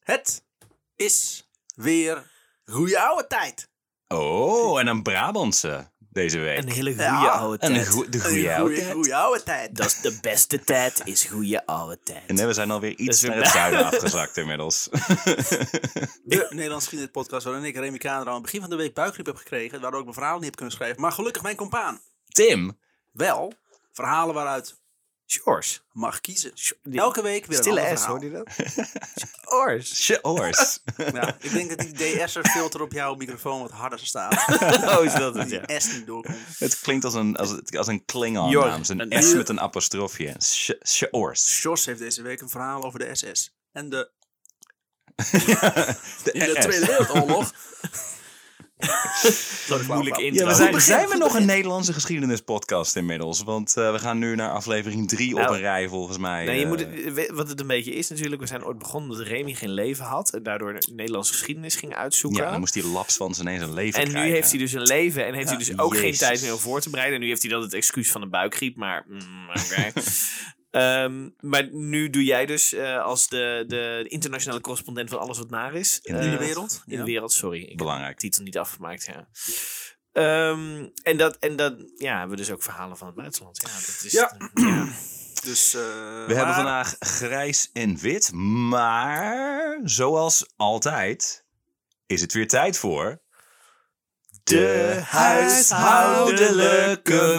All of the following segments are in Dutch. Het is weer goeie oude tijd. Oh, en een Brabantse deze week. Een hele goede Ja, oude En een tijd. goe- de Een goede oude tijd. goeie oude tijd. Dat is de beste tijd, is goede oude tijd. En nee, we zijn alweer iets weer naar het bij- zuiden afgezakt inmiddels. De Nederlands Vrienden podcast waarin ik, Remy Kader, aan het begin van de week buikgriep heb gekregen. Waardoor ik mijn verhaal niet heb kunnen schrijven. Maar gelukkig mijn compaan. Tim. Wel, verhalen waaruit Shores. mag kiezen. Die- Elke week weer een Stille ander S, verhaal. hoorde je dat? Shores. Sjors. Ja, ik denk dat die DS'er filter op jouw microfoon wat harder staat. Oh, is dat Dat het, die ja. S niet doorkomt. Het klinkt als een, als, als een Klingon Jor. naam. Een Een S uur. met een apostrofje. Sj- Sjors. Sjors heeft deze week een verhaal over de SS. En de, De in de RS. Tweede Wereldoorlog. Dat moeilijk Ja, Oh, we intro. Ja, we Goed zijn, begin, zijn we goed nog begin. een Nederlandse geschiedenispodcast inmiddels? Want eh, we gaan nu naar aflevering 3 op Nou, een rij, volgens mij. Nee, je eh. moet het- we- wat het een beetje is natuurlijk, we zijn ooit begonnen dat Remy geen leven had en daardoor de Nederlandse geschiedenis ging uitzoeken. Ja, dan moest die lapswans ineens een leven en nu krijgen. heeft hij dus een leven en heeft hij dus ook geen Jezus. tijd meer om voor te bereiden. En nu heeft hij dan het excuus van een buikgriep, maar mm, oké. Ehm, maar nu doe jij dus eh, als de, de internationale correspondent van alles wat naar is. In In de eh, wereld. In de Ja. wereld, sorry. Ik Belangrijk. titel niet afgemaakt, ja. Ehm, en dat, en dat ja, hebben we dus ook verhalen van het buitenland. Ja, dat is, Ja. ja. Dus, eh, We hebben maar- vandaag grijs en wit, maar zoals altijd is het weer tijd voor... De huishoudelijke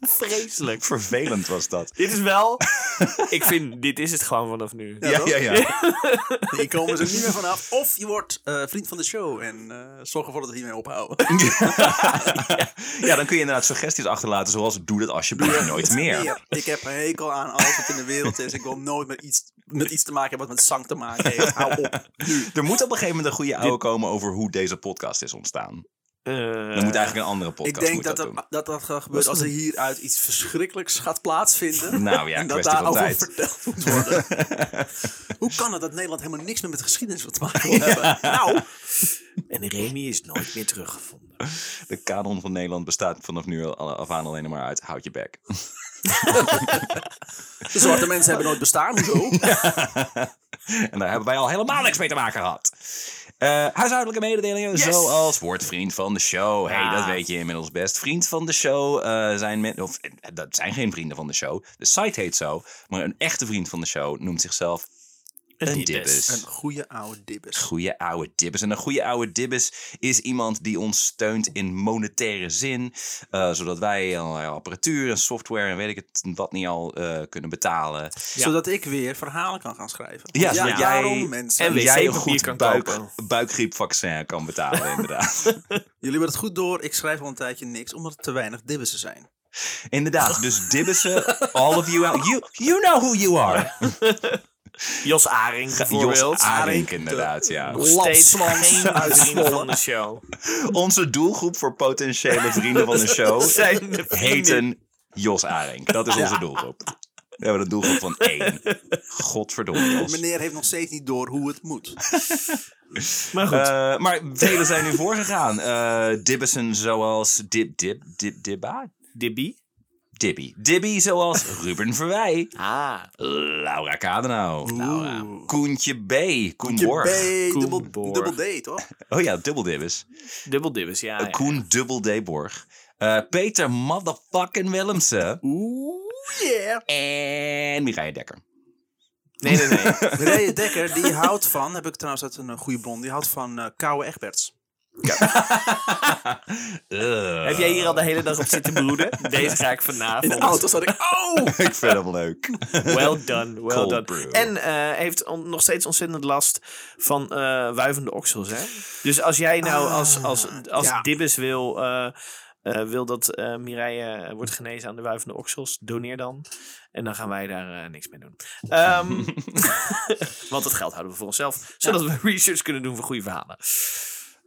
Vreselijk. Vervelend was dat. Dit is wel. ik vind, dit is het gewoon vanaf nu. Ja, ja, ja. Hier komen ze dus niet meer vanaf. Of je wordt eh, vriend van de show en eh zorg ervoor dat we hiermee ophouden. Ja, dan kun je inderdaad suggesties achterlaten zoals doe dat alsjeblieft nooit meer. Meer. Ik heb een hekel aan alles wat in de wereld is. Ik wil nooit met iets, met iets te maken hebben wat met zang te maken heeft. Hou op. Er moet op een gegeven moment een goede oude komen over hoe deze podcast is ontstaan. Eh, Dan moet eigenlijk een andere podcast Ik denk moet dat dat, dat, doen. dat, dat gaat gebeuren als er hieruit iets verschrikkelijks gaat plaatsvinden. Nou ja, en dat kwestie van daarover tijd. verteld moet worden. Hoe kan het dat Nederland helemaal niks meer met geschiedenis wil te maken wil hebben? Nou, En Remy is nooit meer teruggevonden. De kanon van Nederland bestaat vanaf nu al- af aan alleen maar uit houd je bek. de zwarte mensen hebben nooit bestaan, zo. En daar hebben wij al helemaal niks mee te maken gehad. Eh, huishoudelijke mededelingen zoals word vriend van de show. Hey, Ja. dat weet je inmiddels best. Vriend van de show eh, zijn men, of eh, dat zijn geen vrienden van de show. De site heet zo, maar een echte vriend van de show noemt zichzelf een dibbes. Een goede oude dibbes. Goeie oude dibbes. En een goede oude dibbes is iemand die ons steunt in monetaire zin. eh, zodat wij allerlei apparatuur en software en weet ik het wat niet al eh, kunnen betalen. Zodat ik weer verhalen kan gaan schrijven. Ja, zodat jij- daarom mensen. En En wc-papier jij een goed kan buik, kopen. buikgriepvaccin kan betalen inderdaad. Jullie hebben het goed door. Ik schrijf al een tijdje niks, omdat er te weinig dibbessen zijn. Inderdaad, dus dibbissen, all of you out. You, you know who you are. Jos Aring Jos bijvoorbeeld. Arink, inderdaad, ja. Nog steeds Lapswans geen uit vrienden Zwolle. van de show. Onze doelgroep voor potentiële vrienden van de show Zijn de vrienden. heten Jos Arink. Dat is onze doelgroep. We hebben een doelgroep van één. Godverdomme, Jos. Meneer heeft nog steeds niet door hoe het moet. Maar goed. Eh, maar velen zijn nu voorgegaan. Eh dibbissen zoals Dib, Dib, Dib, Dibba? Dibby. Dibby. Dibby zoals Ruben Verwij. Ah. Laura Kadenau. Laura. Koentje B. Koen Je Borg. bent Koen dubbel, Borg. dubbel D, toch? Oh ja, dubbel dibbes. Dubbel dibbes, Oh ja. ja. Koen dubbel D. Borg. Eh, Peter motherfucking Willemsen. Oeh, yeah. En Mireille Dekker. Nee, nee, nee. Mireille Dekker, die houdt van, heb ik trouwens uit een eh, goede bron, die houdt van eh Kouwe Egberts. Eh, Heb jij hier al de hele dag op zitten broeden? Deze ga ik vanavond. zat ik, oh! Ik vind hem leuk. Well done, well Cold done. brew. En eh, heeft on- nog steeds ontzettend last van eh, wuivende oksels. Hè? Dus als jij Ah, nou als, als, als ja. Dibbes wil, eh, eh, wil dat eh Mireille wordt genezen aan de wuivende oksels, doneer dan. En dan gaan wij daar eh, niks mee doen. Ehm, want dat geld houden we voor onszelf. Zodat we research kunnen doen voor goede verhalen.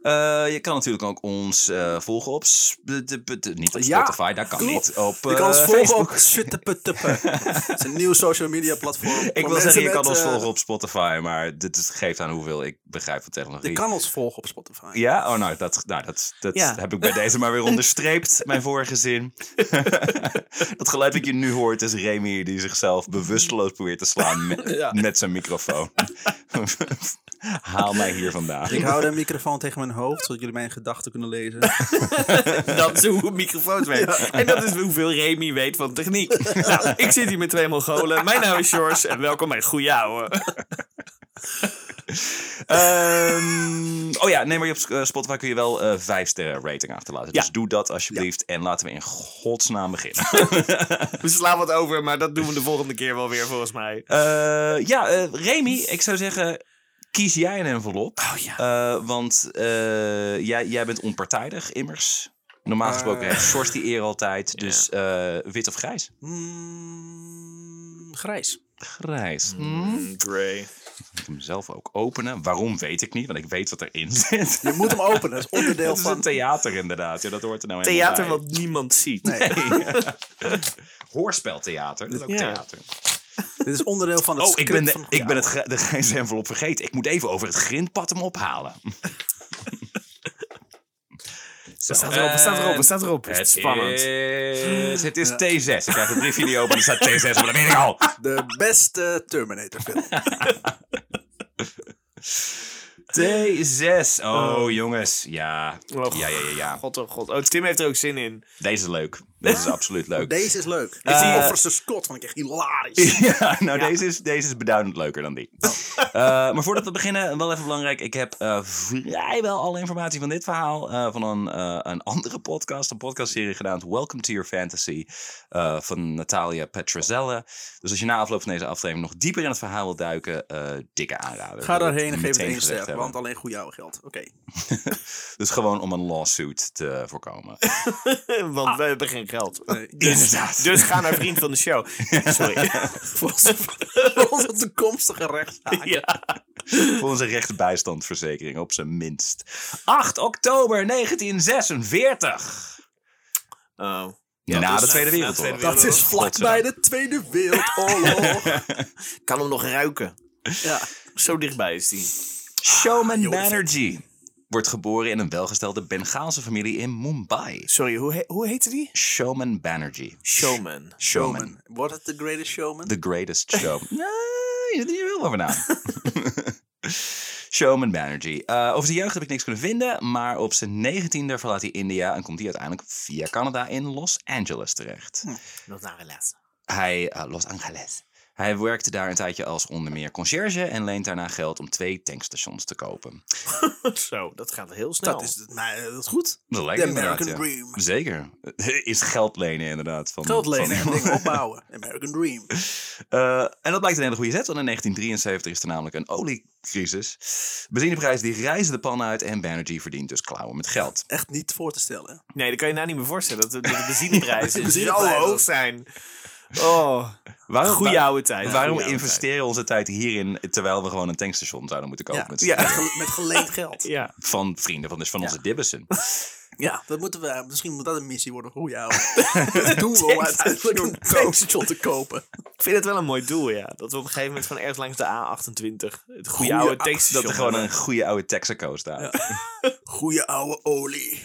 Eh, je kan natuurlijk ook ons eh, volgen op... s- de- de- de- niet op Ja, Spotify, dat kan klopt. niet. Op, Je kan ons eh, volgen op Sutteputuppe. Het is een nieuw social media platform. Ik voor wil zeggen, mensen je kan met, ons eh, volgen op Spotify, maar dit is- geeft aan hoeveel ik begrijp van Je technologie. kan ons volgen op Spotify. Ja? Oh, nou, dat, nou, dat, dat Ja. heb ik bij deze maar weer onderstreept, mijn vorige zin. dat geluid dat je nu hoort is Remy die zichzelf bewusteloos probeert te slaan met, Ja. met zijn microfoon. Haal mij hier vandaan. Ik hou de microfoon tegen mijn hoofd, zodat jullie mijn gedachten kunnen lezen. Dat is hoe microfoons werken. En dat is hoeveel Remy weet van techniek. Nou, ik zit hier met twee Mongolen. Mijn naam is George en welkom bij Goeie Ouwe. Ehm, oh ja, nee, maar je op eh, Spotify kun je wel eh vijf sterren rating achterlaten. Dus doe dat alsjeblieft en laten we in godsnaam beginnen. We slaan wat over, maar dat doen we de volgende keer wel weer volgens mij. Eh, ja, eh, Remy, ik zou zeggen, kies jij een envelop. Oh ja. Eh, want eh, jij, jij bent onpartijdig, immers. Normaal gesproken heeft Sjors die eer altijd. Dus eh, wit of grijs? Mm, grijs. Grijs. Hm? Hmm, Gray. Ik moet hem zelf ook openen. Waarom weet ik niet, want ik weet wat erin zit. Je moet hem openen, dat is onderdeel Dat is een van... theater inderdaad. Ja, dat hoort er nou helemaal Theater bij. wat niemand ziet. Hoorspeltheater, dat is ook Ja. theater. Dit is onderdeel van het Oh, ik script ben, de, van- ik ben het, gr- de grijze envelop vergeten. Ik moet even over het grindpad hem ophalen. Zo. Staat erop, staat erop, staat erop. Het is spannend. eh, Is, het is T6. Ik krijg een briefje die open en er staat T6, maar dat weet ik al. De beste Terminator film. T6. Oh, jongens. Ja. Oh, Ja, ja, ja, ja. God, oh god. Oh, Tim heeft er ook zin in. Deze is leuk. Deze is absoluut leuk. Deze is leuk. Dit Eh, is Officer Scott, vond ik echt hilarisch. Ja, nou, Deze, is, deze is beduidend leuker dan die. Oh. Eh, maar voordat we beginnen, wel even belangrijk. Ik heb eh, vrijwel alle informatie van dit verhaal eh, van een, eh, een andere podcast. Een podcastserie genaamd Welcome to Your Fantasy eh, van Natalia Petrozella. Dus als je na afloop van deze aflevering nog dieper in het verhaal wilt duiken, eh, dikke aanrader. Ga Wil ik daarheen en geef het meteen één gezegd ster, hebben. want alleen goede oude geld. Oké. Dus gewoon om een lawsuit te voorkomen. Want we hebben geen geld. Oh. Eh, Inderdaad. Dus ga naar vriend van de show. Sorry. Voor onze, voor onze toekomstige rechtszaak. Ja. Voor onze rechtsbijstandsverzekering op zijn minst. 8 oktober 1946. Oh. na is- de Tweede na de Wereldoorlog. Tweede Dat is vlakbij de Tweede Wereldoorlog. Kan hem nog ruiken. Ja. Zo dichtbij is die. Showman joh, dat is- Banerjee wordt geboren in een welgestelde Bengaalse familie in Mumbai. Sorry, hoe, he- hoe heette die? Showman Banerjee. Showman. Showman. Showman. Wordt het The Greatest Showman? The Greatest Show. nee, je er wel over na. Showman Banerjee. Eh, over zijn jeugd heb ik niks kunnen vinden, maar op zijn negentiende verlaat hij India en komt hij uiteindelijk via Canada in Los Angeles terecht. Nog naar helaas. Hij, eh, Los Angeles. Hij werkte daar een tijdje als onder meer conciërge en leent daarna geld om twee tankstations te kopen. Zo, dat gaat heel snel. dat is, nou, dat is goed. Dat lijkt The inderdaad, American ja. Dream. Zeker. Is geld lenen inderdaad. Van, Geld lenen en van- dingen opbouwen. American Dream. Eh, en dat blijkt een hele goede zet, want in 1973 is er namelijk een oliecrisis. Benzineprijzen die reizen de pan uit en Banerjee verdient dus klauwen met geld. Echt niet voor te stellen. Nee, dat kan je nou niet meer voorstellen. Dat de, dat de benzineprijzen zo benzineprijzen. hoog zijn. Oh, Waarom, goeie wa- oude tijd. Waarom Goeie oude investeren we onze tijd hierin terwijl we gewoon een tankstation zouden moeten kopen Ja. met, Met, gele- met geleend geld. tijd. Ja. van vrienden van, dus van onze dibbissen? Ja, dat moeten we, misschien moet dat een missie worden voor jou. dat doen we om uiteindelijk een tankstation te kopen. Ik vind het wel een mooi doel, ja. Dat we op een gegeven moment gewoon ergens langs de A28... Het goede Goeie oude ou- tankstation Dat er gewoon een goede oude Texaco staat. Goeie oude olie.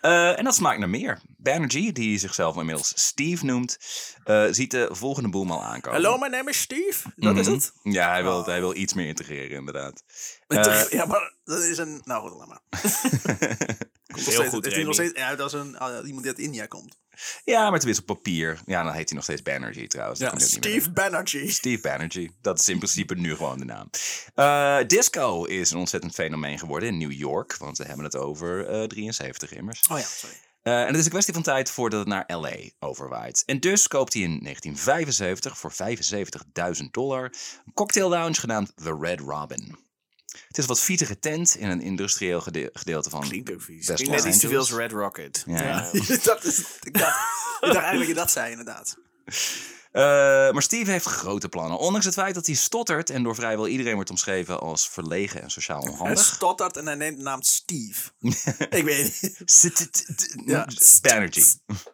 Eh, en dat smaakt naar meer. Banerjee, die zichzelf inmiddels Steve noemt, eh, ziet de volgende boem al aankomen. Hallo, Ah. mijn naam is Steve. Dat is Mhm. het. Ja, hij wil, hij wil iets meer integreren, inderdaad. Integre- ja, maar dat is een... Nou, goed, laat maar. Komt nog Heel steeds- goed, Het ziet er nog Remy. steeds uit als een, ah, iemand die uit India komt. Ja, maar tenminste op papier. Ja, dan heet hij nog steeds Banerjee trouwens. Dat komt ook niet meer Steve Banerjee. door. Steve Banerjee. Dat is in principe nu gewoon de naam. Eh, disco is een ontzettend fenomeen geworden in New York. Want we hebben het over eh 73 immers. Oh ja, sorry. Eh, en het is een kwestie van tijd voordat het naar LA overwaait. En dus koopt hij in 1975 voor 75.000 dollar een cocktail lounge genaamd The Red Robin. Het is een wat vietige tent in een industrieel gede- gedeelte van. Klinkt ook vies. Best Klinkt net Los iets te veel als Angeles. Red Rocket. Ja. dus- dat is, ik, dacht, ik dacht eigenlijk dat je dat zei, inderdaad. Eh, maar Steve heeft grote plannen. Ondanks het feit dat hij stottert en door vrijwel iedereen wordt omschreven als verlegen en sociaal Hij onhandig. stottert en hij neemt de naam Steve. ik weet niet. Ja. Energy.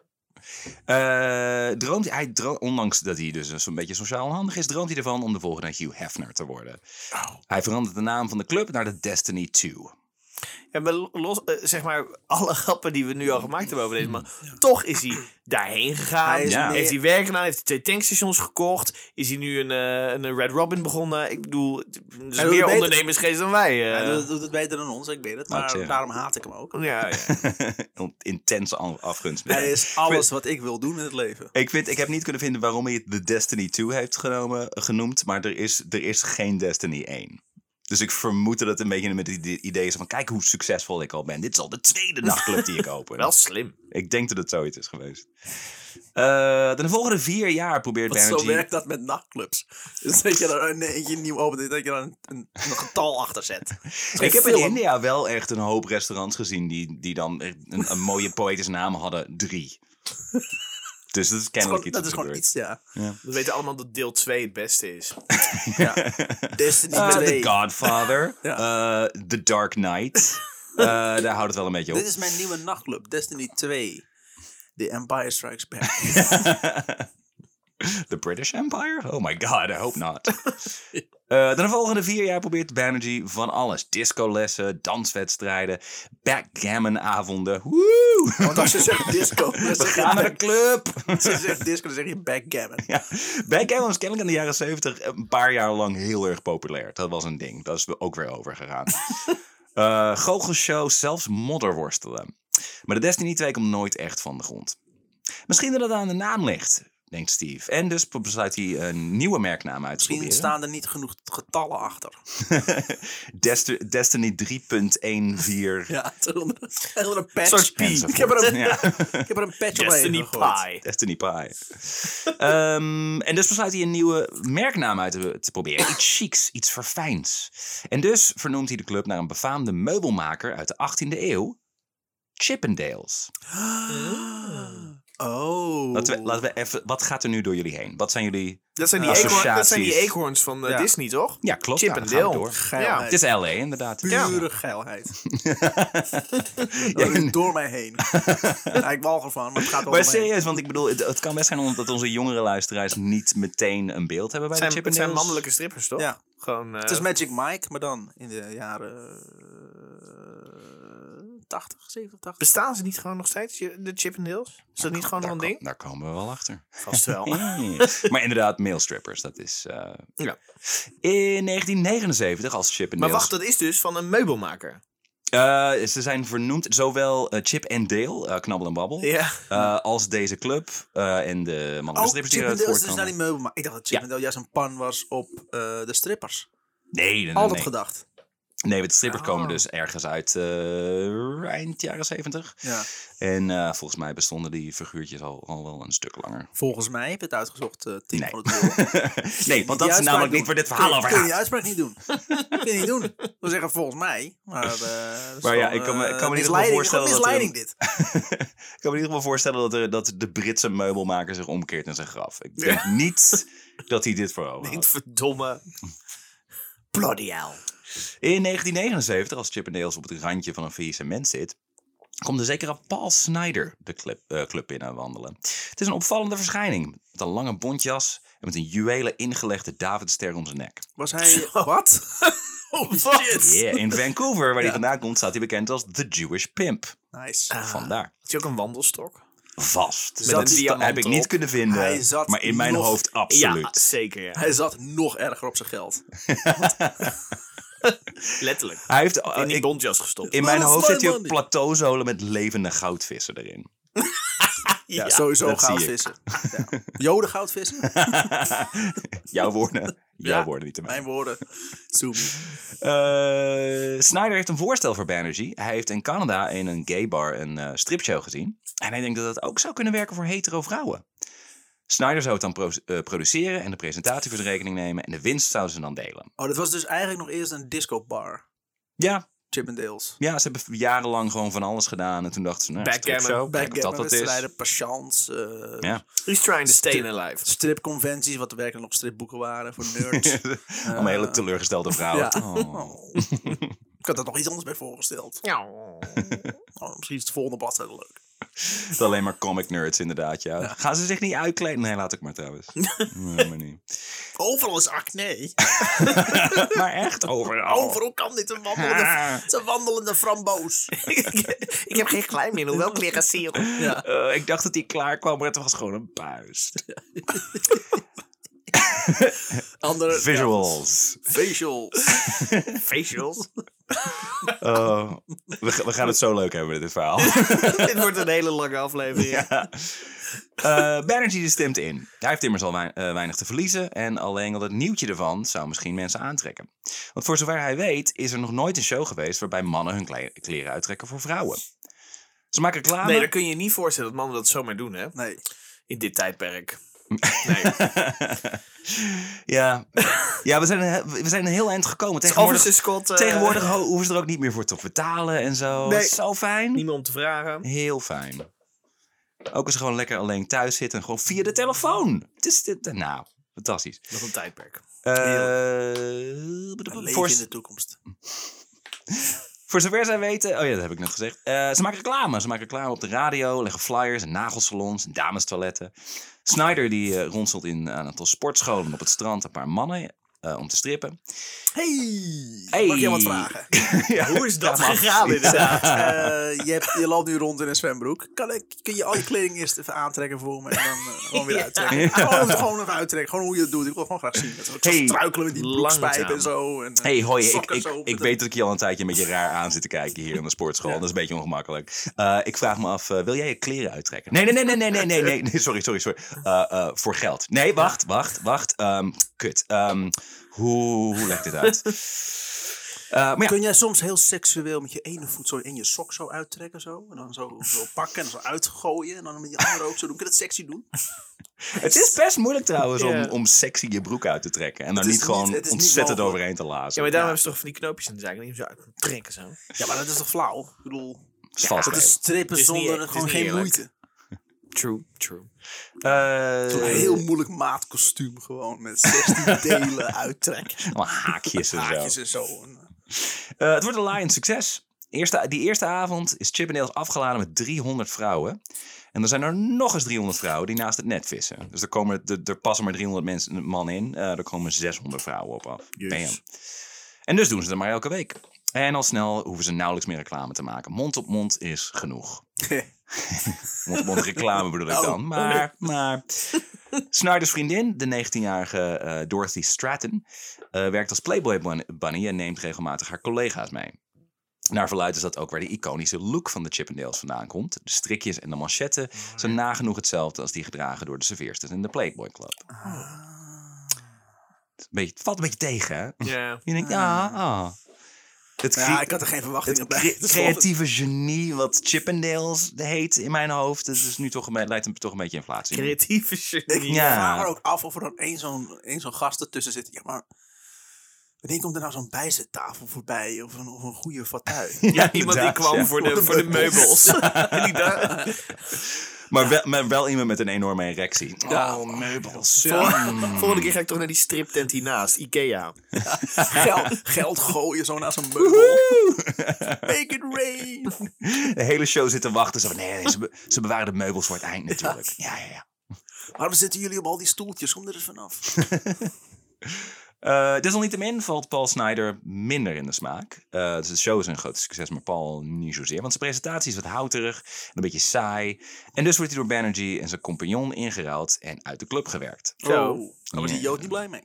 Eh, droomt hij, hij dro- ondanks dat hij dus een beetje sociaal onhandig is, droomt hij ervan om de volgende Hugh Hefner te worden. Hij verandert de naam van de club naar de Destiny 2. En maar los, eh, zeg maar, alle grappen die we nu al gemaakt hebben over deze man. Toch is hij daarheen gegaan. Hij is Ja. meer- Heeft hij werk gedaan, heeft hij twee tankstations gekocht. Is hij nu een, eh, een Red Robin begonnen. Ik bedoel, het is Hij doet het meer beter. ondernemersgeest dan wij. eh. Hij doet, het- doet het beter dan ons, ik weet het. Wou ik Maar zeggen. daarom haat ik hem ook. ja, ja. Intense an- afgunst. Ah, Hij is alles wat ik wil doen in het leven. Ik, vind, ik heb niet kunnen vinden waarom hij het de Destiny 2 heeft genomen, genoemd, maar er is, er is geen Destiny 1. Dus ik vermoed dat het een beetje met het idee- idee is van kijk hoe succesvol ik al ben. Dit is al de tweede nachtclub die ik open. Wel slim. Ik denk dat het zoiets is geweest. Eh, de volgende vier jaar probeert Want zo Banerjee... werkt dat met nachtclubs. Dus dat je er een eentje nieuw opent, dat je er een, een, een getal achter zet. Ik heb in film. India wel echt een hoop restaurants gezien die, die dan echt een, een mooie poëtische naam hadden. Drie. Dus dat is Dat is gewoon, kennelijk dat is gewoon iets iets, ja. We weten allemaal dat deel 2 het beste is. ja. Destiny dat gebeurt. Eh, 2. The Godfather. eh, The Dark Knight. Eh, daar houdt het wel een beetje op. Dit is mijn nieuwe nachtclub, Destiny 2. The Empire Strikes Back. The British Empire? Oh my god, I hope not. Eh, de volgende vier jaar probeert Banerjee van alles. Discolessen, danswedstrijden, backgammonavonden. Woe! Want als je zegt disco, dan We zeg je, gaan naar de club! als je zegt disco, dan zeg je backgammon. Ja, backgammon was kennelijk in de jaren zeventig een paar jaar lang heel erg populair. Dat was een ding. Dat is ook weer overgegaan. Eh goochelshows, zelfs modderworstelen. Maar de Destiny 2 komt nooit echt van de grond. Misschien dat het aan de naam ligt, denkt Steve. En dus besluit hij een nieuwe merknaam uit te Misschien proberen. staan er niet genoeg getallen achter. Dest- Destiny 3.14. Ja, het is onder onder een patch. soort enzovoort. Ik heb er een, Ja. ik heb er een patch omheen Destiny gegooid. Pie. Destiny Pie. Ehm, en dus besluit hij een nieuwe merknaam uit te, te proberen. Iets chics, iets verfijns. En dus vernoemt hij de club naar een befaamde meubelmaker uit de 18e eeuw. Chippendales. Oh. Laten we, laten we even, wat gaat er nu door jullie heen? Wat zijn jullie... Dat zijn, die die eekhoorn- Associaties. dat zijn die eekhoorns van eh, Ja. Disney, toch? Ja, klopt. Chip nou, en dan gaan we Dale. door. Geilheid. Het is L.A. inderdaad. Pure geilheid. Dat Jij- loopt door mij heen. ja, ik walg ervan, maar het gaat wel Maar door mij heen. serieus, want ik bedoel, het, het kan best zijn omdat onze jongere luisteraars niet meteen een beeld hebben bij Het zijn, de Chip het and zijn Dales. mannelijke strippers, toch? Ja. Gewoon, eh, Het is Magic Mike, maar dan in de jaren... eh, 80, 70, Dus 80. Bestaan ze niet gewoon nog steeds, je- de Chip and Dales? Is dat niet gewoon nog daar, een ko- ding? daar komen we wel achter. Vast wel. Oh. maar inderdaad, mailstrippers, dat is... eh, Ja. In 1979 als Chip en Maar Dale. Eh, wacht, dat is dus van een meubelmaker. ze zijn vernoemd zowel eh, Chip en Dale, eh, Knabbel en Babbel, Ja. eh, als deze club eh, en de mannelijke Oh, strippers die Chip and eruit Dale is dus naar voortkomen. die meubel. Maar ik dacht dat Chip Ja. and Dale juist een pan was op eh, de strippers. Nee, nee, nee. Altijd nee. gedacht. Nee, want de strippers Oh. komen dus ergens uit eh, eind jaren 70. Ja. En eh, volgens mij bestonden die figuurtjes al, al wel een stuk langer. Volgens mij heb je het uitgezocht, eh team Nee. van het woord. nee, want dat is namelijk niet waar dit verhaal over Kun je gaat. die uitspraak niet doen. kun je niet doen. Ik wil zeggen, volgens mij. Maar, eh, dat is Maar ja, wel, ik kan me- eh, ik kan me in ieder geval misleiding- voorstellen dat eh, er misleiding dit. ik kan me in ieder geval voorstellen dat, er, dat de Britse meubelmaker zich omkeert in zijn graf. Ik denk niet dat hij dit voor ogen had. Verdomme. Bloody hell. In 1979, als Chip and Dale's op het randje van een faillissement zit, komt de zekere Paul Snyder de club, eh, club binnen wandelen. Het is een opvallende verschijning, met een lange bontjas en met een juwelen ingelegde Davidster om zijn nek. Was hij... Wat? Oh, shit. Yeah, in Vancouver, waar hij vandaan komt, staat hij bekend als The Jewish Pimp. Nice. Vandaar. Had je ook een wandelstok? Vast. Ah. een Dat diamant heb ik niet erop. kunnen vinden, Hij zat maar in mijn nog- hoofd absoluut. Ja, zeker. Ja. Hij zat nog erger op zijn geld. Letterlijk. Hij heeft, eh, In die ik- bondjas gestopt. in mijn dat is hoofd zit mooi, hij op man. plateauzolen met levende goudvissen erin. Ja, Ja. sowieso dat zie ik. goudvissen. Ja. Joden goudvissen? Jouw woorden. Jouw Ja, woorden niet te mij. Mijn woorden. Zoom. Eh, Snyder heeft een voorstel voor Banerjee. Hij heeft in Canada in een gay bar een eh, stripshow gezien. En hij denkt dat dat ook zou kunnen werken voor hetero vrouwen. Snyder zou het dan pro- eh, produceren en de presentatie voor de rekening nemen. En de winst zouden ze dan delen. Oh, dat was dus eigenlijk nog eerst een disco bar. Ja, Chip and Dales. Ja, ze hebben jarenlang gewoon van alles gedaan. En toen dachten ze, nou, Backgammon. stripshow, kijk of dat Backgammon wat is. wedstrijden, patience, eh, Ja. He's trying to stay in life. stripconventies, wat er werkelijk nog stripboeken waren voor nerds. Allemaal hele teleurgestelde vrouwen. Ja. Oh. Oh. Ik had er nog iets anders bij voorgesteld. Oh, misschien is het volgende blad heel leuk. Het alleen maar comic nerds, inderdaad. Ja. Gaan ze zich niet uitkleden? Nee, laat ik maar trouwens. nee, maar, niet. Overal is acne. maar echt, overal. Ah. Overal Oh, kan dit een wandelende, het is een wandelende framboos. Ik heb geen klein meer, hoewel ik liggen zie. Ja. Eh, ik dacht dat hij klaar kwam, maar het was gewoon een buis. Andere Visuals. facial. Facials. Oh, we, ga- we gaan het zo leuk hebben met dit verhaal. Dit wordt een hele lange aflevering. ja. Eh, Banerjee die stemt in. Hij heeft immers al wei- eh, weinig te verliezen. En alleen al het nieuwtje ervan zou misschien mensen aantrekken. Want voor zover hij weet is er nog nooit een show geweest... waarbij mannen hun kle- kleren uittrekken voor vrouwen. Ze maken reclame... Nee, dat kun je je niet voorstellen dat mannen dat zomaar doen, hè? Nee. In dit tijdperk. Nee. ja. ja, we zijn, een- we zijn een heel eind gekomen. Tegenwoordig, Officer Scott. Dus eh, tegenwoordig ho- hoeven ze er ook niet meer voor te betalen en zo. Nee. Zo fijn. Niet meer om te vragen. Heel fijn. Ook als ze gewoon lekker alleen thuis zitten en gewoon via de telefoon. Het is dit, nou, fantastisch. Wat een tijdperk. Eh, Een leven voor, in de toekomst. voor zover zij weten... Oh ja, dat heb ik net gezegd. Eh, ze maken reclame. Ze maken reclame op de radio, leggen flyers en nagelsalons en damestoiletten. Snyder die eh, ronselt in een aantal sportscholen op het strand een paar mannen eh, om te strippen. Hey, Hey. mag ik je wat vragen? Ja. Hoe is dat Ja, maar- gegaan, inderdaad? Eh, je, hebt, je loopt nu rond in een zwembroek. Kan ik, kun je al je kleding eerst even aantrekken voor me en dan eh, gewoon weer uittrekken? Gewoon, gewoon even uittrekken. Gewoon hoe je het doet. Ik wil gewoon graag zien. Dat is ook zo Hey. struikelen met die Langzaam. broekspijp en zo. En, eh, Hey, hoi. Ik, sokken ik, zo op ik de- weet dat ik je al een tijdje een beetje raar aan zit te kijken hier aan de sportschool. Dat is een beetje ongemakkelijk. Eh, ik vraag me af, eh, wil jij je kleren uittrekken? Nee, nee, nee, nee, nee, nee, nee, nee, nee, sorry, sorry, sorry. Eh, eh, voor geld. Nee, wacht, wacht, wacht. Ehm, kut. Ehm, hoe, hoe leg ik dit uit? Eh, maar ja, Kun jij soms heel seksueel met je ene voet zo in je sok zo uittrekken zo? En dan zo, zo pakken en zo uitgooien. En dan met je andere ook zo doen. Kun je dat sexy doen? het is best moeilijk trouwens om, Ja. om sexy je broek uit te trekken. En Het dan is niet gewoon niet- het is niet ontzettend mogelijk. overheen te Ja, lazen. maar daarom hebben ze toch van die knoopjes in de zaak. Die ze uit trekken zo. Ja, maar dat is toch flauw? Ik bedoel, is vast. dat is strippen Het is niet- zonder het is gewoon niet geen eerlijk. moeite. True, true. Eh, Zo'n heel moeilijk maatkostuum gewoon met 16 delen uittrekken. allemaal haakjes en zo. Haakjes en zo. En, eh, Eh, het wordt een laaiend succes. Eerste, die eerste avond is Chippendales afgeladen met 300 vrouwen. En er zijn er nog eens 300 vrouwen die naast het net vissen. Dus er, komen, er, er passen maar 300 mensen, man in. Eh, er komen 600 vrouwen op af. Bam. En dus doen ze het maar elke week. En al snel hoeven ze nauwelijks meer reclame te maken. Mond op mond is genoeg. eh, Mond op mond reclame bedoel Oh. ik dan. Maar, maar. Snyder's vriendin, de 19-jarige eh, Dorothy Stratton, eh, werkt als Playboy bun- Bunny en neemt regelmatig haar collega's mee. Naar verluidt is dat ook waar de iconische look van de Chippendales vandaan komt. De strikjes en de manchetten zijn nagenoeg hetzelfde als die gedragen door de serveersters in de Playboy Club. Ah. Het is een beetje- het valt een beetje tegen, hè? Ja. Je denkt, ja, ah. Het, nou crea- ja, ik had er geen verwachtingen het bij. cre- Dat is wel- creatieve genie wat Chippendales heet in mijn hoofd, dat is nu toch een, be- leidt hem toch een beetje inflatie. Creatieve shit. Ik Ja. vraag me ook af of er dan één zo'n, één zo'n gast ertussen zit. Ja, maar wanneer komt er nou zo'n bijzettafel voorbij? Of een, of een goede fatui? Ja, iemand die inderdaad, kwam ja. voor, de, voor de meubels. Die daar- Maar wel, maar wel iemand met een enorme erectie. Ja. Oh, meubels. Vol- Volgende keer ga ik toch naar die striptent hiernaast. Ikea. Geld, geld gooien zo naar zo'n meubel. Make it rain. De hele show zit te wachten. Zo, van, nee, nee, ze, be- ze bewaren de meubels voor het eind natuurlijk. Ja, ja, ja. Waarom zitten jullie op al die stoeltjes? Kom er eens vanaf. Eh, desalniettemin valt Paul Snyder minder in de smaak. Eh, dus de show is een groot succes, maar Paul niet zozeer. Want zijn presentatie is wat houterig en een beetje saai. En dus wordt hij door Banerjee en zijn compagnon ingeruild en uit de club gewerkt. Zo. Oh, daar was die Jood niet blij mee.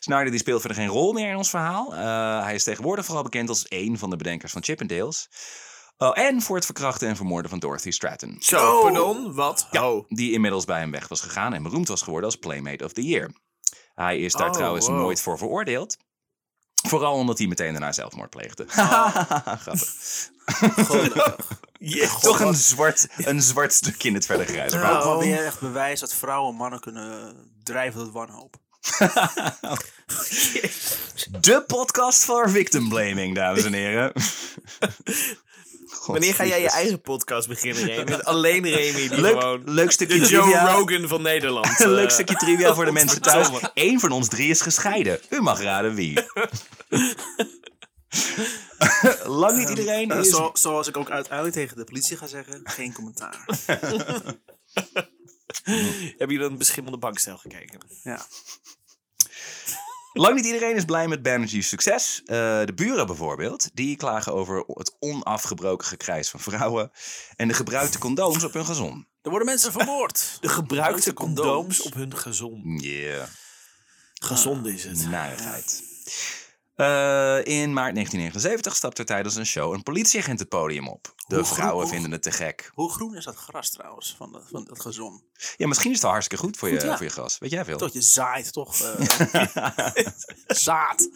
Snyder die speelt verder geen rol meer in ons verhaal. Eh, hij is tegenwoordig vooral bekend als één van de bedenkers van Chippendales. Oh, en voor het verkrachten en vermoorden van Dorothy Stratton. Zo, pardon, wat? Oh. die inmiddels bij hem weg was gegaan en beroemd was geworden als Playmate of the Year. Hij is daar Oh, trouwens wow. nooit voor veroordeeld. Vooral omdat hij meteen daarna zelfmoord pleegde. Oh. Grappig. Yeah. Toch een zwart, een zwart Oh. stuk in het verder grijze. verhaal. Ook wel weer echt bewijs dat vrouwen mannen kunnen drijven tot wanhoop. De podcast voor victim blaming, dames en heren. Wanneer ga jij je Godverdomme. eigen podcast beginnen, Remy? Met alleen Remy die Leuk, gewoon... leuk De stukje Joe trivia. Rogan van Nederland. Een leuk eh, stukje trivia voor de mensen thuis. Eén van ons drie is gescheiden. U mag raden wie. Lang niet iedereen Eh, is... zo- zoals ik ook uiteindelijk tegen de politie ga zeggen, geen commentaar. Hebben jullie een beschimmelde bankstel gekeken? Ja. Lang niet iedereen is blij met Banerjee's succes. Eh, de buren bijvoorbeeld, die klagen over het onafgebroken gekrijs van vrouwen... en de gebruikte condooms op hun gezond. Er worden mensen vermoord. De gebruikte condooms. condooms op hun gezond. Yeah. Gezond is het. Narigheid. Eh, in maart 1979 stapt er tijdens een show een politieagent het podium op. De Hoe groen- vrouwen hoe- vinden het te gek. Hoe groen is dat gras trouwens, van, dat- van dat gezon? Ja, misschien is het wel hartstikke goed voor je, Goed, ja. voor je gras. Weet jij veel? Tot je zaait toch eh, zaad.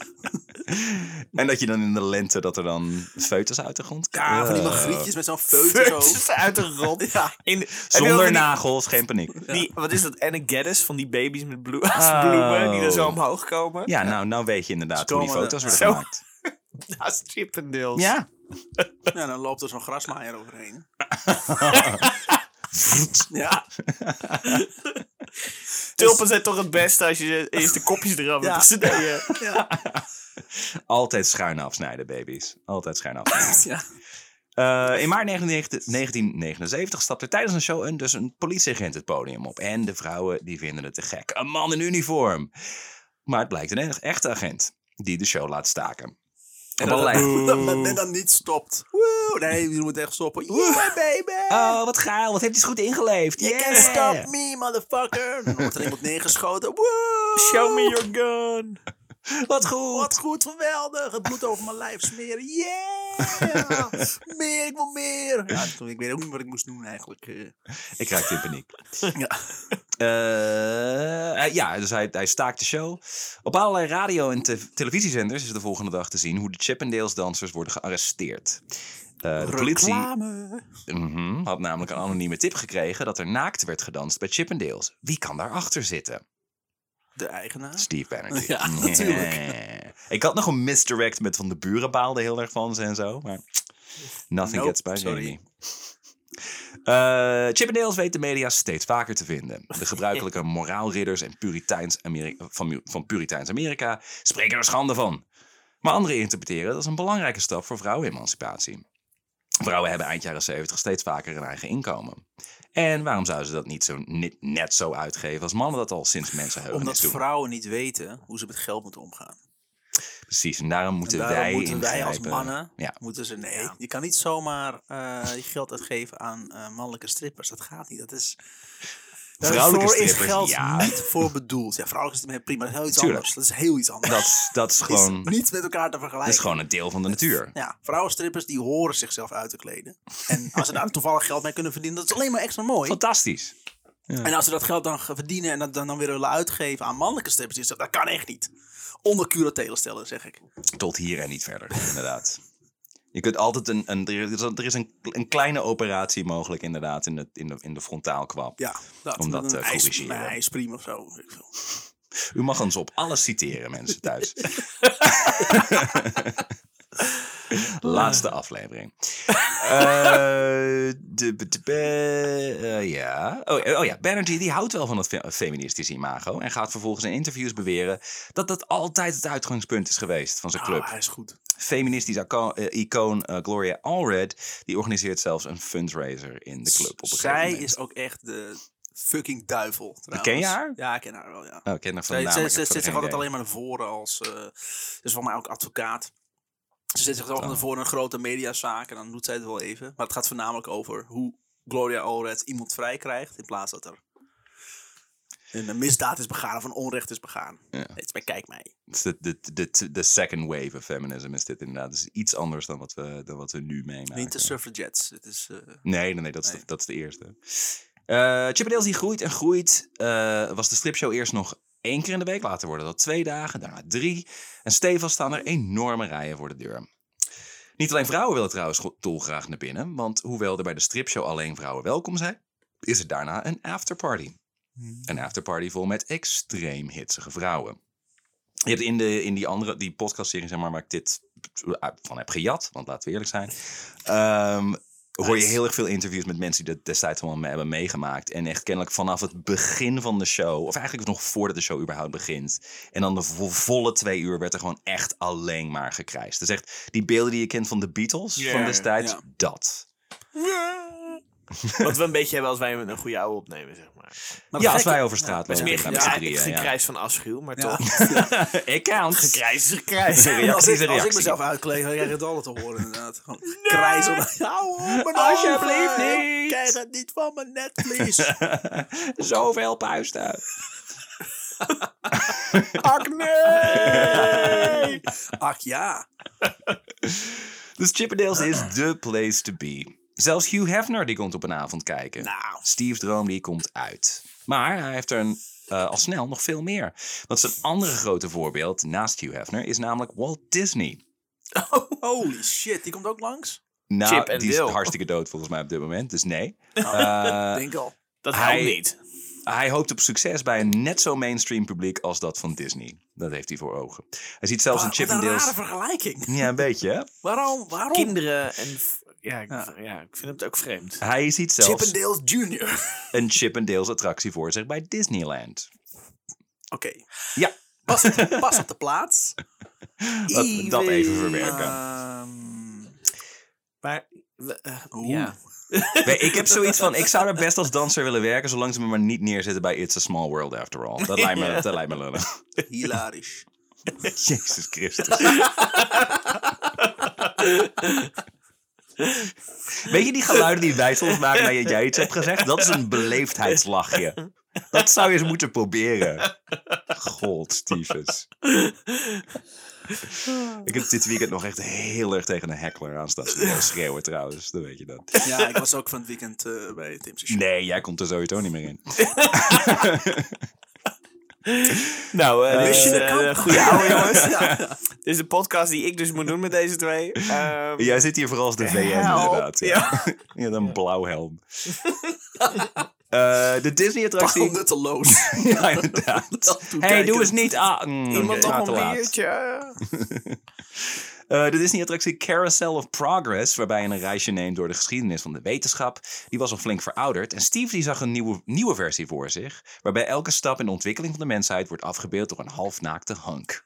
En dat je dan in de lente dat er dan foetus uit de grond Ja, Ah, van die Eh, magrietjes met zo'n feut zo. Feutjes uit de grond. In, heb je nog Zonder die- nagels, geen paniek. Die, wat is dat? Anne Geddes van die baby's met bloe- Oh. bloemen die er zo omhoog komen. Ja, nou, nou weet je Ze inderdaad hoe die komen- foto's worden Zo. gemaakt. Ja, strippendeels. Ja. Ja, dan loopt er zo'n grasmaaier overheen. Ja, Tulpen zijn toch het beste als je eerst de kopjes eraf Ja. ja. snijden. ja, Altijd schuin afsnijden, baby's. Altijd schuin afsnijden. ja. Eh, in maart 1990 1979 stapt er tijdens een show een, dus een politieagent het podium op. En de vrouwen die vinden het te gek. Een man in uniform. Maar het blijkt een enig- echte agent die de show laat staken. Op allerlei- Dat men dat dan niet stopt. Woe, nee, je moet echt stoppen. Yeah, baby! Oh, wat gaal. Wat heeft hij goed ingeleefd. You can't stop me, motherfucker! Dan wordt er iemand neergeschoten. Woe! Show me your gun. Wat goed. Wat goed, geweldig! Het bloed over mijn lijf smeren. Yeah! meer, ik wil meer! Ja, toen- ik weet ook niet wat ik moest doen eigenlijk. eh. Ik raakte in paniek. Ja. Eh, hij- ja, dus hij, hij staakt de show. Op allerlei radio- en te- televisiezenders is de volgende dag te zien hoe de Chippendales-dansers worden gearresteerd. Eh, de politie Reclame. mhm, had namelijk een anonieme tip gekregen dat er naakt werd gedanst bij Chippendales. Wie kan daarachter zitten? De eigenaar. Steve Bannerjee. Ja, natuurlijk. Nee. Ik had nog een misdirect met van de buren baalde heel erg van ze en zo. Maar nothing Nope, gets by sorry. Jamie. Eh Chippendales weet de media steeds vaker te vinden. De gebruikelijke moraalridders en Puriteins Ameri- van, van Puriteins Amerika spreken er schande van. Maar anderen interpreteren dat als een belangrijke stap voor vrouwenemancipatie. Vrouwen hebben eind jaren 70 steeds vaker een eigen inkomen. En waarom zouden ze dat niet zo ni- net zo uitgeven als mannen dat al sinds mensenheugenis Omdat doen? vrouwen niet weten hoe ze met geld moeten omgaan. Precies, en daarom moeten En daarom wij moeten wij als ingrijpen. mannen, Ja. moeten ze, nee, je kan niet zomaar eh, je geld uitgeven aan eh, mannelijke strippers. Dat gaat niet, dat is... Vrouwelijke Daarvoor is strippers, geld ja. niet voor bedoeld. Ja, vrouwelijke strippers, prima, dat is heel iets Tuurlijk. anders. Dat is heel iets anders. Dat, is- dat is is gewoon, niet met elkaar te dat vergelijken. is gewoon een deel van de natuur. Ja, vrouwenstrippers die horen zichzelf uit te kleden. En als ze daar toevallig geld mee kunnen verdienen, dat is alleen maar extra mooi. Fantastisch. En als ze dat geld dan ge- verdienen en dat dan, dan weer willen uitgeven aan mannelijke strippers, is dat, dat kan echt niet. Onder curatele stellen, zeg ik. Tot hier en niet verder, inderdaad. Je kunt altijd een, een er is, er is een, een kleine operatie mogelijk, inderdaad, in de, in de, in de frontaalkwab. Ja, dat, Om dat met te een ijs- corrigeren. een ijspriem of zo. weet ik veel. U mag ons op alles citeren, mensen thuis. Laatste aflevering. Eh, de, de- de- eh, ja. Oh, eh, oh ja, Banerjee die houdt wel van het fe- feministische imago. En gaat vervolgens in interviews beweren dat dat altijd het uitgangspunt is geweest van zijn club. Ah, hij is goed. Feministisch ico- eh, icoon eh, Gloria Allred, die organiseert zelfs een fundraiser in de club. Op een gegeven Zij moment. is ook echt de fucking duivel. trouwens. Ken je haar? Ja, ik ken haar wel, ja. Oh, ik ken haar van Zij, zij, de naam, ik zij heb verder zet zich geen altijd idee. alleen maar naar voren als... eh ze is volgens mij ook advocaat. Ze zet zich altijd Oh. naar voren in een grote mediazaak en dan doet zij het wel even. Maar het gaat voornamelijk over hoe Gloria Allred iemand vrij krijgt... in plaats dat er een misdaad is begaan of een onrecht is begaan. Ja. Het is bij Kijk mij. Het is de, de, de, de second wave of feminism is dit inderdaad. Het is iets anders dan wat we, dan wat we nu meemaken. Niet de suffragettes. Het is... eh, Nee, nee, nee, dat is, Nee. De, dat is de eerste. Eh Chippendales die groeit en groeit. Eh, was de stripshow eerst nog één keer in de week. Later worden dat twee dagen, daarna drie. En stevast staan er enorme rijen voor de deur. Niet alleen vrouwen willen trouwens go- dolgraag naar binnen. Want hoewel er bij de stripshow alleen vrouwen welkom zijn... is er daarna een afterparty. Hmm. Een afterparty vol met extreem hitsige vrouwen. Je hebt in, de, in die andere, die podcastserie, zeg maar, waar ik dit van heb gejat, want laten we eerlijk zijn, ehm, hoor je heel erg veel interviews met mensen die dat destijds allemaal me- hebben meegemaakt. En echt kennelijk vanaf het begin van de show, of eigenlijk nog voordat de show überhaupt begint, en dan de vo- volle twee uur werd er gewoon echt alleen maar gekrijsd. Dus echt die beelden die je kent van de Beatles Ja, van destijds, ja. dat. Wat we een beetje hebben als wij een goede oude opnemen, zeg maar. Maar het ja, als gekke- wij over straat Het lopen. is meer dan Ja, gaan we met z'n gekrijs, drieën, ja. gekrijs van afschuw, maar Ja. toch. Ik count. Gekrijs is gekrijs. Ja, als, ik, precies, als ik reactie. mezelf uitkleed, dan krijg je het alle te horen inderdaad. Gewoon krijzen. Hou op, nou, mijn Alsjeblieft ogen. niet. Krijg het niet van me net, please. Zoveel puisten. Acne! Ach ja. Dus Chippendales is the place to be. Zelfs Hugh Hefner die komt op een avond kijken. Nou. Steve Droom die komt uit. Maar hij heeft er een, eh, al snel nog veel meer. Want zijn andere grote voorbeeld naast Hugh Hefner is namelijk Walt Disney. Holy shit, die komt ook langs? Nou, Chip en die is Dale. hartstikke dood volgens mij op dit moment, dus nee. Ik Eh, Denk al. Dat Hij- helpt niet. Hij hoopt op succes bij een net zo mainstream publiek als dat van Disney. Dat heeft hij voor ogen. Hij ziet zelfs Wat een Chip een and Dale's. rare vergelijking. Ja, een beetje, hè? Waarom? Waarom? Kinderen en... v- Ja, ik- Ja. ja, ik vind het ook vreemd. Hij ziet Chip zelfs and Dale Junior. een Chip and Dale's attractie voor zich bij Disneyland. Oké. Ja. Pas, op- pas op de plaats. Laten we dat even verwerken. Ehm, Maar... we- eh, oeh. ja. Nee, ik heb zoiets van, ik zou daar best als danser willen werken, zolang ze me maar niet neerzetten bij It's a Small World After All. Dat lijkt me, dat lijkt me lullen. hilarisch. Jezus Christus. Weet je die geluiden die wij soms maken nadat jij iets hebt gezegd? Dat is een beleefdheidslachje. Dat zou je eens moeten proberen. God, Stevens. Ik heb dit weekend nog echt heel erg tegen een heckler aan staan schreeuwen trouwens. Dan weet je dat. Ja, ik was ook van het weekend eh, bij Tim's show. Nee, jij komt er sowieso niet meer in. nou, eh, Dus je je de kamp? goede oude jongens. Ja. Dit is de podcast die ik dus moet doen met deze twee. Ehm, Jij zit hier vooral als de VN, Help, inderdaad. Ja. Je hebt een blauw helm. Eh, de Totaal Disney-attractie. nutteloos. ja, inderdaad. Toe hey, kijken. doe eens niet aan. Mm, Iemand ja, nog te een laat. biertje? Eh, de Disney-attractie Carousel of Progress, waarbij je een reisje neemt door de geschiedenis van de wetenschap, die was al flink verouderd. En Steve die zag een nieuwe, nieuwe versie voor zich, waarbij elke stap in de ontwikkeling van de mensheid wordt afgebeeld door een halfnaakte hunk.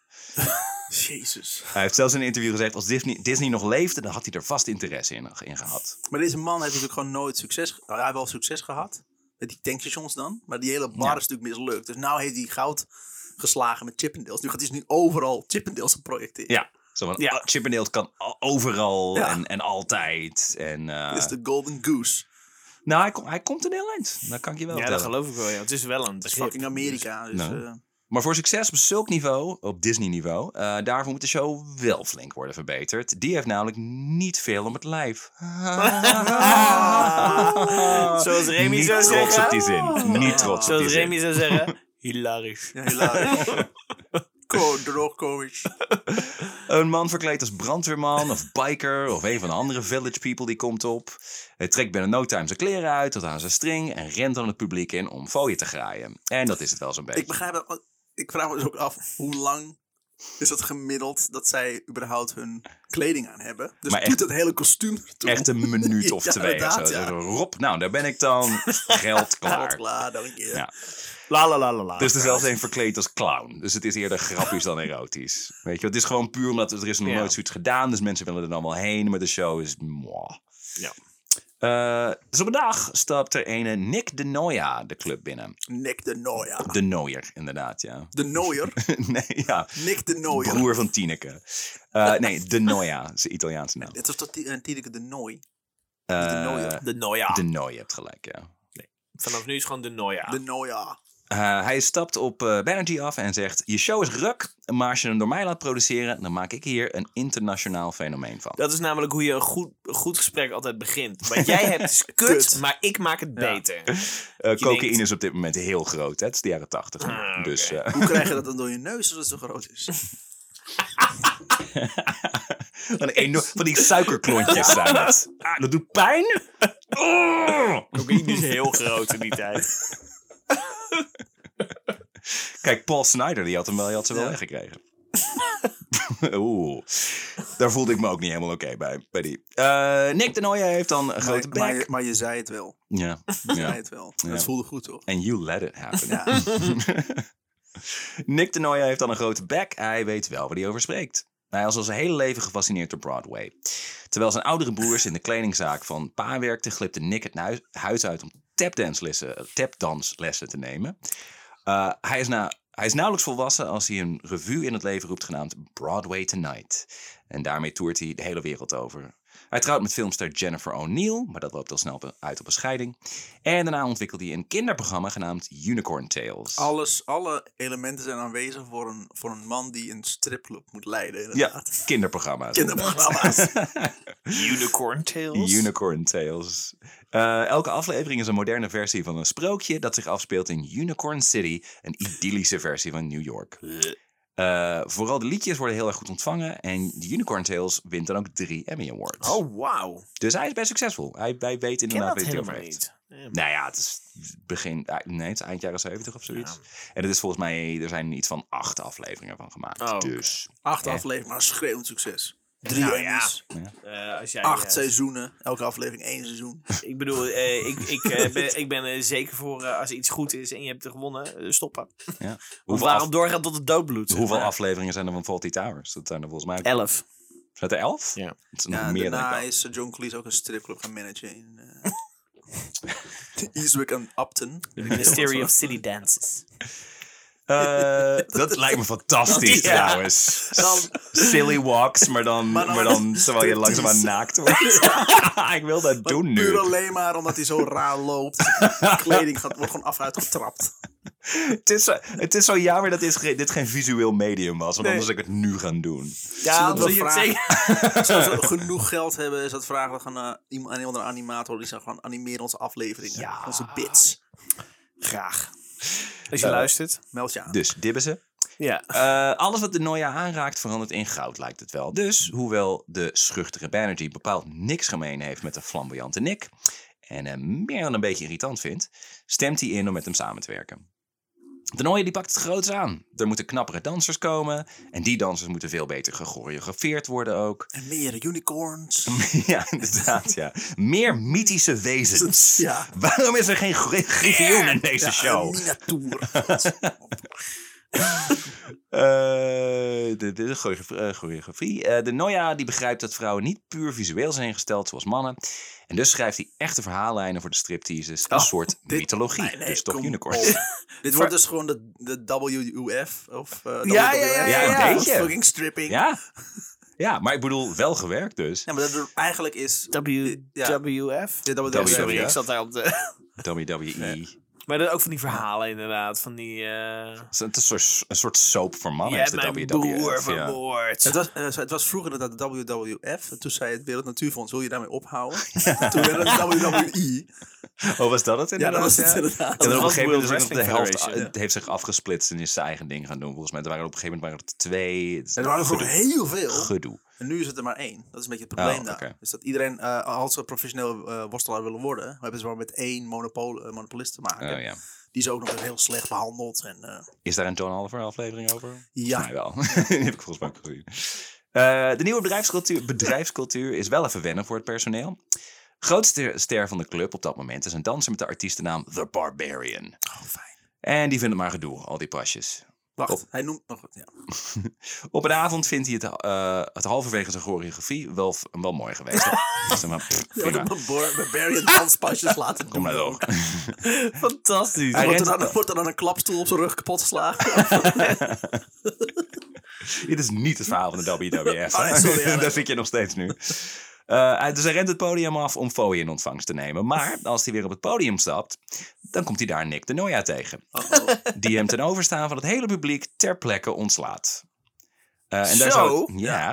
Jezus. Hij heeft zelfs in een interview gezegd, als Disney, Disney nog leefde, dan had hij er vast interesse in, in gehad. Maar deze man heeft natuurlijk gewoon nooit succes... ge- Nou, hij heeft wel succes gehad. Met die tankstations dan. Maar die hele bar Ja. is natuurlijk mislukt. Dus nou heeft hij goud geslagen met Chippendales. Nu gaat hij dus nu overal Chippendales projecteren. Ja. Zo van, Ja. oh, Chip and Dale kan al- overal Ja. en, en altijd. En, eh, Dit is de Golden Goose. Nou, hij, kom- hij komt er heel eind. Dat kan ik je wel Ja, dat vertellen. geloof ik wel. Ja. Het is wel een begrip. Fucking Amerika. Dus, Nou. eh, Maar voor succes op zulk niveau, op Disney-niveau, eh, daarvoor moet de show wel flink worden verbeterd. Die heeft namelijk niet veel om het lijf. Ah. Zoals Remy niet zou trots zeggen. op die zin. Niet trots op die Zoals zin. Remy zou zeggen. Hilarisch. ja, hilarisch. Ko- Drogovic. Een man verkleed als brandweerman of biker of een van de andere village people die komt op. Hij trekt binnen no time zijn kleren uit tot aan zijn string en rent dan het publiek in om fooien te graaien. En dat is het wel zo'n beetje. Ik begrijp het. want Ik vraag me dus ook af hoe lang is het gemiddeld dat zij überhaupt hun kleding aan hebben. Dus Maar doet echt- het hele kostuum ertoe. Echt een minuut of Ja, twee. of zo. inderdaad, ja. Dus Rob, nou daar ben ik dan. Geld Klaar. klaar. Klaar, dank je. Ah, Ja. La la la la la. Dus er is zelfs een verkleed als clown. Dus het is eerder grappig dan erotisch. Weet je, het is gewoon puur omdat er is nog Ja. nooit zoiets gedaan. Dus mensen willen er dan wel heen. Maar de show is moi. Ja. Eh, dus op een dag stapt er ene Nick de Noia de club binnen. Nick de Noia. De Nooier, inderdaad, ja. De Nooier. nee, ja. Nick de Nooier. Broer van Tineke. Eh, nee, de Noia, zijn Italiaanse naam. Dit was toch die- eh, Tineke de Nooi? Eh, de Nooier. De Noia. de Nooier, je hebt gelijk, ja. Vanaf nu is het gewoon de Noia. De Noia. Eh, hij stapt op eh, Banerjee af en zegt: Je show is ruk, maar als je hem door mij laat produceren, dan maak ik hier een internationaal fenomeen van. Dat is namelijk hoe je een goed, een goed gesprek altijd begint. Want jij hebt is kut, Kut. maar ik maak het beter. Eh cocaïne denkt- is op dit moment heel groot, hè? het is de jaren tachtig. Ah, oké. Dus eh, Hoe krijg je dat dan door je neus als het zo groot is? van, die eno- van die suikerklontjes zijn het. Ah, dat doet pijn. Oh! Cocaïne is heel groot in die tijd. Kijk, Paul Snyder, die had hem wel, die had ze wel Ja. weggekregen. Oeh, daar voelde ik me ook niet helemaal oké bij, bij die. Eh, Nick de Nooijer heeft dan een grote maar, maar, bek. je- maar je zei het wel. Ja, Je ja. zei het wel. Het voelde goed, toch? And you let it happen. Ja. Nick de Nooijer heeft dan een grote bek. Hij weet wel waar hij over spreekt. Hij was al zijn hele leven gefascineerd door Broadway. Terwijl zijn oudere broers in de kledingzaak van pa werkten, glipte Nick het huis- huis uit om tapdanslessen, tapdanslessen te nemen. Eh, hij, is na, hij is nauwelijks volwassen als hij een revue in het leven roept genaamd Broadway Tonight. En daarmee toert hij de hele wereld over. Hij trouwt met filmster Jennifer O'Neill, maar dat loopt al snel op een- uit op een scheiding. En daarna ontwikkelt hij een kinderprogramma genaamd Unicorn Tales. Alles, alle elementen zijn aanwezig voor een, voor een man die een stripclub moet leiden, inderdaad. Kinderprogramma's. Kinderprogramma's. Unicorn Tales. Unicorn Tales. Eh, elke aflevering is een moderne versie van een sprookje dat zich afspeelt in Unicorn City, een idyllische versie van New York. Eh, vooral de liedjes worden heel erg goed ontvangen en Unicorn Tales wint dan ook drie Emmy Awards. Oh, wauw. Dus hij is best succesvol. Hij, wij weten Ik ken inderdaad dat weet hij over helemaal heeft. niet. Eh, Ja, Nou ja, het is begin, eh, nee, het is eind jaren 70 of zoiets. En het is volgens mij, er zijn iets van acht afleveringen van gemaakt. Oh, oké. dus Acht Ja. afleveringen, maar schreeuwend succes. Drie Nou ja. Emmys, eh, als jij, acht eh, seizoenen, elke aflevering één seizoen. Ik bedoel, eh, ik, ik, eh, ben, ik ben er zeker voor eh, als iets goed is en je hebt er gewonnen, eh, stoppen. Of hoeveel, waarom af- doorgaan tot het doodbloed? zeg hoeveel maar. afleveringen zijn er van Faulty Towers? Dat zijn er volgens mij Elf. Zijn het er elf? Ja. Het is nog Ja, meer dan ik daarna dacht. is eh, John Cleese ook een stripclub gaan managen in eh, Eastwick en Upton. The Mystery of City Dances. Eh, dat lijkt me fantastisch Ja. trouwens. Silly walks, maar dan, maar Maar dan, dan- terwijl je langzaamaan naakt wordt. ik wil dat doen Puur nu. alleen maar omdat hij zo raar loopt. Kleding gaat, wordt gewoon af en uit getrapt. Het is, zo- het is zo jammer dat dit, ge- dit geen visueel medium was, want Nee. anders zou ik het nu gaan doen. Zullen Ja, we wil dat je het vragen? zeggen? Als we genoeg geld hebben, is dat vragen we gaan eh, iemand aan een andere animator. Die zegt gewoon animeer onze afleveringen. Ja. Onze bits. Graag. Als je Eh, luistert. Meld je aan. Dus, dibben ze. Ja. Eh, alles wat de Noia aanraakt verandert in goud, lijkt het wel. Dus, hoewel de schuchtere Banerjee bepaald niks gemeen heeft met de flamboyante Nick... en hem meer dan een beetje irritant vindt, stemt hij in om met hem samen te werken. De Noia die pakt het groots aan. Er moeten knappere dansers komen... en die dansers moeten veel beter gechoreografeerd worden ook. En meer unicorns. ja, inderdaad, ja. Meer mythische wezens. Ja. Waarom is er geen gri- griffioen in deze show? Miniatuur. Eh, de, de choreo- eh, choreografie. Eh, de Noia die begrijpt dat vrouwen niet puur visueel zijn ingesteld zoals mannen. En dus schrijft hij echte verhaallijnen voor de stripteases. Een Oh, soort dit- mythologie. Nee, nee, dus toch kom unicorn. op. Dit wordt dus gewoon de, de WUF. Of, eh, Ja, ja, WWF. ja, ja, ja. Een beetje. Fucking stripping. Ja. Ja. ja, maar ik bedoel, wel gewerkt dus. maar dat er eigenlijk is... Ja. WWF? Ja, WWF. Oh, Sorry, WWF. ik zat daar op de... WWE. Maar dat ook van die verhalen inderdaad, van die... eh Het is een soort, een soort soap voor mannen. je is hebt de mijn WWF, ja. broer vermoord. Het was, eh, het was vroeger dat WWF. En toen zei het Wereld Natuurfonds, wil je daarmee ophouden? Toen werd het WWE. Oh, was dat het Ja, dat inderdaad? was het inderdaad. En Dat op een was gegeven moment is World ook nog de Wrestling helft Federation, het heeft zich afgesplitst en is zijn eigen ding gaan doen. Volgens mij er waren op een gegeven moment waren het twee. Het is Er waren er gewoon gedoe. heel veel. Gedoe. En nu is het er maar één. Dat is een beetje het probleem Oh, daar. oké. Dus dat iedereen, eh, als ze professioneel eh, worstelaar willen worden, dan hebben ze maar met één monopol, eh, monopolist te maken. Oh, ja. Die is ook nog eens heel slecht behandeld. En, eh, Is daar een John Oliver aflevering over? ja, Mij wel. Die heb ik volgens mij ook gezien. Eh, de nieuwe bedrijfscultuur, bedrijfscultuur is wel even wennen voor het personeel. Grootste ster van de club op dat moment is een danser met de artiestennaam The Barbarian. oh, fijn. En die vindt het maar gedoe, al die pasjes. Wacht, Op. hij noemt nog wat. Ja. Op een avond vindt hij het, eh, het halverwege zijn choreografie wel, wel mooi geweest. dus dan maar, pff, Ja, prima. de bar- barbarian danspasjes laten doen. Kom maar door. Fantastisch. Hij Wordt er, rent- dan, wordt er dan een klapstoel op zijn rug kapot geslagen? Dit is niet het verhaal van de WWF. Oh, nee, sorry, ja, nee. Daar zit je nog steeds nu. Eh, hij- dus hij rent het podium af om Foey in ontvangst te nemen. Maar als hij weer op het podium stapt, dan komt hij daar Nick de Noia tegen. Die hem ten overstaan van het hele publiek ter plekke ontslaat. Eh, en daar Zo? zou het- ja,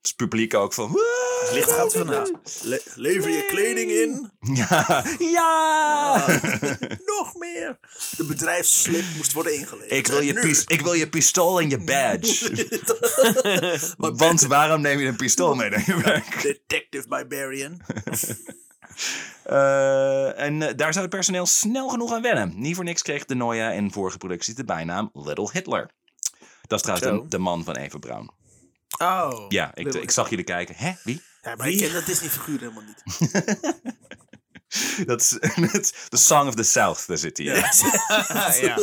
Dus Het is publiek ook van... "Woe!" Licht gaat vanuit. Le- lever je kleding in. Ja, ja! Nog meer. De bedrijfsslip moest worden ingeleverd. Ik, wil je Nu. pis- ik wil je pistool en je badge. Want waarom neem je een pistool mee naar je werk? Detective Barbarian. Eh, en eh, daar zou het personeel snel genoeg aan wennen. Niet voor niks kreeg de Noia in vorige producties de bijnaam Little Hitler. Dat is trouwens Zo. de, de man van Eva Braun. Oh. Ja, ik, ik zag jullie kijken. Hè? Wie? Ja, maar ik ken dat Disney-figuur helemaal niet. Dat is dat is de Song of the South, daar zit hij. in. ja,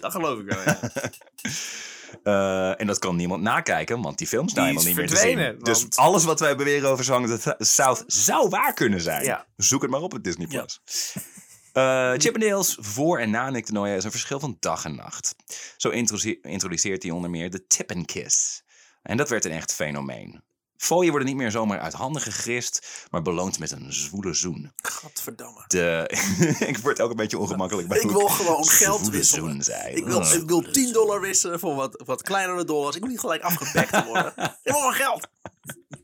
dat geloof ik wel. Ja. Eh, en dat kan niemand nakijken, want die film is nou Die is helemaal niet meer te verdwenen, zien. Dus want- alles wat wij beweren over Song of the Th- South zou waar kunnen zijn. Ja. Zoek het maar op op Disney+. Ja. Plus. Eh, Chip and Dale's voor en na Nick de Noia is een verschil van dag en nacht. Zo introduce- introduceert hij onder meer de tip and kiss. En dat werd een echt fenomeen. Fooien worden niet meer zomaar uit handen gegrist, maar beloond met een zwoele zoen. Gadverdamme. De... ik word ook een beetje ongemakkelijk bij Ik hoe wil gewoon geld zwoele wisselen. zoen zei. Ik wil, Ugh. ik wil 10 dollar wisselen voor wat, wat kleinere dollars. Ik moet niet gelijk afgepakt worden. Ik wil mijn geld.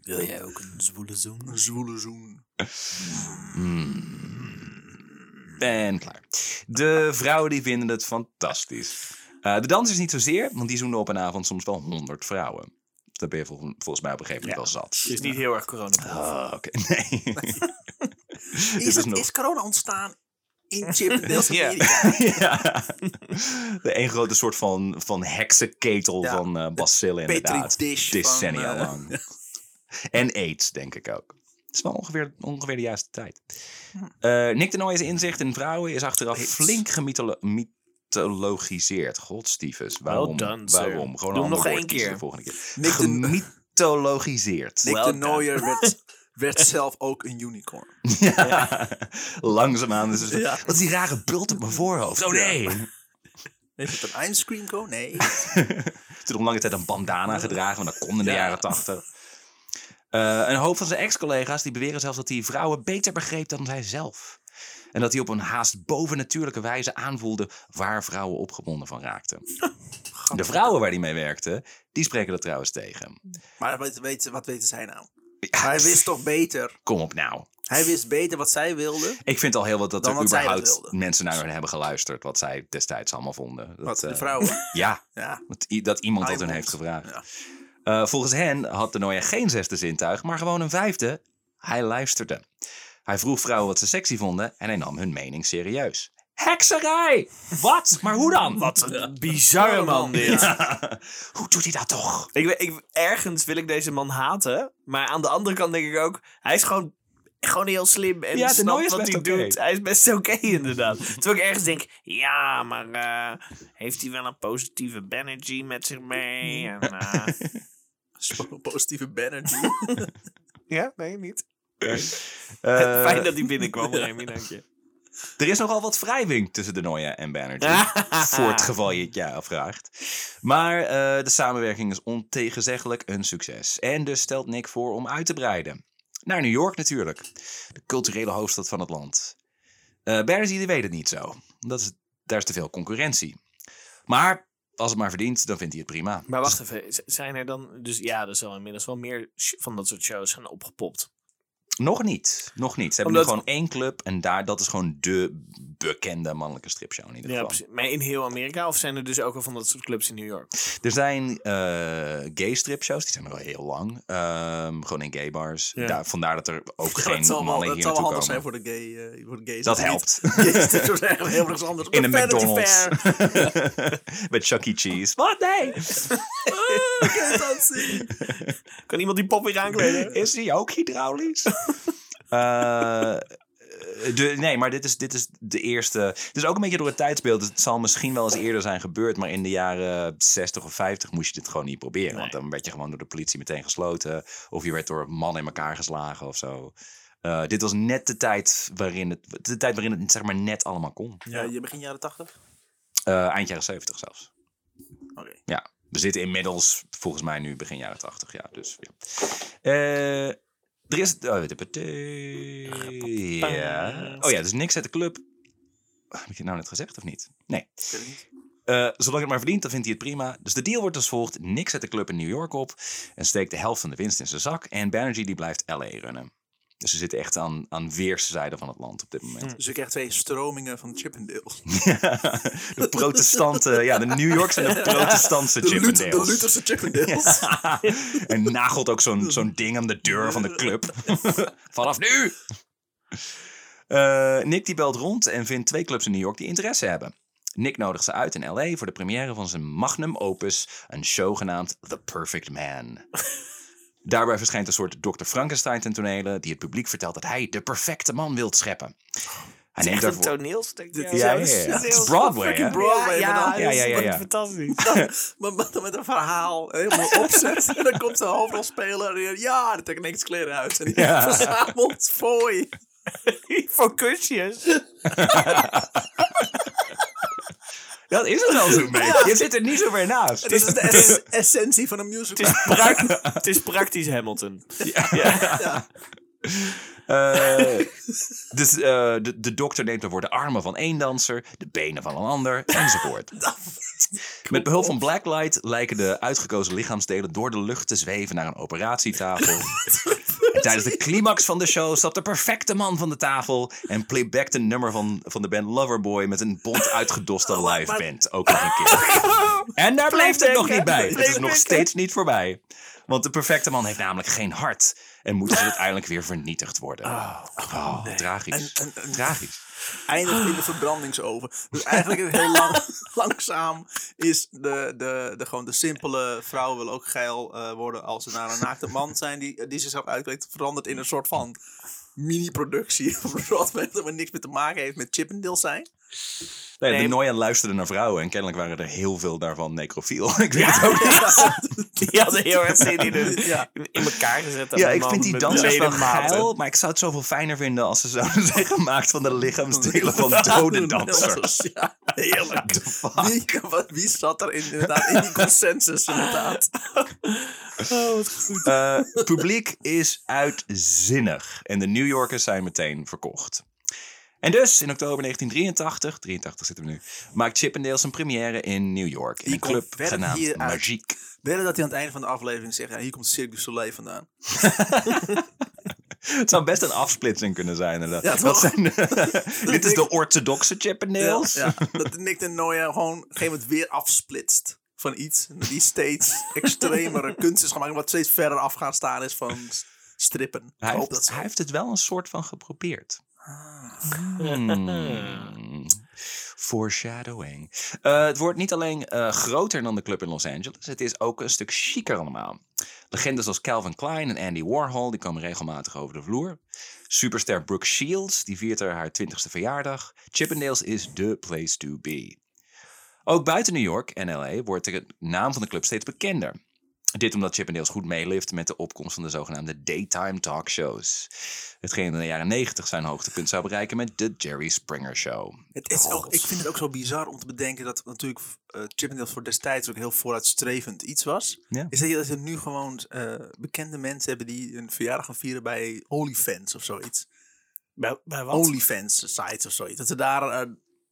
Wil jij ook een zwoele zoen? Een zwoele zoen. En klaar. De vrouwen die vinden het fantastisch. Eh, de dansers niet zozeer, want die zoenen op een avond soms wel honderd vrouwen. Dat ben je vol- volgens mij op een gegeven moment wel Dus zat. niet heel erg corona. Ah, oké. Nee. Is, is het, nog- is corona ontstaan in Chip en Dale's Ja. Amerika? ja. De een grote soort van, van heksenketel Ja. van eh bacillen Petri inderdaad. dish van, Decennia eh, lang. en aids, denk ik ook. Het is wel ongeveer, ongeveer de juiste tijd. Eh Nick de Nooi's inzicht in vrouwen is achteraf flink gemythologiseerd. Godstiefes, waarom? done, sir. waarom? Gewoon Doe een hem nog ander woord één kiezen keer. De volgende keer. Nick de- Gemythologiseerd. Nick Well de done. Nooier werd, werd zelf ook een unicorn. Ja. Langzaamaan. Dus Ja. Wat is die rare bult op mijn voorhoofd? Oh nee. Heeft het een eindscreen go? Nee. Toen nog lange tijd een bandana gedragen, want dat kon in de jaren tachtig. Eh, een hoop van zijn ex-collega's die beweren zelfs dat hij vrouwen beter begreep dan hij zelf. En dat hij op een haast bovennatuurlijke wijze aanvoelde waar vrouwen opgewonden van raakten. De vrouwen waar hij mee werkte, die spreken dat trouwens tegen. Maar wat weten, wat weten zij nou? Hij wist toch beter? Kom op nou. Hij wist beter wat zij wilden. Ik vind al heel wat dat Dan er wat zij dat überhaupt wilden. mensen naar hen hebben geluisterd. Wat zij destijds allemaal vonden. Dat, Wat de eh, vrouwen. Ja, Ja. dat, i- dat iemand dat hun Iemand. heeft gevraagd. Ja. Eh, volgens hen had de Noia geen zesde zintuig, maar gewoon een vijfde. Hij luisterde. Hij vroeg vrouwen wat ze sexy vonden en hij nam hun mening serieus. Hekserij! Wat? Maar hoe dan? Wat? Bizarre man dit. Hoe doet hij dat toch? Ik, weet- ik, ergens wil ik deze man haten. Maar aan de andere kant denk ik ook... Hij is gewoon, gewoon heel slim. En Ja, de Nooi snapt is wat best hij oké. doet. Hij is best oké inderdaad. Terwijl ik ergens denk... Ja, maar eh, heeft hij wel een positieve energy met zich mee? En, eh, Zo'n positieve energy. ja, nee, niet. Eh, Fijn dat hij binnenkwam, Remy. Dank je. Er is nogal wat wrijving tussen de Noia en Banerjee. Ah, voor Ah. het geval je het je afvraagt. Maar eh, de samenwerking is ontegenzeggelijk een succes. En dus stelt Nick voor om uit te breiden. Naar New York natuurlijk. De culturele hoofdstad van het land. Eh Banerjee die weet het niet zo. Dat is, daar is te veel concurrentie. Maar als het maar verdient, dan vindt hij het prima. Maar wacht even, z- zijn er dan... Dus ja, er zal inmiddels wel meer sh- van dat soort shows zijn opgepopt. Nog niet. Nog niet. Ze hebben Omdat- nu gewoon één club. En daar, dat is gewoon de bekende mannelijke stripshow in ieder Ja, geval. precies. Maar in heel Amerika? Of zijn er dus ook al van dat soort clubs in New York? Er zijn eh gay stripshows, die zijn er al heel lang. Ehm, gewoon in gay bars. Ja. Daar- vandaar dat er ook Ja, geen dat zal wel, mannen dat hier zal wel handig naartoe komen. zijn voor de gay, eh voor de gays. Dat Niet- helpt. Gays, dit is eigenlijk heel erg anders. In een Vanity McDonald's. Fair. Met Chuck E. Cheese. Wat? Nee! Ah, gays dancing. Kan iemand die pop weer aankleden? Is die ook hydraulisch? Eh, de, nee, maar dit is, dit is de eerste. Het is ook een beetje door het tijdsbeeld. Het zal misschien wel eens eerder zijn gebeurd. Maar in de jaren 60 of 50 moest je dit gewoon niet proberen. Nee. Want dan werd je gewoon door de politie meteen gesloten. Of je werd door mannen in elkaar geslagen of zo. Eh, dit was net de tijd waarin het, de tijd waarin het zeg maar, net allemaal kon. Ja, je begin jaren tachtig? Eh, eind jaren 70 zelfs. Oké. Ja, we zitten inmiddels volgens mij nu begin jaren 80 jaar. Dus ja. Eh, er is. Oh, de partij. Ja. Oh ja, dus niks uit de club. Heb ik het nou net gezegd of niet? Nee. Ik weet het niet. Eh, zolang het maar verdient, dan vindt hij het prima. Dus de deal wordt als volgt: niks uit de club in New York op. En steekt de helft van de winst in zijn zak. En Banerjee die blijft LA runnen. Dus ze zitten echt aan, aan weerszijden van het land op dit moment. Dus ik krijg twee stromingen van Chippendales. De protestanten, ja, de New Yorks en de protestantse De, Chippendales. Luther, de Lutherse Chippendales. en nagelt ook zo'n zo'n ding aan de deur van de club. Vanaf nu! Eh, Nick die belt rond en vindt twee clubs in New York die interesse hebben. Nick nodigt ze uit in L.A. voor de première van zijn magnum opus, een show genaamd The Perfect Man. Daarbij verschijnt een soort Dr. Frankenstein ten tonele die het publiek vertelt dat hij de perfecte man wilt scheppen. Hij Het is neemt echt een daarvoor... toneelstuk. Dit- Ja, ja, Het is ja. Het is heel- Broadway, fucking hè? Broadway, ja, maar dan- Ja, ja, ja, ja. Fantastisch. Maar met, met een verhaal helemaal opzet. en dan komt de hoofdrolspeler en ja, dan trekt niks kleren uit. En die Ja. verzamelt fooi. Voor kusjes. Dat is het wel zo'n beetje. Je zit er niet zo ver naast. Dat is de es- essentie van een musical. Het is praktisch Hamilton. Eh, dus eh, de, de dokter neemt daarvoor de armen van één danser, de benen van een ander, enzovoort. Met behulp van blacklight lijken de uitgekozen lichaamsdelen door de lucht te zweven naar een operatietafel. En tijdens de climax van de show stapt de perfecte man van de tafel en playbackt een nummer van, van de band Loverboy met een bont uitgedoste live band. Ook nog een keer. En daar blijft het nog niet bij. Het is nog steeds niet voorbij. Want de perfecte man heeft namelijk geen hart en moet dus uiteindelijk weer vernietigd worden. Oh, tragisch. Tragisch. eindigt in de verbrandingsoven. Dus eigenlijk is het heel lang, langzaam is de, de, de, gewoon de simpele vrouw wil ook geil eh, worden als ze naar een naakte man zijn die, die zichzelf uitkleedt, verandert in een soort van mini-productie van Broadway dat maar niks meer te maken heeft met Chippendale zijn. Nee, Nee. De Noyan luisterde naar vrouwen en kennelijk waren er heel veel daarvan necrofiel. Ik weet het ook niet. Die hadden heel erg zin in, het- Ja. in in elkaar gezet. aan Ja, een ik man vind die met dansers wel ledematen. geil, maar ik zou het zoveel fijner vinden als ze zouden zijn gemaakt van de lichaamsdelen van dode dansers. Ja, heerlijk. Wie, wat- wie zat er in, inderdaad in die consensus inderdaad? Oh, wat goed. Eh, Het publiek is uitzinnig en de New Yorkers zijn meteen verkocht. En dus, in oktober 1983, 83 zitten we nu, maakt Chippendale zijn première in New York. In Die een club komt verder genaamd hier uit. Magique. Willen dat hij aan het einde van de aflevering zegt, ja, hier komt Cirque du Soleil vandaan. Het zou best een afsplitsing kunnen zijn. inderdaad. Ja, dat toch? zijn, eh, dit is ik- de orthodoxe Chippendales. Ja, dat Nick de Noia gewoon op een gegeven moment weer afsplitst van iets. Die steeds extremere kunst is gaan maken, wat steeds verder af gaan staan is van s- strippen. Ik Hij hoop heeft, dat Ah. ze- hij heeft het wel een soort van geprobeerd. Hmm. Foreshadowing. Eh, het wordt niet alleen eh, groter dan de club in Los Angeles, het is ook een stuk chiquer allemaal. Legendes als Calvin Klein en Andy Warhol die komen regelmatig over de vloer. Superster Brooke Shields die viert er haar 20ste verjaardag. Chippendales is the place to be. Ook buiten New York en LA wordt de naam van de club steeds bekender. Dit omdat Chippendales goed meelift met de opkomst van de zogenaamde daytime talkshows. Hetgeen in de jaren 90 zijn hoogtepunt zou bereiken met de Jerry Springer Show. Het is ook, ik vind het ook zo bizar om te bedenken dat natuurlijk eh Chippendales voor destijds ook heel vooruitstrevend iets was. Ja. Is dat je dat je nu gewoon eh, bekende mensen hebben die een verjaardag gaan vieren bij OnlyFans of zoites. Bij, bij wat? OnlyFans sites of zoiets. Dat ze daar... eh,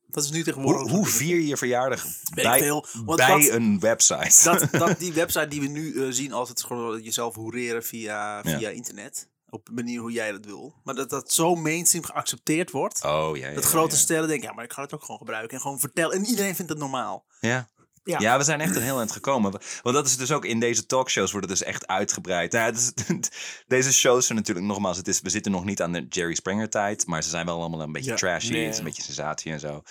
dat is nu tegenwoordig... Hoe, hoe vier je je verjaardag Weet bij, ik veel, want bij dat- een website? dat, dat die website die we nu eh, zien als het gewoon jezelf hoereren via, Ja. via internet. Op de manier hoe jij dat wil. Maar dat dat zo mainstream geaccepteerd wordt. oh ja. ja, dat ja, grote ja. sterren denken, ja, maar ik ga het ook gewoon gebruiken. En gewoon vertellen. En iedereen vindt het normaal. Ja. Ja. Ja. we zijn echt een heel eind gekomen. Want dat is dus ook in deze talkshows wordt het dus echt uitgebreid. Nou Ja, het is- deze shows zijn natuurlijk nogmaals, het is, we zitten nog niet aan de Jerry Springer tijd, maar ze zijn wel allemaal een beetje Ja. trashy, Nee. het is een beetje sensatie en zo.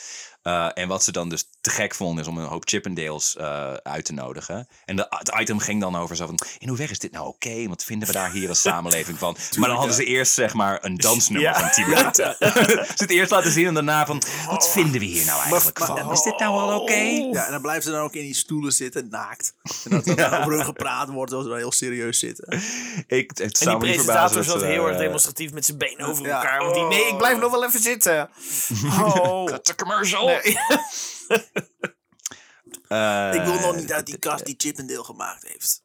Eh, en wat ze dan dus te gek vonden is om een hoop Chippendales eh, uit te nodigen. En de, het item ging dan over zo van, in hoeverre is dit nou oké? Wat vinden we daar hier als samenleving van? maar dan hadden ze eerst zeg maar een dansnummer Ja. van 10 minuten. ze het eerst laten zien en daarna van, wat vinden we hier nou eigenlijk maar- van? Is dit nou al oké? Ja, en dan blijven ze dan ook in die stoelen zitten, naakt. En dat dan over hun gepraat wordt, dat ze dan heel serieus Eh, zitten. Ik, het En die zou me niet verbazen presentator dat zat ze heel daar, erg eh, Oh. demonstratief met zijn benen over Ja. elkaar. Want die, nee, ik blijf nog wel even zitten. Oh. Cut the commercial. Eh, ik wil nog niet uit die kast die Chippendale gemaakt heeft.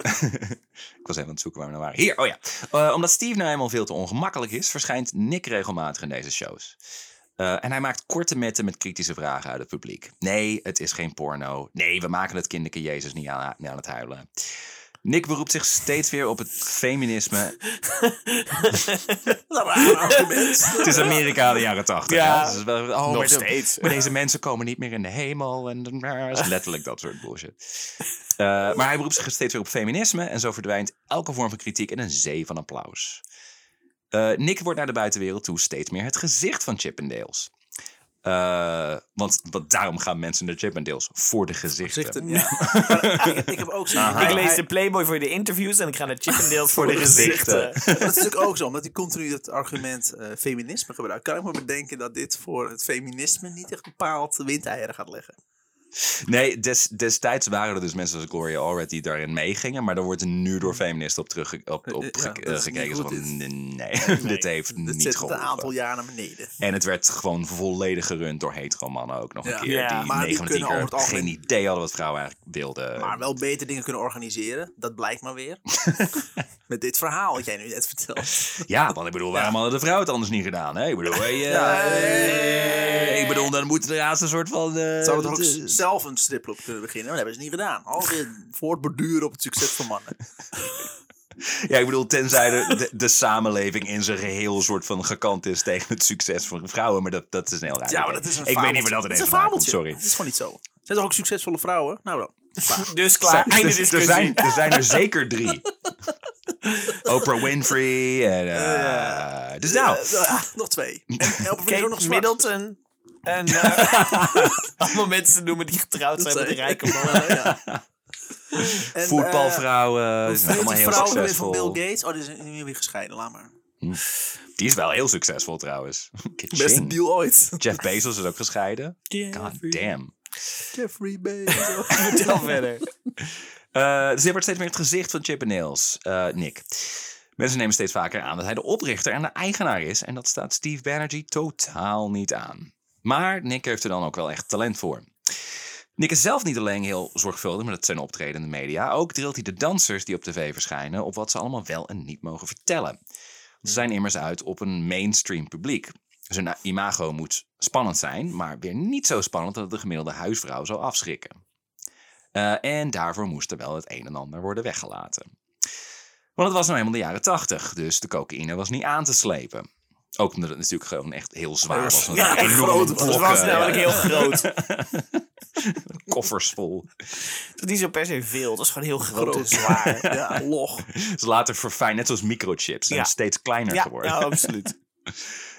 Ik was even aan het zoeken waar we naar waren. Hier, oh ja. Eh, omdat Steve nou eenmaal veel te ongemakkelijk is, verschijnt Nick regelmatig in deze shows. Eh, en hij maakt korte metten met kritische vragen uit het publiek. Nee, het is geen porno. Nee, we maken het kinderke Jezus niet aan, niet aan het huilen. Nick beroept zich steeds weer op het feminisme. Dat is een raar argument. Het is Amerika de jaren tachtig. Ja. Dus het is wel- oh, Nog maar de- steeds. Maar deze mensen komen niet meer in de hemel. En het is letterlijk dat soort bullshit. Eh, maar hij beroept zich steeds weer op feminisme. En zo verdwijnt elke vorm van kritiek in een zee van applaus. Eh, Nick wordt naar de buitenwereld toe steeds meer het gezicht van Chippendales. Eh, want, want daarom gaan mensen naar Chippendales. Voor de gezichten. Gezichten, ja. Maar ik, ik heb ook zoiets. Aha. Ik lees Hij- de Playboy voor de interviews en ik ga naar Chippendales Voor de eh, gezichten. Maar dat is natuurlijk ook zo, omdat die continu het argument eh, feminisme gebruikt. Kan ik me bedenken dat dit voor het feminisme niet echt bepaald windeieren gaat leggen. Nee, des, destijds waren er dus mensen als Gloria Allred die daarin meegingen. Maar daar wordt er nu door feministen op, terug, op, op Hmm. Ja, ge- dat eh, is gekeken. niet Zo goed, van, dit. nee, dit heeft Dit niet zit een aantal geholpen. jaar naar beneden. En het werd gewoon volledig gerund door hetero mannen ook nog Ja. een keer. Ja, die maar die 9 van de 10 kunnen over keer het algemeen- geen idee hadden wat vrouwen eigenlijk wilden. Maar wel beter dingen kunnen organiseren, dat blijkt maar weer. Met dit verhaal dat jij nu net vertelt. Ja, want ik bedoel, waarom hadden de vrouwen het anders niet gedaan? Hè? Ik bedoel, hey, eh, Ja, eh, ik bedoel, dan moet er haast een soort van... eh, Zouden we toch ook eh, s- zelf een stripclub kunnen beginnen? Maar dat hebben ze niet gedaan. Alweer voortborduren op het succes van mannen. Ja, ik bedoel, tenzij de, de, de samenleving in zijn geheel soort van gekant is tegen het succes van vrouwen. Maar dat, dat is een heel raar Ja, maar idee. dat is een Ik weet niet fabeltje. waar dat in Het is een één vandaan komt, fabeltje. sorry. Het is gewoon niet zo. Zijn er toch ook succesvolle vrouwen? Nou dan. Dus klaar, Er zijn- einde er, discussie. zijn, er zijn er zeker drie. Oprah Winfrey en... eh, dus nou, Eh, eh, nog twee. En Elke Kate vriend ook nog zwart. Middleton. En eh, allemaal mensen noemen die getrouwd zijn met zijn- rijke Ja, mannen. ja. En, eh, voetbalvrouwen, die zijn Weet allemaal die heel vrouw weer van succesvol. Bill Gates? Oh, die is nu weer gescheiden, laat maar. Die is wel heel succesvol trouwens. Beste Ka-ching. deal ooit. Jeff Bezos is ook gescheiden. God damn. Jeffrey Bezos. Vertel verder. Eh, dus hij wordt steeds meer het gezicht van Chip en Nails, eh, Nick. Mensen nemen steeds vaker aan dat hij de oprichter en de eigenaar is. En dat staat Steve Banerjee totaal niet aan. Maar Nick heeft er dan ook wel echt talent voor. Nick is zelf niet alleen heel zorgvuldig met zijn optreden in de media. Ook drilt hij de dansers die op tv verschijnen op wat ze allemaal wel en niet mogen vertellen. Ze zijn immers uit op een mainstream publiek. Zijn imago moet spannend zijn, maar weer niet zo spannend dat het de gemiddelde huisvrouw zou afschrikken. Eh, en daarvoor moest er wel het een en ander worden weggelaten. Want het was nou helemaal de jaren tachtig, dus de cocaïne was niet aan te slepen. Ook omdat het natuurlijk gewoon echt heel zwaar was. want Ja, het waren echt enorme groot was. Het Het blokken, was namelijk ja. heel groot. koffers vol. Het is niet zo per se veel, het was gewoon heel groot, en Groot. zwaar. Ja, log. Ze later verfijnd, net zoals microchips, zijn Ja. steeds kleiner Ja, geworden. ja, absoluut.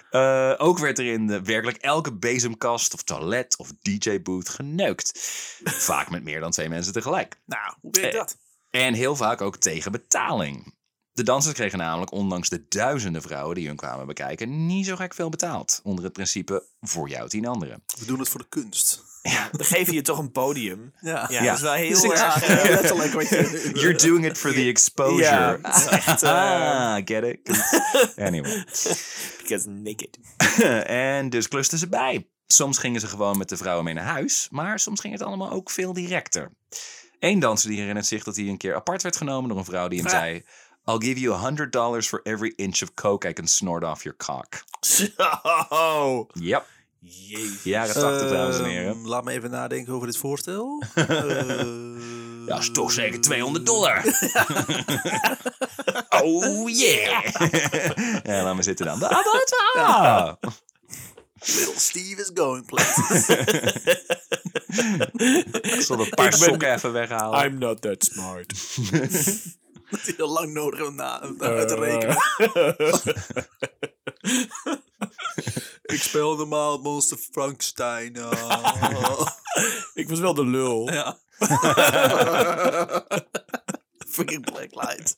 Eh, ook werd er in de, werkelijk elke bezemkast of toilet of DJ-booth geneukt. Vaak met meer dan twee mensen tegelijk. Nou, hoe werkt dat? En heel vaak ook tegen betaling. De dansers kregen namelijk, ondanks de duizenden vrouwen die hun kwamen bekijken, niet zo gek veel betaald. Onder het principe voor jou tien anderen. We doen het voor de kunst. We geven je toch een podium. Ja. Ja, ja. dat is wel heel Dus ik- erg... eh, Letterlijk wat je... You're doing it for the exposure. Ja, het is echt, eh, ah, get it? Anyway. because naked. en dus klusten ze bij. Soms gingen ze gewoon met de vrouwen mee naar huis, maar soms ging het allemaal ook veel directer. Eén danser die herinnert zich dat hij een keer apart werd genomen door een vrouw Ah. die hem zei: I'll give you $100 for every inch of coke I can snort off your cock. Zo. Yep, Jezus. jaren 80, dames en heren. Ehm, laat me even nadenken over dit voorstel. Eh, Dat is toch zeker 200 dollar. oh yeah. ja, laat maar zitten dan. Ah, wat? Ah. Little Steve is going places. Ik zal dat paar Ik ben- sokken even weghalen. I'm not that smart. Dat is heel lang nodig om na, om uit Eh, Eh, te rekenen. Ik speel normaal het monster Frankenstein. Oh. Ik was wel de lul. ja. Fucking black light.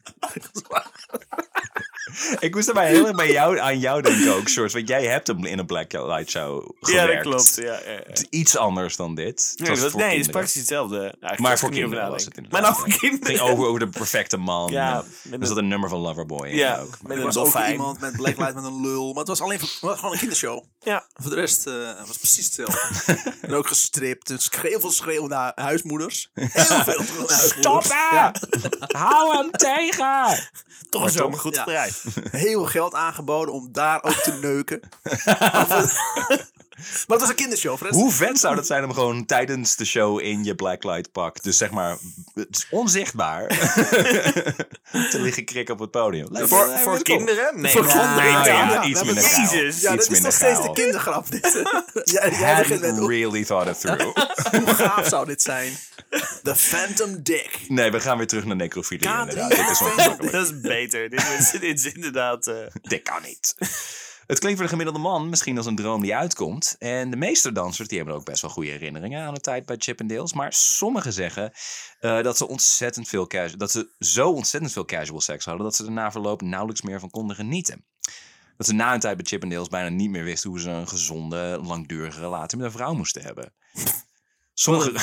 Ik moest erbij heel erg bij jou, aan jou denken ook, Shorts. Want jij hebt hem in een Black Light Show Ja, gewerkt. dat klopt. Ja, ja, ja. Het is Iets anders dan dit. Het Nee, was dat, voor nee het is kinderen. praktisch hetzelfde. Eigenlijk Maar als voor ik er niet kinderen was over het nadenk. inderdaad. Maar nou voor Het ging kinderen. over, over de perfecte man. Ja, Ja, met er zat een- een nummer van Loverboy in Ja, ook. maar- met Er een was ook dolfijn. iemand met black light met een lul. Maar het was alleen voor, het was gewoon een kindershow. Ja. Voor de rest eh, was het precies hetzelfde. en ook gestript. En schreeuw veel schreeuwende hu- huismoeders. Heel veel schreeuwende Stop huismoeders. hè! Hou hem tegen! Toch zo, maar goed Ja. gedraaid. Heel veel geld aangeboden om daar ook te neuken. Maar het was een kindershow, Fred. Hoe vet zou dat zijn om gewoon tijdens de show in je blacklight pak, dus zeg maar het is onzichtbaar, te liggen krikken op het podium? Lijkt me- Voor, lijkt me voor heel cool. kinderen? Nee, Voor maar- kinderen, Ja, ja. ja. iets dat minder is- geil. Jezus. Iets ja, dat is minder nog steeds de geil. kindergrap, dit. ja, jij begint met, Hadn't hoe, really thought it through. hoe gaaf zou dit zijn? The Phantom Dick. Nee, we gaan weer terug naar necrofilie K3. inderdaad. Dit is ongemakkelijk. Dat is beter. dit, is, dit is inderdaad... eh, Dit kan niet. Het klinkt voor de gemiddelde man misschien als een droom die uitkomt. En de meeste dansers die hebben ook best wel goede herinneringen aan de tijd bij Chip and Dale's. Maar sommigen zeggen eh, dat, ze ontzettend veel casu- dat ze zo ontzettend veel casual seks hadden... dat ze er na verloop nauwelijks meer van konden genieten. Dat ze na een tijd bij Chip and Dale's bijna niet meer wisten... hoe ze een gezonde, langdurige relatie met een vrouw moesten hebben. Sommigen...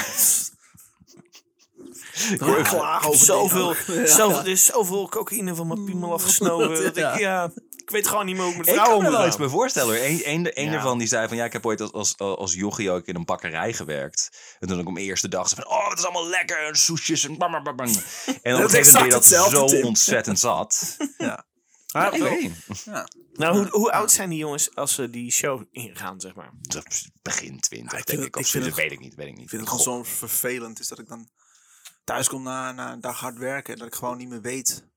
Ik hoor- Klaag over Zoveel, dit ook. Ja. zoveel, er is zoveel cocaïne van mijn piemel afgesnoven. Dat Ja. ik, Mm. ja, ik weet gewoon niet meer hoe ik met Ik kan vrouwen me moet er wel gaan. iets bij voorstellen. hoor. Eén een, een Ja. ervan die zei van... Ja, ik heb ooit als, als, als jochie ook in een bakkerij gewerkt. En toen ik om de eerste dag zei van... Oh, het is allemaal lekker. En soesjes en bam, bam, bam, bam. En op een gegeven moment exact ben je dat hetzelfde, zo Tim. ontzettend zat. Ja. Ja, ik weet niet. Nou, hoe, hoe oud zijn die jongens als ze die show ingaan, zeg maar? Dat is Begin twintig, ik denk vind ik. het- Of ik vind zoiets. het- weet ik niet, weet ik niet. Ik vind het gewoon zo vervelend is dat ik dan thuis kom na, na een dag hard werken en dat ik gewoon niet meer weet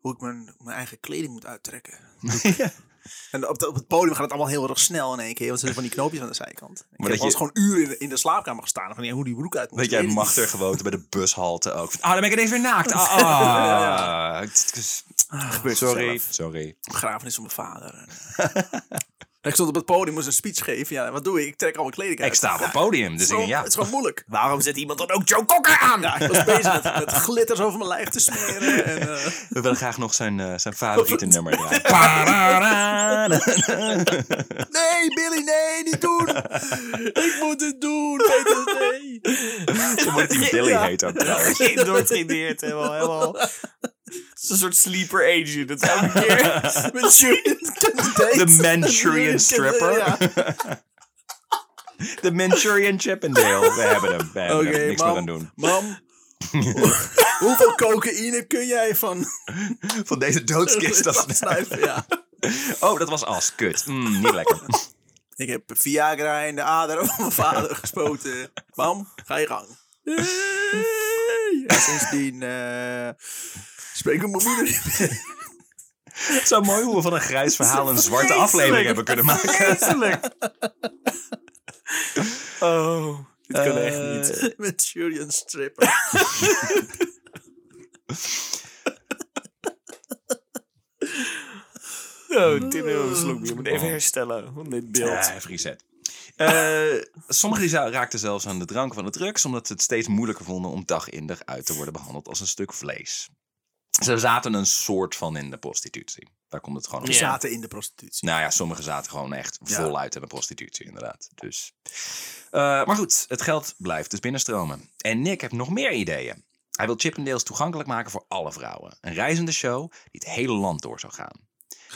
hoe ik mijn, mijn eigen kleding moet uittrekken. Ja. En op, de- op het podium gaat het allemaal heel erg snel in één keer, want ze hebben van die knoopjes aan de zijkant. Ik dat heb wel eens je- gewoon uren in de, in de slaapkamer gestaan van ja, hoe die broek uit moet. Dat ik jij weet het niet. machtig gewoond bij de bushalte ook. Van, Ah, dan ben ik ineens weer naakt. Ah, ah. Ah, gebeurt Sorry, vanzelf. sorry. Begrafenis van mijn vader. En, eh, ik stond op het podium, moest een speech geven. Ja, wat doe ik? Ik trek al mijn kleding uit. Ik sta op het podium, Het dus ik is denk, gewoon, ja. het is gewoon moeilijk. Waarom zet iemand dan ook Joe Cocker aan? Ja, ik was bezig met, met glitters over mijn lijf te smeren. En, eh, We willen graag nog zijn, eh, zijn favoriete nummer draaien. Parara. Nee, Billy, nee, niet doen. ik moet het doen. Peter, nee. Zo moet die Billy Ja. heet ook trouwens. Doortraineerd, helemaal, helemaal. Het is een soort sleeper agent. Dat is elke keer. Manchurian candidate. De Manchurian stripper. Ja. De Manchurian Chippendale. We hebben hem. We hebben Oké, hem. Niks meer aan mam. doen. Mam. Hoeveel cocaïne kun jij van Van deze doodskist. Dat is- snuiven? Ja. oh, dat was as. Kut. Mm, niet lekker. Ik heb Viagra in de ader van mijn vader gespoten. Mam, ga je gang. Ja, sindsdien eh spreek ik mijn moeder niet meer. Zo mooi hoe we van een grijs verhaal een zwarte aflevering hebben kunnen maken. Vreselijk. Oh, dit kan echt niet. Eh, Manchurian stripper. Oh, Tim, oh, slok bier. Ik moet even herstellen van dit beeld. Ja, even reset. Eh, sommigen die za- raakten zelfs aan de drank van de drugs, omdat ze het steeds moeilijker vonden om dag in dag uit te worden behandeld als een stuk vlees. Ze zaten een soort van in de prostitutie. Daar komt het gewoon op. We Ja. zaten in de prostitutie. Nou ja, sommigen zaten gewoon echt Ja. voluit aan de prostitutie, inderdaad. Dus. Eh, maar goed, het geld blijft dus binnenstromen. En Nick heeft nog meer ideeën. Hij wil Chippendales toegankelijk maken voor alle vrouwen. Een reizende show die het hele land door zou gaan.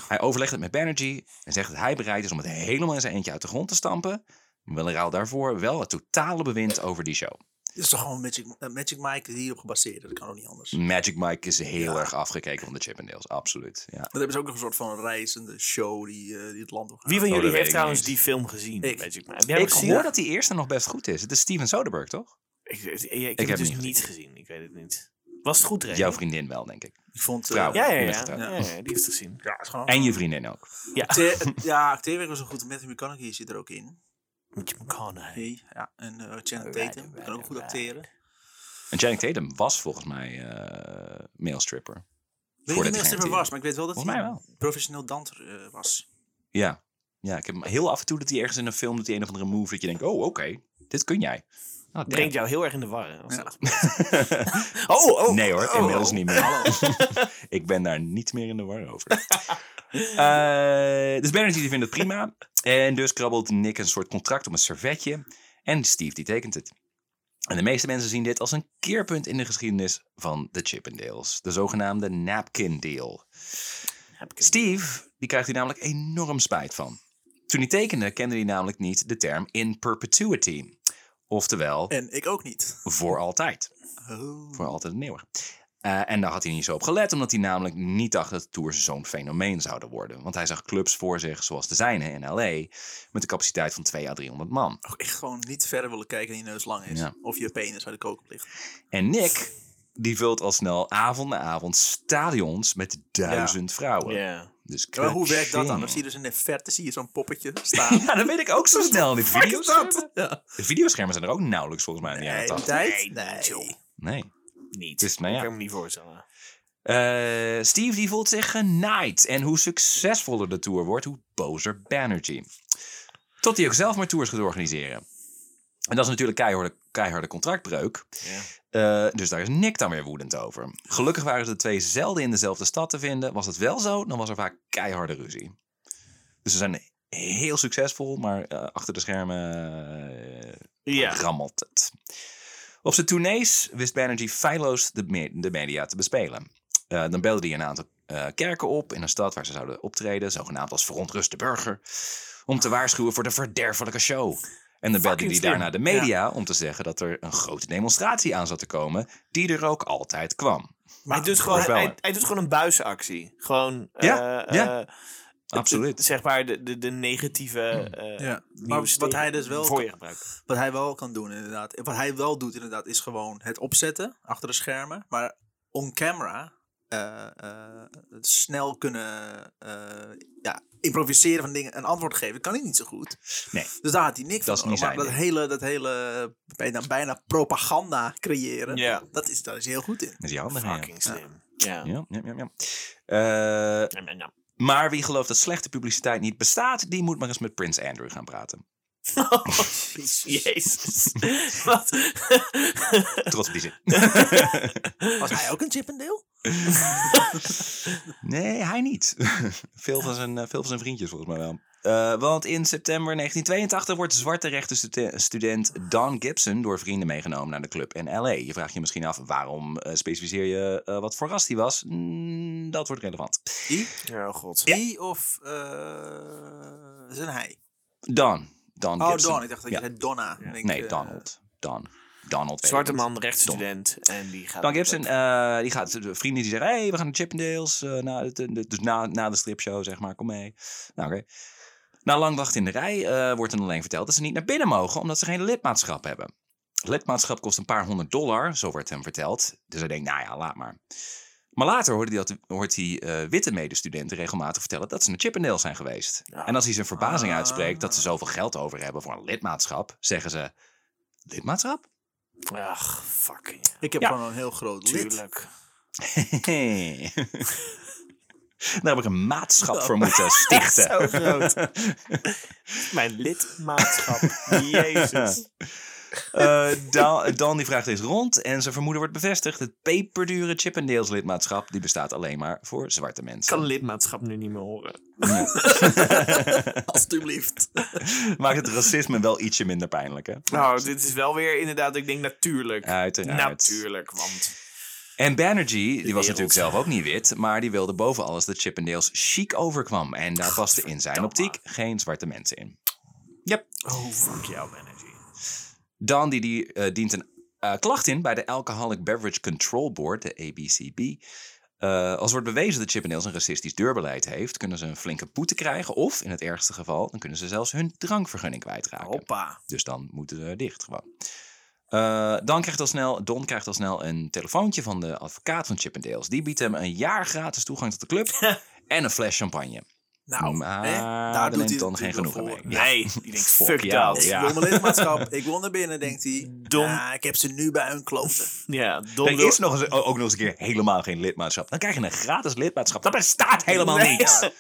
Hij overlegt het met Banerjee en zegt dat hij bereid is om het helemaal in zijn eentje uit de grond te stampen. Maar wel in ruil daarvoor wel het totale bewind over die show. Dit is toch gewoon Magic, eh, Magic Mike hierop gebaseerd. Dat kan ook niet anders. Magic Mike is heel erg afgekeken van de Chippendales, absoluut. Ja. Dan hebben ze ook nog een soort van reizende show die, eh, die het land op gaat. Wie van Oh, dat jullie weet ik heeft trouwens niet. die film gezien? Ik. Magic Mike? Heb jij hem Ik gezien? hoor dat die eerste nog best goed is. Het is Steven Soderbergh, toch? Ik, ik, ik heb heb het dus hem niet niet gezien. Ik weet het niet. Was het goed, Ray? Jouw vriendin wel, denk ik. Ik vond... eh, Vrouw. Ja, ja, Die ja. heeft het, ja, eh, ja, ja, die heeft het gezien. ja, het is gewoon... En je vriendin ook. Acte- ja, acteerwerk was een goed. Matthew McConaughey zit er ook in. Moet je McConaughey. Hey, ja. En eh Channing Alright, Tatum kan ook alright, goed alright. acteren. En Channing Tatum was volgens mij eh mailstripper. Weet Voordat niet meer hij als hij er ging was, maar ik weet wel dat Volgens hij mij wel. een professioneel danser eh, was. Ja. ja, ik heb hem heel af en toe dat hij ergens in een film doet, die een of andere move, dat je denkt, oh oké, dit kun jij. Nou, Dat brengt jou heel erg in de war. hè, als Ja. dat Oh, oh. nee hoor, oh, inmiddels oh. niet meer. ik ben daar niet meer in de war over. Eh, dus Bernadette die vindt het prima. En dus krabbelt Nick een soort contract op een servetje. En Steve die tekent het. En de meeste mensen zien dit als een keerpunt in de geschiedenis van de Chippendales. De zogenaamde napkin deal. Heb ik het. Steve, die krijgt hier namelijk enorm spijt van. Toen hij tekende, kende hij namelijk niet de term in perpetuity. Oftewel, En ik ook niet. voor altijd. Oh. Voor altijd en eeuwig. Eh, en daar had hij niet zo op gelet, omdat hij namelijk niet dacht dat de tours zo'n fenomeen zouden worden. Want hij zag clubs voor zich, zoals de zijne in L.A., met een capaciteit van 200 à 300 man. Ook echt gewoon niet verder willen kijken en je neus lang is. Ja. Of je penis uit de kook ligt. En Nick, die vult al snel avond na avond stadions met duizend vrouwen. Ja. Dus Ja, maar hoe werkt dat dan? Dan zie je kaching. dus in de verte zie je zo'n poppetje staan. Ja, dat weet ik ook zo snel. De Fuck is videoschermen, dat? Ja. de videoschermen zijn er ook nauwelijks volgens mij in de jaren Nee, 80. tijd? Nee, Nee. chill. Nee. Niet. Dus, nou Ik ja. kan me niet voorstellen. Eh, Steve die voelt zich genaaid. En hoe succesvoller de tour wordt, hoe bozer Banerjee. Tot hij ook zelf maar tours gaat organiseren. En dat is natuurlijk keiharde, keiharde contractbreuk. Ja. Eh, dus daar is Nick dan weer woedend over. Gelukkig waren ze de twee zelden in dezelfde stad te vinden. Was het wel zo, dan was er vaak keiharde ruzie. Dus ze zijn heel succesvol, maar eh, achter de schermen eh, Ja. rammelt het. Op zijn tournees wist Banerjee feilloos de, me- de media te bespelen. Eh, dan belde hij een aantal eh, kerken op in een stad waar ze zouden optreden, zogenaamd als verontruste burger, om te waarschuwen voor de verderfelijke show. En dan belde Fucking hij slim. daarna de media om te zeggen dat er een grote demonstratie aan zat te komen, die er ook altijd kwam. hij, doet gewoon, voorspellen. hij, hij doet gewoon een buizenactie. Gewoon. Ja, eh, ja. eh, het- Absoluut. het- zeg maar de, de, de negatieve. eh Ja. nieuws Maar wat tegen- hij dus wel Voor je gebruikt. Wat hij wel kan doen, inderdaad. Wat hij wel doet, inderdaad, is gewoon het opzetten achter de schermen. Maar on camera eh, eh, snel kunnen eh, ja, improviseren van dingen. Een antwoord geven kan hij niet zo goed. Nee. Dus daar had hij niks Dat is van. niet over. maar zijn dat hele, dat hele bijna, bijna propaganda creëren, Ja. dat is, daar is hij heel goed in. Met die handen gaan, ja. Fucking slim. Ja. Ja, ja, ja, ja. Eh, Nam, nam, nam. maar wie gelooft dat slechte publiciteit niet bestaat, die moet maar eens met Prince Andrew gaan praten. Oh, Jezus. wat? Trots op die zin. Was hij ook een Chippendale? Nee, hij niet. veel, van zijn, eh, veel van zijn vriendjes volgens mij wel. Eh, want in september 1982 wordt zwarte rechtenstudent Don Gibson door vrienden meegenomen naar de club in L.A. Je vraagt je misschien af waarom eh, specificeer je eh, wat voor ras hij was. Mm, dat wordt relevant. Die? Ja, oh god. Die of eh, is een hij? Don. Don Oh, Gibson. Don. Ik dacht dat je Ja. zei Donna. Ik denk, Nee, eh, Donald. Don. Donald. weet Zwarte ik niet. man, rechtsstudent. En die gaat. Don Gibson, eh, die gaat, de vrienden die zeggen, hé, hey, we gaan naar Chippendales, eh, na, de- de- dus na, na de stripshow, zeg maar, kom mee. Nou, oké. Na lang wachten in de rij eh, wordt dan alleen verteld dat ze niet naar binnen mogen, omdat ze geen lidmaatschap hebben. Lidmaatschap kost een paar honderd dollar, zo wordt hem verteld. Dus hij denkt, nou ja, laat maar. Maar later hoort hij, dat, hoort hij eh, witte medestudenten regelmatig vertellen dat ze naar Chippendales zijn geweest. Ja. En als hij zijn verbazing Ah. uitspreekt dat ze zoveel geld over hebben voor een lidmaatschap, zeggen ze, lidmaatschap? Ach, fucking. Ik heb Ja. gewoon een heel groot lid. Tuurlijk. Hey. Daar heb ik een maatschap voor moeten stichten. Zo groot. Mijn lidmaatschap. Jezus. Eh, Dan, Dan die vraagt eens rond en zijn vermoeden wordt bevestigd. Het peperdure Chippendales lidmaatschap die bestaat alleen maar voor zwarte Ik mensen. kan lidmaatschap nu niet meer horen. Alsjeblieft. Maakt het racisme wel ietsje minder pijnlijk, hè? Nou, dit is wel weer inderdaad, ik denk natuurlijk. Uiteraard. Natuurlijk, want... En Banerjee, die was wereld. natuurlijk zelf ook niet wit, maar die wilde boven alles dat Chippendales chic overkwam. En daar paste in zijn optiek geen zwarte mensen in. Yep. Oh, fuck jou, manager. Dan die, die eh, dient een eh, klacht in bij de Alcoholic Beverage Control Board, de ABCB. Eh, als wordt bewezen dat Chippendales een racistisch deurbeleid heeft, kunnen ze een flinke boete krijgen. Of in het ergste geval, dan kunnen ze zelfs hun drankvergunning kwijtraken. Hoppa. Dus dan moeten ze dicht gewoon. Eh, dan krijgt al snel, Don krijgt al snel een telefoontje van de advocaat van Chippendales. Die biedt hem een jaar gratis toegang tot de club en een fles champagne. Nou, Maar hè? daar daar doet neemt hij dan geen natuurlijk wel genoegen mee. voor. Ja. Nee, die denkt, Fuck fuck jou. dat. Ik Ja, Ja. wil mijn lidmaatschap, ik wil naar binnen, denkt hij. Dom. Ah, ik heb ze nu bij hun kloten. Don Er wil- is nog eens, ook nog eens een keer helemaal geen lidmaatschap. Dan krijg je een gratis lidmaatschap. Dat bestaat helemaal Nee. niet.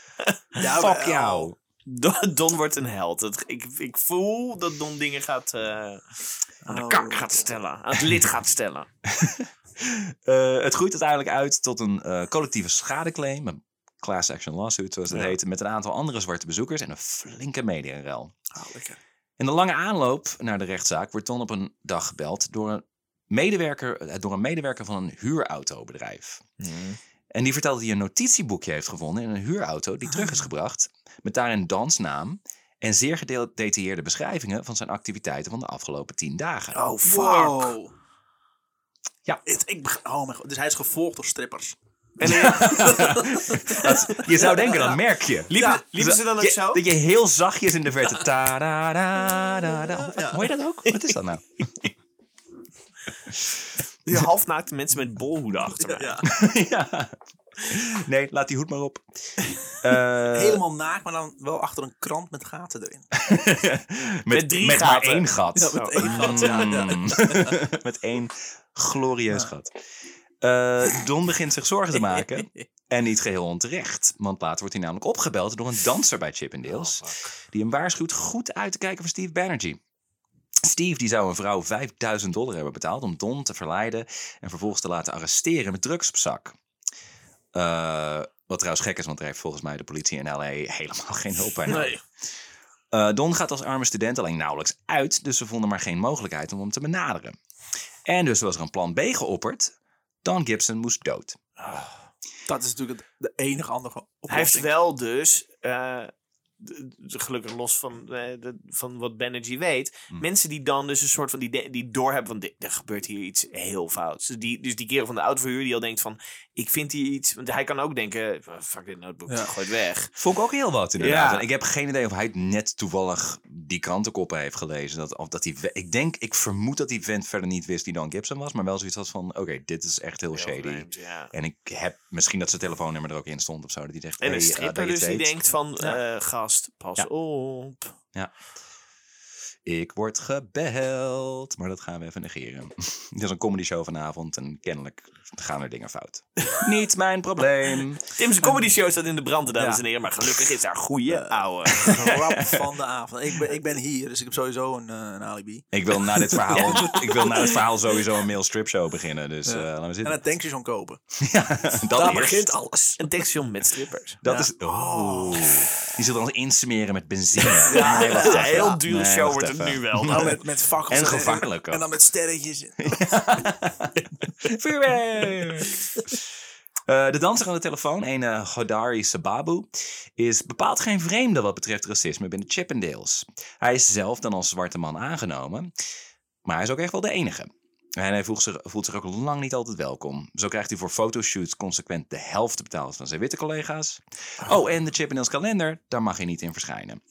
Jawel. Fuck jou. Don, Don wordt een held. Dat, ik, ik voel dat Don dingen gaat... eh, aan de Oh. kank gaat stellen. Aan het lid gaat stellen. Eh, het groeit uiteindelijk uit tot een eh, collectieve schadeclaim. Een class action lawsuit, zoals dat Ja. heet. Met een aantal andere zwarte bezoekers en een flinke mediarel. Ah, lekker. In de lange aanloop naar de rechtszaak wordt Don op een dag gebeld door een medewerker, eh, door een medewerker van een huurautobedrijf. En die vertelt dat hij een notitieboekje heeft gevonden in een huurauto die terug is Ah. gebracht. Met daarin Dans naam en zeer Oh. gedetailleerde beschrijvingen van zijn activiteiten van de afgelopen tien dagen. Oh, fuck. Oh, Het- ik, beg- oh mijn god. Dus hij is gevolgd door strippers. Je zou denken, dat merk je. Liepen, liepen ze dan ook Je- zo? Dat je heel zachtjes in de verte... Ta -da -da -da -da. Hoor je dat ook? Wat is dat nou? Die halfnaakte mensen met bolhoeden achter me. Ja. ja. Nee, laat die hoed maar op. Eh, Helemaal naakt, maar dan wel achter een krant met gaten erin. met, met drie met maar gaten. één gat. Ja, met één gat, ja, ja. Mm. met één glorieus gat. Eh, Don begint zich zorgen te maken. En niet geheel onterecht. Want later wordt hij namelijk opgebeld door een danser bij Chippendales. die hem waarschuwt goed uit te kijken voor Steve Banerjee. Steve die zou een vrouw 5000 dollar hebben betaald om Don te verleiden en vervolgens te laten arresteren met drugs op zak. Eh, wat trouwens gek is, want er heeft volgens mij de politie in LA helemaal geen hulp bij nodig. Eh, Don gaat als arme student alleen nauwelijks uit, dus ze vonden maar geen mogelijkheid om hem te benaderen. En dus was er een plan B geopperd. Don Gibson moest dood. Ah, Dat is natuurlijk het- de enige andere Hij heeft oplossing. wel dus, eh, d- d- gelukkig los van, eh, de- van wat Banerjee weet, Hm. mensen die dan dus een soort van die, de- die doorhebben van dit- er gebeurt hier iets heel fouts. Dus die, dus die kerel van de autoverhuur die al denkt van ik vind hier iets, want hij kan ook denken fuck dit notebook, Ja. gooi het weg. Vond ik ook heel wat inderdaad. Ja. En Ik heb geen idee of hij het net toevallig die krantenkoppen heeft gelezen. Dat, of dat hij, we- ik denk, ik vermoed dat die vent verder niet wist die Don Gibson was. Maar wel zoiets had van, oké, dit is echt heel, shady. vreemd, ja. En ik heb misschien dat zijn telefoonnummer er ook in stond of zo. Dat hij dacht, En hey, een eh, stripper dat je dus het die weet. denkt van Ja. eh, gast, pas Ja. op. Ik word gebeld. Maar dat gaan we even negeren. Het is een comedy show vanavond en kennelijk gaan er dingen fout. niet mijn probleem. Tim's comedy show staat in de brand, dames Ja. Eh. en heren, maar gelukkig is daar goede ouwe. Grap van de avond. Ik ben, ik ben hier, dus ik heb sowieso een, eh, een alibi. Ik wil na dit verhaal, ik wil na dit verhaal sowieso een mail strip show beginnen. Dus eh laten we En zitten. dat tankstation kopen. dat Daar eerst. begint alles. Een tekstfilm met strippers. Dat is. Oh. Die zullen ons insmeren met benzine. Nee, wacht een even. heel dure Nee, show wacht wordt het even. nu wel. Nou, met, met fakkels. En gevaarlijk ook. En dan met sterretjes. Vuurwerk! Eh, de danser aan de telefoon, een eh Hodari Sababu, is bepaald geen vreemde wat betreft racisme binnen Chippendales. Hij is zelf dan als zwarte man aangenomen, maar hij is ook echt wel de enige. En hij voelt zich, voelt zich ook lang niet altijd welkom. Zo krijgt hij voor fotoshoots consequent de helft betaald van zijn witte collega's. Ah. Oh, en de Chippendales kalender, daar mag hij niet in verschijnen.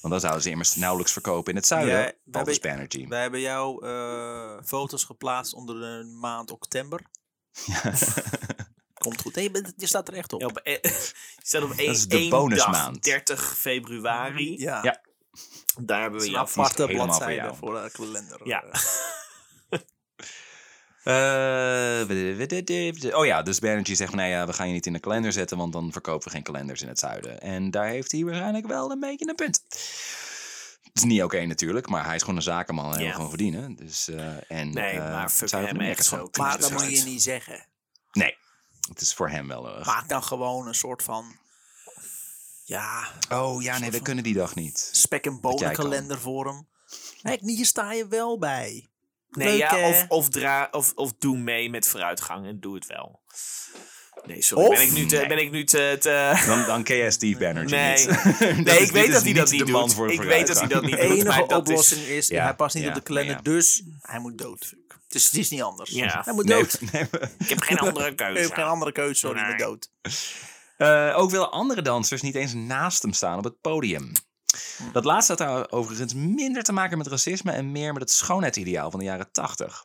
Want dat zouden ze immers nauwelijks verkopen in het zuiden. Ja, Ja, wij Aldous hebben- Banerjee. Wij hebben jouw eh, foto's geplaatst onder de maand oktober. Komt goed. Nee, je, bent- je staat er echt op. Ja, op, eh, je staat op één, is de één bonusmaand. dag, 30 februari. Ja. Ja. Daar hebben Het we is een je af. die aparte is helemaal voor bladzijde jou. voor de kalender. Ja. Eh, oh ja, dus Banerjee zegt van, nee, ja, we gaan je niet in de kalender zetten, want dan verkopen we geen kalenders in het zuiden. En daar heeft hij waarschijnlijk wel een beetje een punt. Het is niet oké natuurlijk, maar hij is gewoon een zakenman en hij wil Ja. gewoon verdienen. Dus, eh, en, Nee, eh, maar fuck Zuid- hem, Amerika is echt gewoon zo. een Maar kut dat moet besluit. je niet zeggen. Nee, het is voor hem wel. eh, Maak dan gewoon een soort van... Ja, oh ja, nee, we kunnen die dag niet. spek en jij bonen kan. kalender voor hem. Kijk, hier sta je wel bij. Nee, Leuk, ja, hè? of, of, dra of, of doe mee met vooruitgang en doe het wel. Nee, sorry. Of- ben ik nu te... Nee. Ben ik nu te, te- Dan, dan ken jij Steve Banerjee Nee. niet. Nee, Dat Nee, is- ik weet dit dat is hij dat de niet man doet. voor Ik weet dat hij dat vooruitgang. niet De doet. maar enige dat is- oplossing is, Ja, hij past niet ja, op de kalender, ja. dus hij moet dood. Dus het is niet anders. Ja. Hij moet Nee, dood. nee, we- Ik heb geen andere Hij heeft geen keuze. andere keuze, sorry, hij moet Nee. dood. Eh, ook willen andere dansers niet eens naast hem staan op het podium. Dat laatste had daar overigens minder te maken met racisme en meer met het schoonheidsideaal van de jaren 80.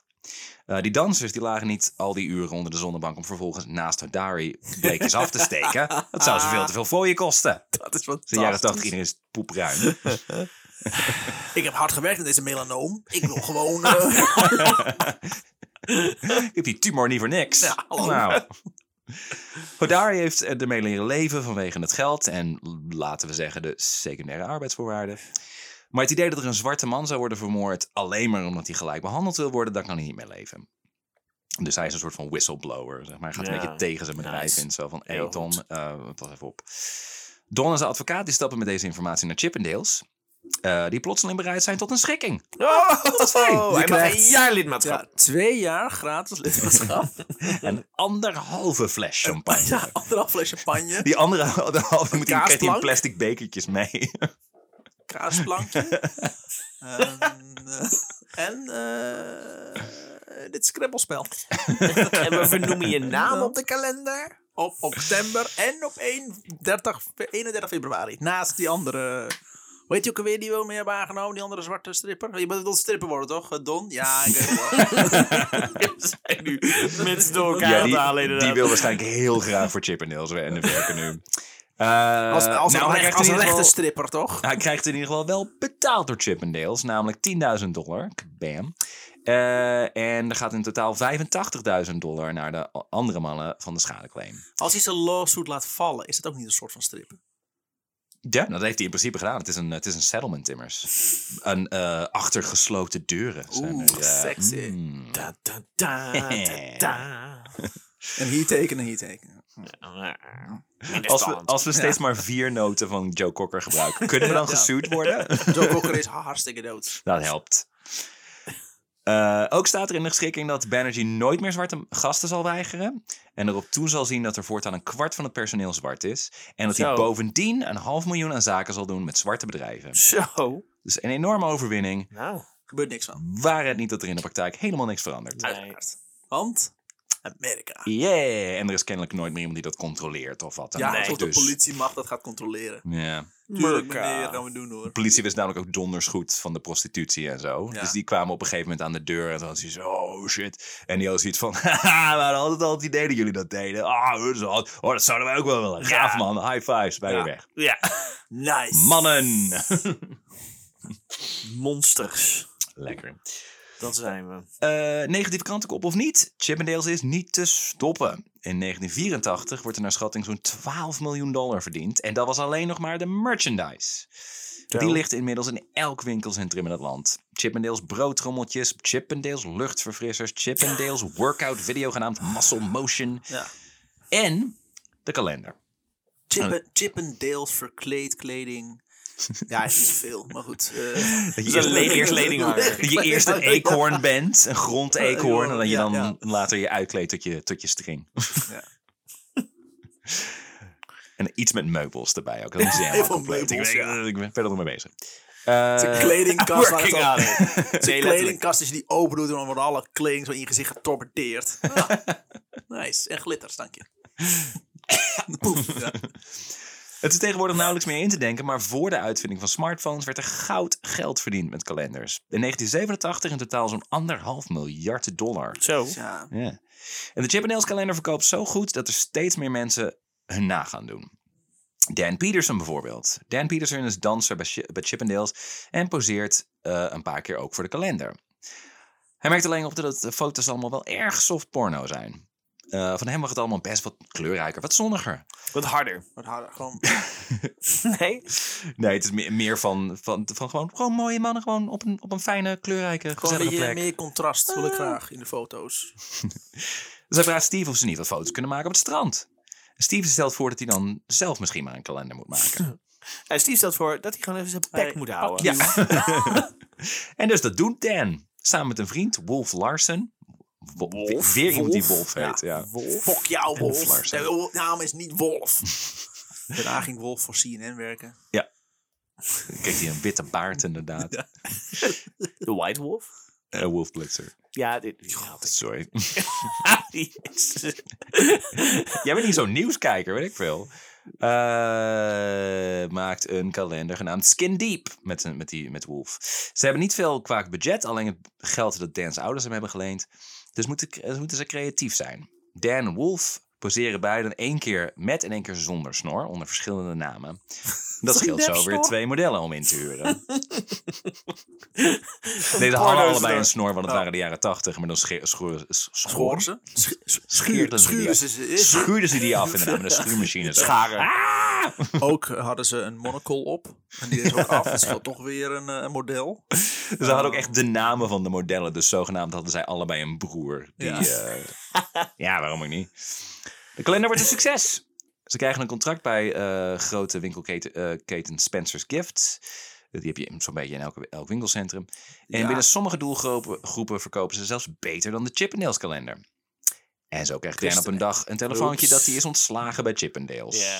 Eh, die dansers die lagen niet al die uren onder de zonnebank om vervolgens naast Hodari bleekjes af te steken. Dat zou ze veel te veel voor je kosten. Dat is In de fantastisch. jaren 80 iedereen is poepruim. Ik heb hard gewerkt aan deze melanoom. Ik wil gewoon... eh, Ik heb die tumor niet voor niks. Ja, oh. hallo. Nou. Hodari heeft eh, ermee leren leven vanwege het geld en laten we zeggen de secundaire arbeidsvoorwaarden. Maar het idee dat er een zwarte man zou worden vermoord alleen maar omdat hij gelijk behandeld wil worden, daar kan hij niet mee leven. Dus hij is een soort van whistleblower, zeg maar. Hij gaat een Ja, beetje tegen zijn bedrijf nice. in. Zo van, hey Heel Don, goed. eh, pas even op. Don en zijn advocaat die stappen met deze informatie naar Chippendales. eh, die plotseling bereid zijn tot een schikking. Oh, dat is fijn. Je Hij mag krijgt- een jaar lidmaatschap. ja, twee jaar gratis lidmaatschap. Een anderhalve fles champagne. ja, anderhalf fles champagne. Die andere de halve moet hij, krijgt hij in kaasplank? plastic bekertjes mee. Ehm, kaasplankje. en eh, en eh, eh, dit Scrabble-spel. En we vernoemen je naam Ja. op de kalender. Op op september en op 1, 30, 31 februari. Naast die andere... Hoe heet je ook alweer die we mee hebben aangenomen? Die andere zwarte stripper? Je bent wel stripper worden, toch? eh, Don? Ja, ik weet het wel. We zijn nu mensen door elkaar Ja, aan het halen die, inderdaad. die wil waarschijnlijk heel graag voor Chip en Nails wer- en werken nu. Eh, Als, als, nou, een, recht- hij krijgt als in een ieder rechte geval- stripper, toch? Hij krijgt in ieder geval wel betaald door Chip en Dale's, namelijk 10.000 dollar. Bam. Eh, en er gaat in totaal 85.000 dollar naar de a- andere mannen van de schadeclaim. Als hij zijn lawsuit laat vallen, is dat ook niet een soort van strippen? Ja, Nou, dat heeft hij in principe gedaan. Het is een, het is een settlement, immers. Een eh achtergesloten deuren. Zijn Oeh, er, eh, sexy. mm. Da, da, da, da, Eh, da. En hier tekenen, hier tekenen. Minder Als we, spannend. als we steeds maar vier noten van Joe Cocker gebruiken, kunnen we dan Ja. gesuwd worden? Joe Cocker is hartstikke dood. Dat helpt. Eh, ook staat er in de geschikking dat Banerjee nooit meer zwarte gasten zal weigeren. En erop toe zal zien dat er voortaan een kwart van het personeel zwart is. En dat hij Zo. bovendien een half miljoen aan zaken zal doen met zwarte bedrijven. Zo. Dus een enorme overwinning. Nou. Gebeurt niks van. Waar het niet dat er in de praktijk helemaal niks verandert. Uiteraard. Want Amerika. Yeah! En er is kennelijk nooit meer iemand die dat controleert of wat dan Ja, ook. alsof dus- de politiemacht dat gaat controleren. Ja. Tuurlijk, Merka. meneer, gaan we doen hoor. De politie wist namelijk ook donders goed van de prostitutie en zo. Ja. Dus die kwamen op een gegeven moment aan de deur en toen had ze zo, oh shit. En die had zoiets van, haha, we hadden altijd al het idee dat jullie dat deden. Ah, dat is al- oh, dat zouden wij ook wel willen. Gaaf Ja. man, high fives, bij Ja. weer weg. Ja. Nice. Mannen! Monsters. Lekker. Dat zijn we. Eh, negatieve krantenkop of niet, Chip and Dale's is niet te stoppen. In 1984 wordt er naar schatting zo'n 12 miljoen dollar verdiend. En dat was alleen nog maar de merchandise. Die ligt inmiddels in elk winkelcentrum in het land. Chip and Dale's broodtrommeltjes, Chip and Dale's luchtverfrissers, Chip and Dale's workout video genaamd Muscle Motion. Ja. En de kalender. Chippen, Chippendales verkleed kleding. Ja, het is veel, maar goed. eh, Dat je is een eerst, le- eerst ledinghanger. dat je eerst een eekhoorn bent, een grondeekhoorn. En dat je Ja, dan ja. later je uitkleedt tot je, tot je string. Ja. En iets met meubels erbij ook. Dat is helemaal Heel veel compleet. Ik, meubels, weet- ja. ik ben verder nog mee bezig. Eh, Het is een kledingkast. waar het Working al- on it. Het is een Nee, letterlijk. kledingkast als je die open doet en dan wordt alle kleding zo in je gezicht getorpedeerd. Ja. Nice. En glitters, dank je. Poef. Ja. Het is tegenwoordig nauwelijks meer in te denken, maar voor de uitvinding van smartphones werd er goud geld verdiend met kalenders. In 1987 in totaal zo'n anderhalf miljard dollar. Zo. Ja. Ja. En de Chip Nails kalender verkoopt zo goed dat er steeds meer mensen hun na gaan doen. Dan Peterson bijvoorbeeld. Dan Peterson is danser bij, Chi- bij Chip Nails en poseert eh, een paar keer ook voor de kalender. Hij merkt alleen op dat de foto's allemaal wel erg soft porno zijn. Eh, van hem mag het allemaal best wat kleurrijker, wat zonniger. Wat harder. Wat harder. Gewoon Nee. Nee, het is meer, meer van, van, van gewoon, gewoon mooie mannen. Gewoon op een, op een fijne, kleurrijke, Gewoon een gezellige beetje plek. meer contrast wil ik graag in de foto's. Dus hij vraagt Steve of ze niet wat foto's kunnen maken op het strand. En Steve stelt voor dat hij dan zelf misschien maar een kalender moet maken. En eh, Steve stelt voor dat hij gewoon even zijn bek Hey, moet houden. ja. en dus dat doet Dan. Samen met een vriend, Wolf Larsen. Wo- Wolf? Weer iemand die Wolf Wolf? heet, ja. Wolf. Fok jou, Wolf. Larsen. De naam is niet Wolf. Daarna ging Wolf voor CNN werken. Dan kreeg hij een witte baard inderdaad. De White Wolf. Eh, Wolf Blitzer. Ja, dit die had ik. Ah, Sorry. Die is- Jij bent niet zo'n nieuwskijker, weet ik veel. Eh, maakt een kalender genaamd Skin Deep met, een- met, die, met Wolf. Ze hebben niet veel qua budget, alleen het geld dat Dan's ouders hem hebben geleend. Dus moeten, dus moeten ze creatief zijn. Dan en Wolf poseren beiden één keer met en één keer zonder snor, onder verschillende namen. Dat scheelt zo weer nepsnor. twee modellen om in te huren. Deze hadden allebei een snor, want het waren de jaren tachtig. Maar dan scheer, schoor- s- schoor- Schoor ze? schuurden ze die Schuurden af. ze ze. Schuurden ze die af inderdaad met een schuurmachine. zo. scharen. Ah! Ook hadden ze een monocle op. En die is ook af. Dat is wel toch weer een, eh, een model. Ze hadden ook echt de namen van de modellen. Dus zogenaamd hadden zij allebei een broer. Die, Ja. ja. ja, waarom ook niet? De kalender wordt een succes. Ze krijgen een contract bij eh, grote winkelketen eh, keten Spencer's Gifts. Die heb je in- zo'n beetje in elke, elk winkelcentrum. En Ja. binnen sommige doelgroepen groepen verkopen ze zelfs beter dan de Chippendales kalender. En zo krijgt Dan op een dag een telefoontje Oeps. dat hij is ontslagen bij Chippendales. Ja.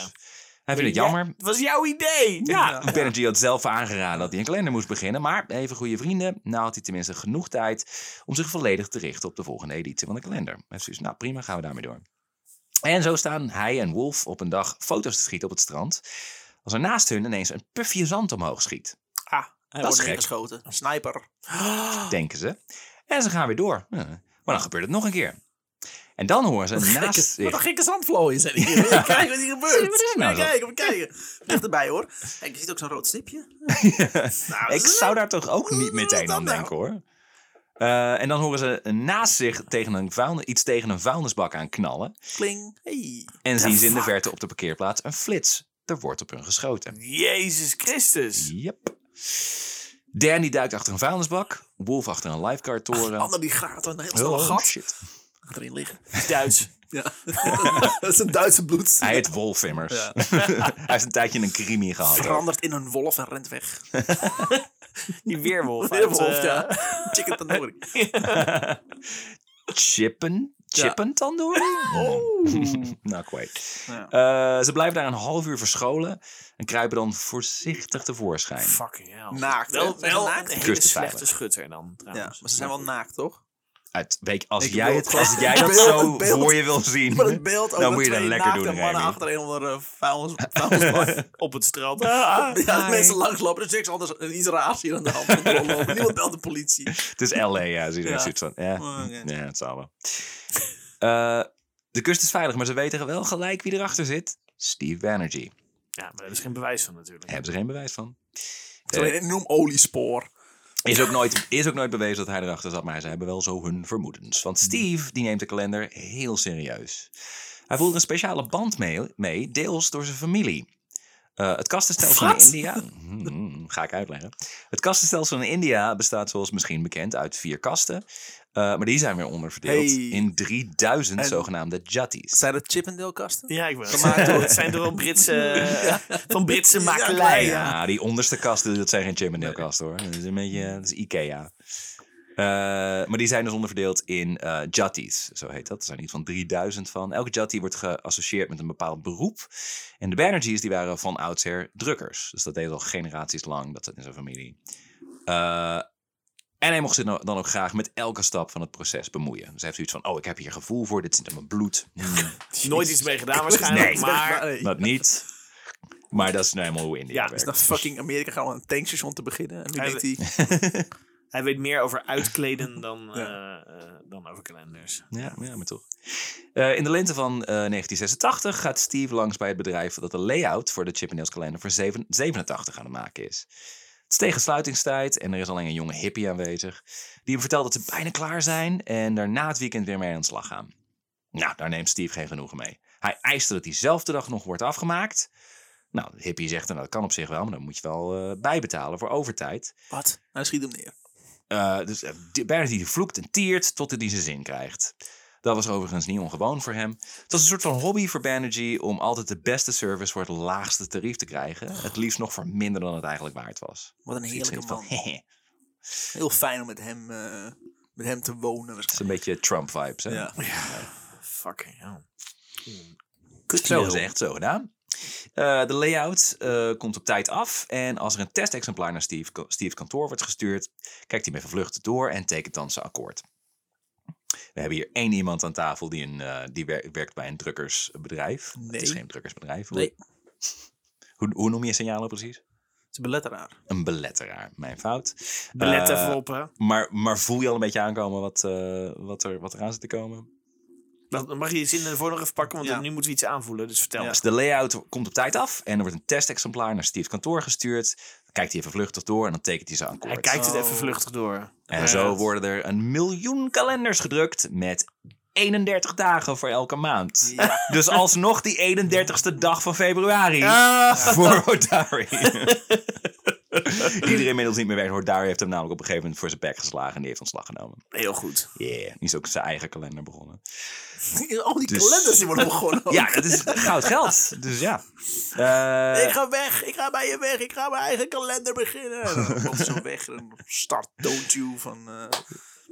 Hij vindt het Ja, jammer. Het was jouw idee. Ja, Benji had zelf aangeraden dat hij een kalender moest beginnen. Maar even goede vrienden, nou had hij tenminste genoeg tijd om zich volledig te richten op de volgende editie van de kalender. Hij heeft zoiets, nou prima, gaan we daarmee door. En zo staan hij en Wolf op een dag foto's te schieten op het strand. Als er naast hun ineens een puffje zand omhoog schiet, Ah, hij is wordt gek. neergeschoten. Een sniper. denken ze. En ze gaan weer door. Ja, Maar dan gebeurt het nog een keer. En dan horen ze naast Oh, Wat een zich... gekke zandvlooien zijn hier. Kijk wat hier gebeurt. Wat is er nou Moet je zo? kijken, moet je kijken. Ligt erbij hoor. Kijk, je ziet ook zo'n rood stipje. Nou, dat Ik is- zou daar toch ook niet Wat is meteen dat aan nou? denken hoor. Eh, en dan horen ze naast zich tegen een vuilnis, iets tegen een vuilnisbak aan knallen. Kling. Hey. En Ja, zien ze in de fuck. verte op de parkeerplaats een flits. Er wordt op hun geschoten. Jezus Christus. Yep. Danny duikt achter een vuilnisbak. Wolf achter een lifeguard-toren. Ander die gaat er een heel Oh, snel gat shit. erin liggen. Duits. Ja. dat is een Duitse bloed. Hij heet Wolf immers. Ja. Hij heeft een tijdje een krimi gehad. ook. verandert in een wolf en rent weg. Die weerwolf. uit, Een wolf, eh, ja. Chicken tandoori. Chippen? Chippen tandoori? nou, kwijt. Ja. Eh, ze blijven daar een half uur verscholen. En kruipen dan voorzichtig tevoorschijn. Fucking hell. Naakt, hè? Wel, Zijn ze wel naakt? een hele Kusten slechte veilig. schutter dan Ja, trouwens. maar ze zijn wel naakt, toch? Uit, weet je, als, Ik jij wil het, gewoon- als jij Het dat beeld- zo het beeld- voor je wil zien, Maar het beeld over dan Nou, moet je dat twee lekker naakte doen. mannen Remy. achter een onder de vuilnis, vuilnisbak. Op het strand. Ah, Ja, als Hi. mensen langslopen, er is niks anders en iets raars hier aan de hand. Met de rondlopen. Niemand belt de politie. Het is LA, ja. Zie je Ja. zoiets van. Ja, Oh, oké. ja het zal wel. Eh, de kust is veilig, maar ze weten wel gelijk wie erachter zit. Steve Banerjee. Ja, maar daar is geen bewijs van Daar natuurlijk. hebben ze geen bewijs van. Het is alleen een enorm oliespoor. Is ook, nooit, is ook nooit bewezen dat hij erachter zat, maar ze hebben wel zo hun vermoedens. Hmm. Want Steve die neemt de kalender heel serieus. Hij voelt een speciale band mee, mee deels door zijn familie. Eh, het kastenstelsel Wat? in India. Hmm, ga ik uitleggen. Het kastenstelsel in India bestaat, zoals misschien bekend, uit vier kasten. Eh, maar die zijn weer onderverdeeld Hey. in 3000 En- zogenaamde jatis. Zijn dat Chippendale-kasten? Ja, ik wil het Gemaakt zeggen. door- Het zijn toch wel Britse, eh, van Britse Ja, makelij. ja. Ja, die onderste kasten, dat zijn geen Chippendale kasten hoor. Dat is een beetje, dat is Ikea. Eh, maar die zijn dus onderverdeeld in eh jutties, zo heet dat. Er zijn iets van 3000 van. Elke jutty wordt geassocieerd met een bepaald beroep. En de Banerjees die waren van oudsher drukkers. Dus dat deed al generaties lang, dat zat in zijn familie. Eh, en hij mocht zich nou- dan ook graag met elke stap van het proces bemoeien. Dus hij heeft zoiets van, oh, ik heb hier gevoel voor, dit zit in mijn bloed. Nooit iets mee gedaan waarschijnlijk, Nee. maar... Nee. dat niet. Maar dat is nou helemaal hoe India Ja, werkt. Naar fucking Amerika gaan we een tankstation te beginnen. En nu Hij denkt hij, Hij weet meer over uitkleden dan, eh, eh, dan over kalenders. Ja, ja maar toch. Eh, in de lente van eh, 1986 gaat Steve langs bij het bedrijf dat de layout voor de Chippendales kalender voor 7 87 aan het maken is. Het is tegen sluitingstijd en er is alleen een jonge hippie aanwezig. Die hem vertelt dat ze bijna klaar zijn en daarna het weekend weer mee aan de slag gaan. Nou, daar neemt Steve geen genoegen mee. Hij eist dat diezelfde dag nog wordt afgemaakt. Nou, de hippie zegt, nou, dat kan op zich wel, maar dan moet je wel eh, bijbetalen voor overtijd. wat? Hij schiet hem neer. Eh, dus eh, die- Bernard die vloekt en tiert totdat hij zijn zin krijgt. Dat was overigens niet ongewoon voor hem. Het was een soort van hobby voor Banerjee om altijd de beste service voor het laagste tarief te krijgen. Het liefst nog voor minder dan het eigenlijk waard was. Wat een Dus iets heerlijke man. van, hehe. Het Heel fijn om met hem, eh, met hem te wonen. is een beetje Trump-vibes. Hè? Ja. Fucking hell. Zo gezegd, zo gedaan. Eh, de layout eh, komt op tijd af. En als er een testexemplaar naar Steve, Steve's kantoor wordt gestuurd, kijkt hij met vervlucht door en tekent dan zijn akkoord. We hebben hier één iemand aan tafel die, een, eh, die wer- werkt bij een drukkersbedrijf. Het Nee. is geen drukkersbedrijf. Hoe, Nee. hoe, hoe noem je signalen precies? Het is een beletteraar. Een beletteraar, mijn fout. Belet Eh, even op, hè. maar, maar voel je al een beetje aankomen wat, eh, wat, er, wat er aan zit te komen? Wacht, Dan mag je je zin ervoor nog even pakken, want Ja. nu moeten we iets aanvoelen. Dus vertel. Dus de layout komt op tijd af en er wordt een testexemplaar naar Steve's kantoor gestuurd. Dan kijkt hij even vluchtig door en dan tekent hij ze aan Hij kijkt het Oh. even vluchtig door. En zo worden er een miljoen kalenders gedrukt met 31 dagen voor elke maand. Ja. Dus alsnog die 31ste dag van februari voor Hodari. Iedereen inmiddels niet meer werkt. Hodari heeft hem namelijk op een gegeven moment voor zijn bek geslagen en die heeft ontslag genomen. Heel goed. Yeah. Die is ook zijn eigen kalender begonnen. Al die Dus- kalenders die worden begonnen. ook. Ja, dat is goud geld. Dus ja. Eh, Ik ga weg, ik ga bij je weg, ik ga mijn eigen kalender beginnen. En dan komt zo weg en een start don't you van eh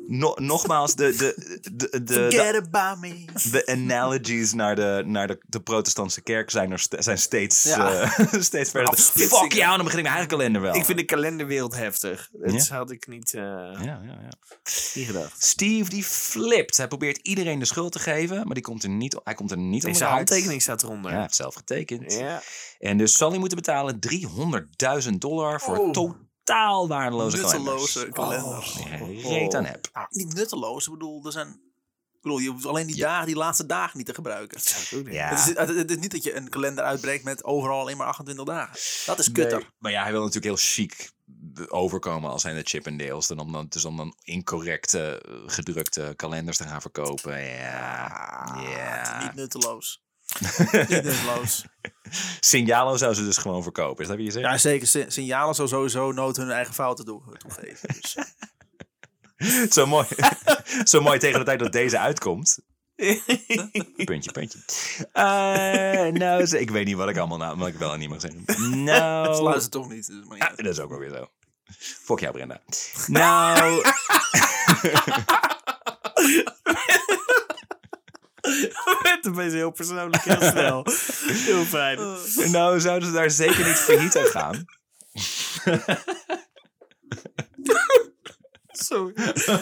no- nogmaals, de, de, de, de, de, Forget about me. de analogies naar de, naar de, de protestantse kerk zijn, er st- zijn steeds, Ja. eh, steeds verder. Afsplitsingen. Fuck jou, dan begin ik mijn eigen kalender wel. Ik vind de kalenderwereld heftig. Dat had ik niet, eh, ja, ja, ja. niet gedacht. Steve die flipt. Hij probeert iedereen de schuld te geven, maar die komt er niet, hij komt er niet Deze onderuit. handtekening staat eronder. Ja, hij heeft zelf getekend. Ja. En dus zal hij moeten betalen 300.000 dollar voor Oh. totaal waardeloze Nutteloze kalender. kalenders. Ja, Reet aan heb. Niet nutteloos, ik bedoel, er zijn... Ik bedoel, je hoeft alleen die, dagen, die laatste dagen niet te gebruiken. Ja. Het, is, het, het is niet dat je een kalender uitbreekt met overal alleen maar 28 dagen. Dat is kutter. Nee, Maar ja, hij wil natuurlijk heel chic overkomen als zijn de Chip en Dales. En om dan, dus om dan incorrecte eh, gedrukte kalenders te gaan verkopen. Ja. Ah, Het is ja. Niet nutteloos. niet nutteloos. Signalo zou ze dus gewoon verkopen. Is dat wat je zegt? Ja, zeker. Si- Signalen zou sowieso nooit hun eigen fouten toe- toegeven. Dus. Zo, mooi. Zo mooi tegen de tijd dat deze uitkomt. Puntje, puntje. Eh, nou, ze- ik weet niet wat ik allemaal nou, wat ik wel en niet mag zeggen. Ze Nou, luisteren toch niet. dus maar Ah, ja. dat is ook wel weer zo. Fuck jou, Brenda. Nou, Het werd opeens heel persoonlijk, heel snel. heel fijn. nou zouden ze daar zeker niet failliet aan gaan. Sorry. Ik zag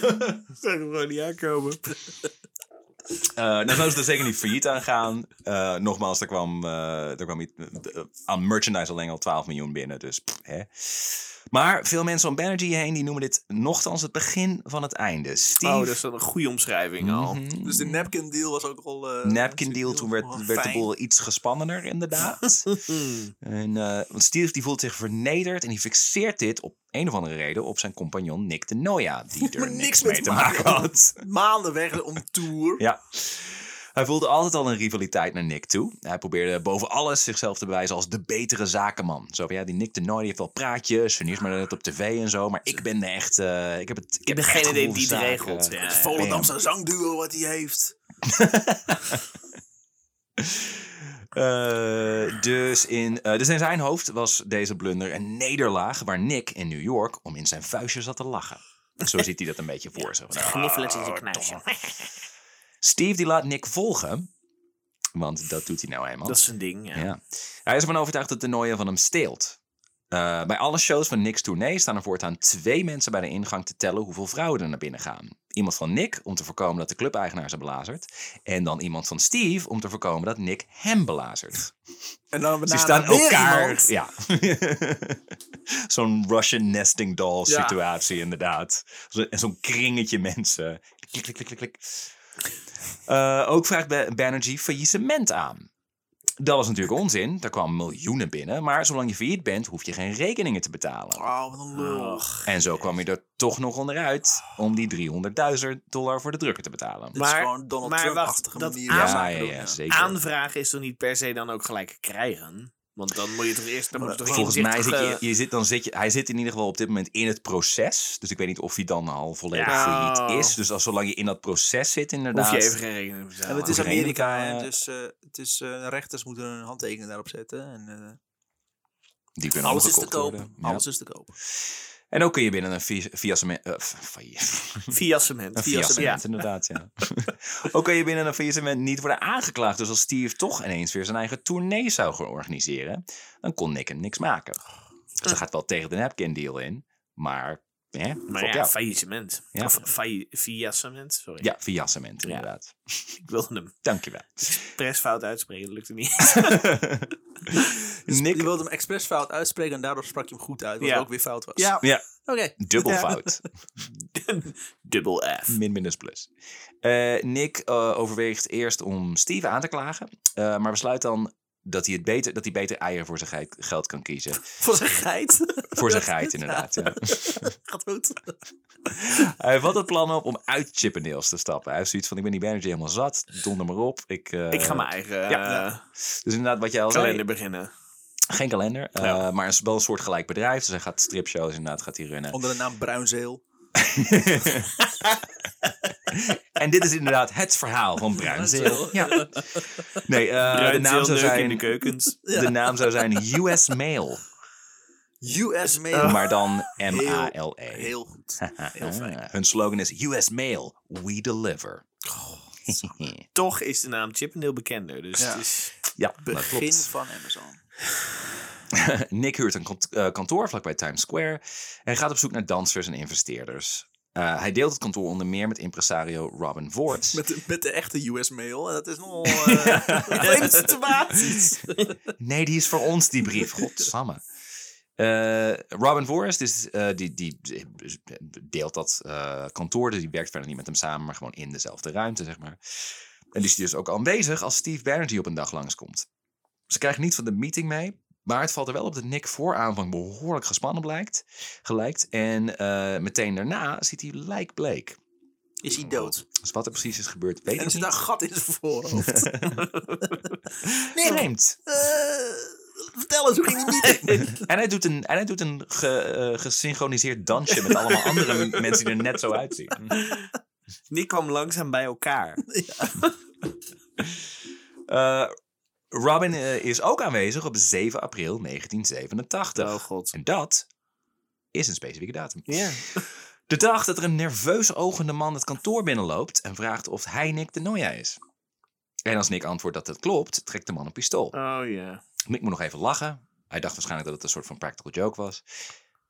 hem gewoon niet aankomen. Eh, nou zouden ze er zeker niet failliet aan gaan. Eh, nogmaals, er kwam, eh, er kwam iets, eh, aan merchandise alleen al 12 miljoen binnen. Dus, pff, hè. Maar veel mensen om Banerjee heen die noemen dit nochtans het begin van het einde. Steve. Oh, dat is wel een goede omschrijving al. Mhm. Dus de napkin deal was ook al... eh, napkin deal, toen wel werd, werd de fijn. boel iets gespannener inderdaad. en, eh, want Steve die voelt zich vernederd en die fixeert dit op een of andere reden op zijn compagnon Nick de Noia. Die er Maar niks, mee te maken had. Maanden weg om tour. Ja. Hij voelde altijd al een rivaliteit naar Nick toe. Hij probeerde boven alles zichzelf te bewijzen als de betere zakenman. Zo van, ja, die Nick de Nooi die heeft wel praatjes, en is maar net op tv en zo. Maar ik ben de echte, eh, ik heb het Ik ben heb echt degene die gevoel het voor zaken. regelt, ja. Het Volendamse zangduo wat hij heeft. Eh, dus, in, eh, dus in zijn hoofd was deze blunder een nederlaag waar Nick in New York om in zijn vuistje zat te lachen. Zo ziet hij dat een beetje voor zich. "Ah, Knuffelen in zijn knuisje. Steve die laat Nick volgen, want dat doet hij nou eenmaal. Dat is een ding, ja. ja. Hij is ervan overtuigd dat de Noia van hem steelt. Eh, bij alle shows van Nick's tournee staan er voortaan twee mensen bij de ingang te tellen hoeveel vrouwen er naar binnen gaan. Iemand van Nick om te voorkomen dat de clubeigenaar ze belazert. En dan iemand van Steve om te voorkomen dat Nick hem belazert. En dan Ze benaderen staan weer elkaar. iemand. Ja. zo'n Russian nesting doll Ja. situatie, inderdaad. Zo- en zo'n kringetje mensen. Klik, klik, klik, klik, klik. Eh, ook vraagt Ba- Banerjee faillissement aan. Dat was natuurlijk onzin. Daar kwamen miljoenen binnen. Maar zolang je failliet bent, hoef je geen rekeningen te betalen. Oh, wat een lul. En zo kwam je er toch nog onderuit om die 300.000 dollar voor de drukker te betalen. Dit Maar- is gewoon Donald maar Trump-achtige wacht, dat manier. aan- van ja, zaken ja, doen, ja, zeker. Aanvraag is toch niet per se dan ook gelijk krijgen? Want dan moet je toch eerst... Dan moet je toch eh, Volgens mij zit je, inzichtige- je zit, dan zit je, hij zit in ieder geval op dit moment in het proces. Dus ik weet niet of hij dan al volledig Ja. failliet is. Dus als, zolang je in dat proces zit, inderdaad. Hoef je even geen rekening te betalen. En het is Over de Amerika, ene, hè, eh, dus, eh, het is, eh, de rechters moeten hun handtekening daarop zetten. En, eh, Die kunnen alles is te omgekocht koop. worden. Ja. Alles is te koop. En ook kun je binnen een fi- fiassement. eh, f- failliet. Fiassement. Een fiassement, inderdaad. Ja. ook kun je binnen een faillissement niet worden aangeklaagd. Dus als Steve toch ineens weer zijn eigen tournee zou gaan organiseren, dan kon Nick hem niks maken. Dus dat gaat wel tegen de napkin deal in. Maar, hè, Maar fuck ja, jou. faillissement. Ja. Of failli- fiassement, sorry. ja, fiassement, inderdaad. Ik wilde hem Dankjewel. presfout uitspreken, dat lukte niet. Je Nick, wilde hem expres fout uitspreken en daardoor sprak je hem goed uit, wat Ja. ook weer fout was. Ja. ja, Oké. dubbel Ja. fout. Dubbel F. Min minus plus. Eh, Nick eh, overweegt eerst om Steve aan te klagen, eh, maar besluit dan dat hij, het beter, dat hij beter eieren voor zijn geit- geld kan kiezen. Voor zijn geit. Voor zijn geit, inderdaad. Ja. Gaat goed. Hij vat het plan op om uit Chippendales te stappen. Hij heeft zoiets van, ik ben die manager helemaal zat, donder maar op. Ik, eh, Ik ga mijn eigen ja. eh, Dus inderdaad, wat jij al zei, kalender beginnen. geen kalender, eh, Ja. maar is wel een soort gelijk bedrijf. Dus hij gaat stripshows inderdaad, gaat hij runnen. Onder de naam Bruinzeel. En dit is inderdaad het verhaal van Bruinzeel. Ja. Nee, eh, de naam zou Bruinzeelneuk zijn... in de keukens. De naam zou zijn US Mail. US Mail. Maar dan M-A-L-E. Oh, Heel goed. Heel fijn. E. Eh, Hun slogan is US Mail, we deliver. Oh, Toch is de naam Chippendale bekender. Dus Ja. het is... ja, dat Begin klopt. van Amazon. Nick huurt een kant- eh, kantoor vlakbij Times Square. Hij gaat op zoek naar dansers en investeerders. Eh, hij deelt het kantoor onder meer met impresario Robin Voorts. Met de, met de echte US Mail. En Dat is nogal... eh vreemde situaties. Nee, die is voor ons, die brief. Godsamme. Eh Robin Forrest is, eh, die, die deelt dat eh, kantoor. Dus die werkt verder niet met hem samen, maar gewoon in dezelfde ruimte, zeg maar. En die is dus ook aanwezig als Steve Banerjee op een dag langskomt. Ze krijgen niet van de meeting mee. Maar het valt er wel op dat Nick voor aanvang behoorlijk gespannen blijkt. Gelijkt. En eh, meteen daarna ziet hij lijkbleek. Is hij dood? Dus wat er precies is gebeurd, weet En ik er zit niet. een gat in zijn voorhoofd. Vreemd. Eh, vertel eens, hoe ging die meeting? En hij doet een, en hij doet een ge- eh, gesynchroniseerd dansje met allemaal andere m- mensen die er net zo uitzien. Nick kwam langzaam bij elkaar. Eh, Robin eh, is ook aanwezig op 7 april 1987. Oh god. En dat is een specifieke datum. Ja. De dag dat er een nerveus ogende man het kantoor binnenloopt en vraagt of hij Nick de Noia is. En als Nick antwoordt dat dat klopt, trekt de man een pistool. Oh ja. Mick moet nog even lachen. Hij dacht waarschijnlijk dat het een soort van practical joke was.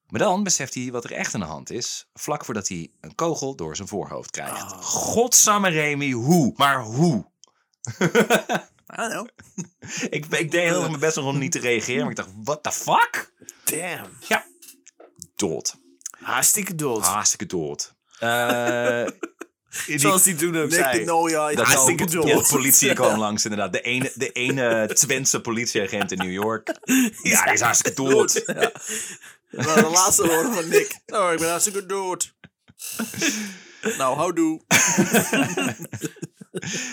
Maar dan beseft hij wat er echt aan de hand is. Vlak voordat hij een kogel door zijn voorhoofd krijgt. Oh. Godsamme Remy, hoe? Maar hoe? I don't know. Ik, ik deed heel erg mijn best om niet te reageren. Maar ik dacht, what the fuck? Damn. Dood. Hartstikke dood. Hartstikke dood. Eh, die- Zoals Ah, die toen Nick ook de zei. Noia. dat zal- hartstikke dood. ja, de politie kwam langs inderdaad. De ene, de ene Twentse politieagent in New York. Ja, die is hartstikke dood. Ja. waren de laatste woorden van Nick. Oh, ik ben hartstikke dood. nou, houdoe.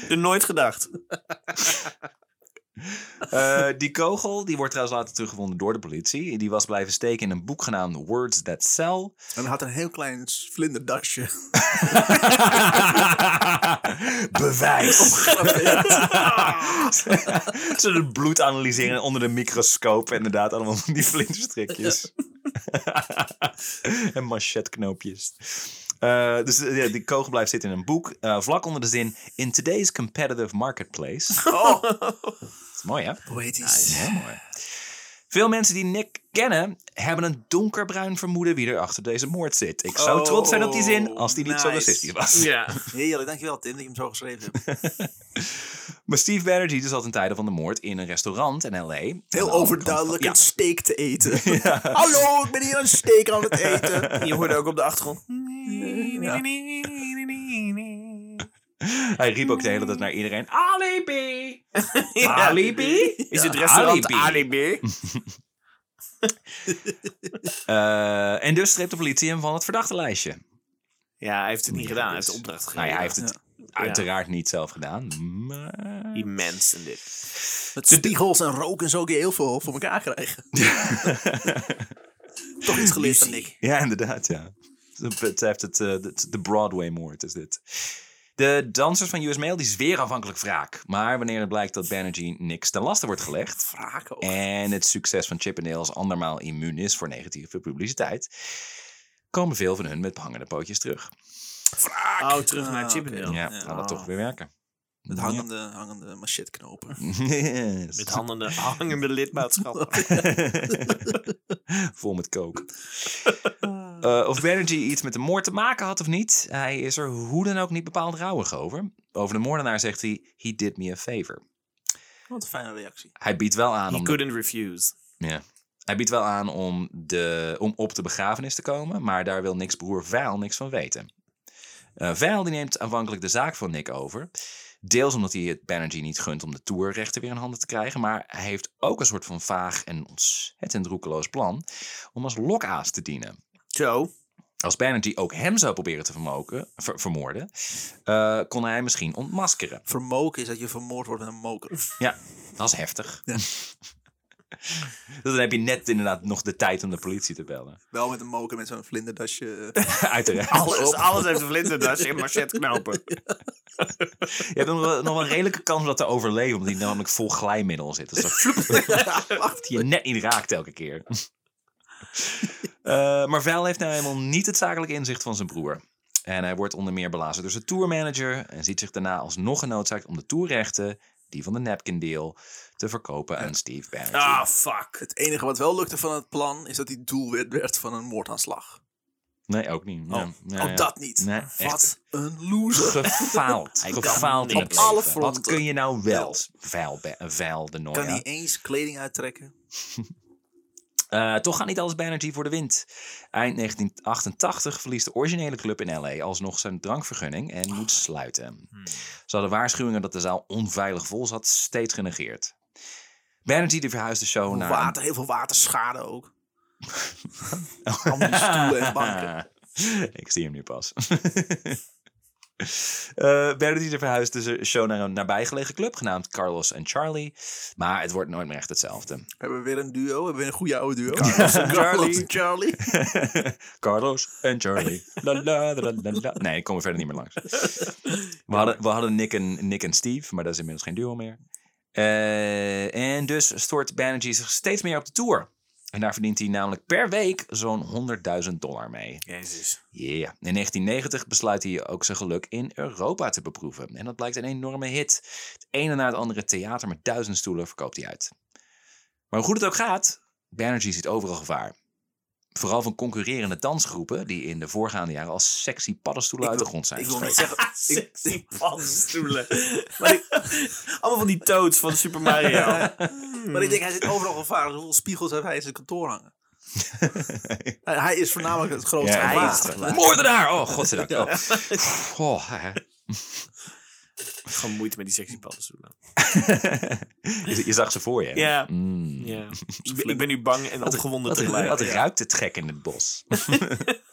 Er nooit gedacht. Eh, die kogel die wordt trouwens later teruggevonden door de politie. Die was blijven steken in een boek genaamd Words That Sell. En had een heel klein vlinderdasje. Bewijs. Ze het bloed analyseren onder de microscoop. Inderdaad, allemaal van die flinterstrikjes. en machetknoopjes. Eh, dus eh, ja, die kogel blijft zitten in een boek. eh, vlak onder de zin... In today's competitive marketplace. Oh, Dat is mooi, hè? poëtisch. Heel mooi. Veel mensen die Nick kennen, hebben een donkerbruin vermoeden wie er achter deze moord zit. Ik zou Oh, trots zijn op die zin als die niet zo nice. racistisch was. Ja. Heerlijk, dankjewel Tim dat je hem zo geschreven hebt. Maar Steve Banerjee dus zat in tijden van de moord in een restaurant in L.A. Heel overduidelijk een steak te eten. Ja. Hallo, ik ben hier een steak aan het eten. Je hoorde ook op de achtergrond. Ja. Hij riep ook de hele tijd naar iedereen. Alibi! Alibi! Is Ja, het restaurant alibi. Alibi? Eh, en dus streep de politie hem van het verdachte lijstje. Ja, hij heeft het Ja, niet gedaan. Hij dus- heeft de opdracht gegeven. Nou ja, hij heeft het uiteraard niet zelf gedaan. Die Maar... mensen dit. Met spiegels en rook en zo kun je heel veel voor elkaar krijgen. Toch iets geleerd van Nick. Ja, inderdaad, ja. Het heeft het, eh, het- de Broadway-moord is dit. De dansers van US Mail die is weer aanvankelijk wraak. Maar wanneer het blijkt dat Banerjee niks ten laste wordt gelegd... Vraag ook. en het succes van Chip en Dale als andermaal immuun is voor negatieve publiciteit... komen veel van hun met hangende pootjes terug. Wraak. Oh, terug naar Ah, Chippendale. Ja, oké. laat dat toch weer werken. Met hangende, hangende machetknopen. Yes. Met hangende, hangende lidmaatschappen. Vol met kook. Eh, of Banerjee iets met de moord te maken had of niet, hij is er hoe dan ook niet bepaald rouwig over. Over de moordenaar zegt hij, he did me a favor. eh. Wat een fijne reactie. Hij biedt wel aan He om, de- couldn't refuse. ja. hij biedt wel aan om, de, om op de begrafenis te komen, maar daar wil niks broer Veil niks van weten. Eh Veil die neemt aanvankelijk de zaak van Nick over. Deels omdat hij het Banerjee niet gunt om de tourrechten weer in handen te krijgen. Maar hij heeft ook een soort van vaag en ontzettend roekeloos plan om als lokaas te dienen. Zo. Als Banerjee ook hem zou proberen te vermoken, ver- vermoorden, eh, kon hij hem misschien ontmaskeren. Vermoken is dat je vermoord wordt met een moker. Ja, dat is heftig. Ja. Dan heb je net inderdaad nog de tijd om de politie te bellen. Wel met een moker met zo'n vlinderdasje. Uiteraard. Alles, alles heeft een vlinderdas en machetknopen. Je hebt nog wel, nog wel een redelijke kans om dat te overleven, omdat hij namelijk vol glijmiddel zit. Dus dat, dat je net niet raakt elke keer. Eh, maar Val heeft nou helemaal niet het zakelijk inzicht van zijn broer. En hij wordt onder meer belazerd door zijn tourmanager en ziet zich daarna alsnog genoodzaakt om de tourrechten, die van de Napkin Deal, te verkopen aan Steve Banerjee. Ah, fuck. Het enige wat wel lukte van het plan is dat hij doelwit werd van een moordaanslag. Nee, ook niet. Ja, ja, oh, ja. dat niet. Nee, echt. wat een loser. Gefaald. kan Gefaald in niks. het Op alle leven. Wat fronten. kun je nou wel, Val, Ba- Val de Kan Noia? niet eens kleding uittrekken. Eh, toch gaat niet alles Banerjee voor de wind. Eind 1988 verliest de originele club in LA alsnog zijn drankvergunning en moet sluiten. Hmm, Ze hadden waarschuwingen dat de zaal onveilig vol zat steeds genegeerd. Banerjee die verhuisde show naar... een- Water, heel veel waterschade ook. Al die stoelen en banken. Ik zie hem nu pas. Eh Banerjee die verhuisde zijn show naar een nabijgelegen club genaamd Carlos en Charlie. Maar het wordt nooit meer echt hetzelfde. Hebben we weer een duo? Hebben we weer een goede oude duo? Carlos en Carlos Charlie. en Charlie. Carlos en Charlie. La, la, la, la, la. Nee, ik kom er verder niet meer langs. We hadden, we hadden Nick, en, Nick en Steve, maar dat is inmiddels geen duo meer. Eh, en dus stort Banerjee zich steeds meer op de tour. En daar verdient hij namelijk per week zo'n 100.000 dollar mee. Jezus. Ja, in 1990 besluit hij ook zijn geluk in Europa te beproeven. En dat blijkt een enorme hit. Het ene na het andere theater met duizend stoelen verkoopt hij uit. Maar hoe goed het ook gaat, Banerjee ziet overal gevaar. Vooral van concurrerende dansgroepen die in de voorgaande jaren als sexy paddenstoelen Ik uit de wil- grond zijn ik wil niet gestreken. zeggen... ik- Sexy paddenstoelen. Maar ik- Allemaal van die toads van Super Mario. Maar ik denk, hij zit overal gevaar. Hoeveel spiegels heeft hij in zijn kantoor hangen? Hij- hij is voornamelijk het grootste Ja, hij gevaar. is het gevaar. Moordenaar! Oh, godzijdank. Oh. Goh, hè. Gewoon moeite met die sexy paddenstoelen. je, je zag ze voor je. Ja. Mm. Ja. Ik ben- Ik ben nu bang en opgewonden Wat, tegelijk. wat ruikt het gek in het bos?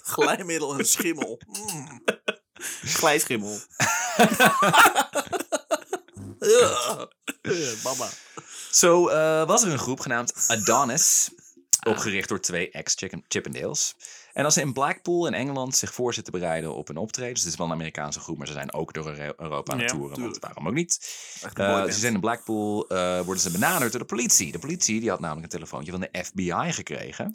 Glijmiddel en schimmel. Mm. Glijschimmel. Ugh. Ugh, Mama. Zo eh, was er een groep genaamd Adonis, Ah. opgericht door twee ex-Chippendales. En als ze in Blackpool in Engeland zich voor zitten bereiden op een optreden, dus het is wel een Amerikaanse groep, maar ze zijn ook door Euro- Europa aan het Ja, toeren, want tuurlijk. waarom ook niet? Echt een Eh, boyband. ze zijn in Blackpool, eh, worden ze benaderd door de politie. De politie die had namelijk een telefoontje van de FBI gekregen.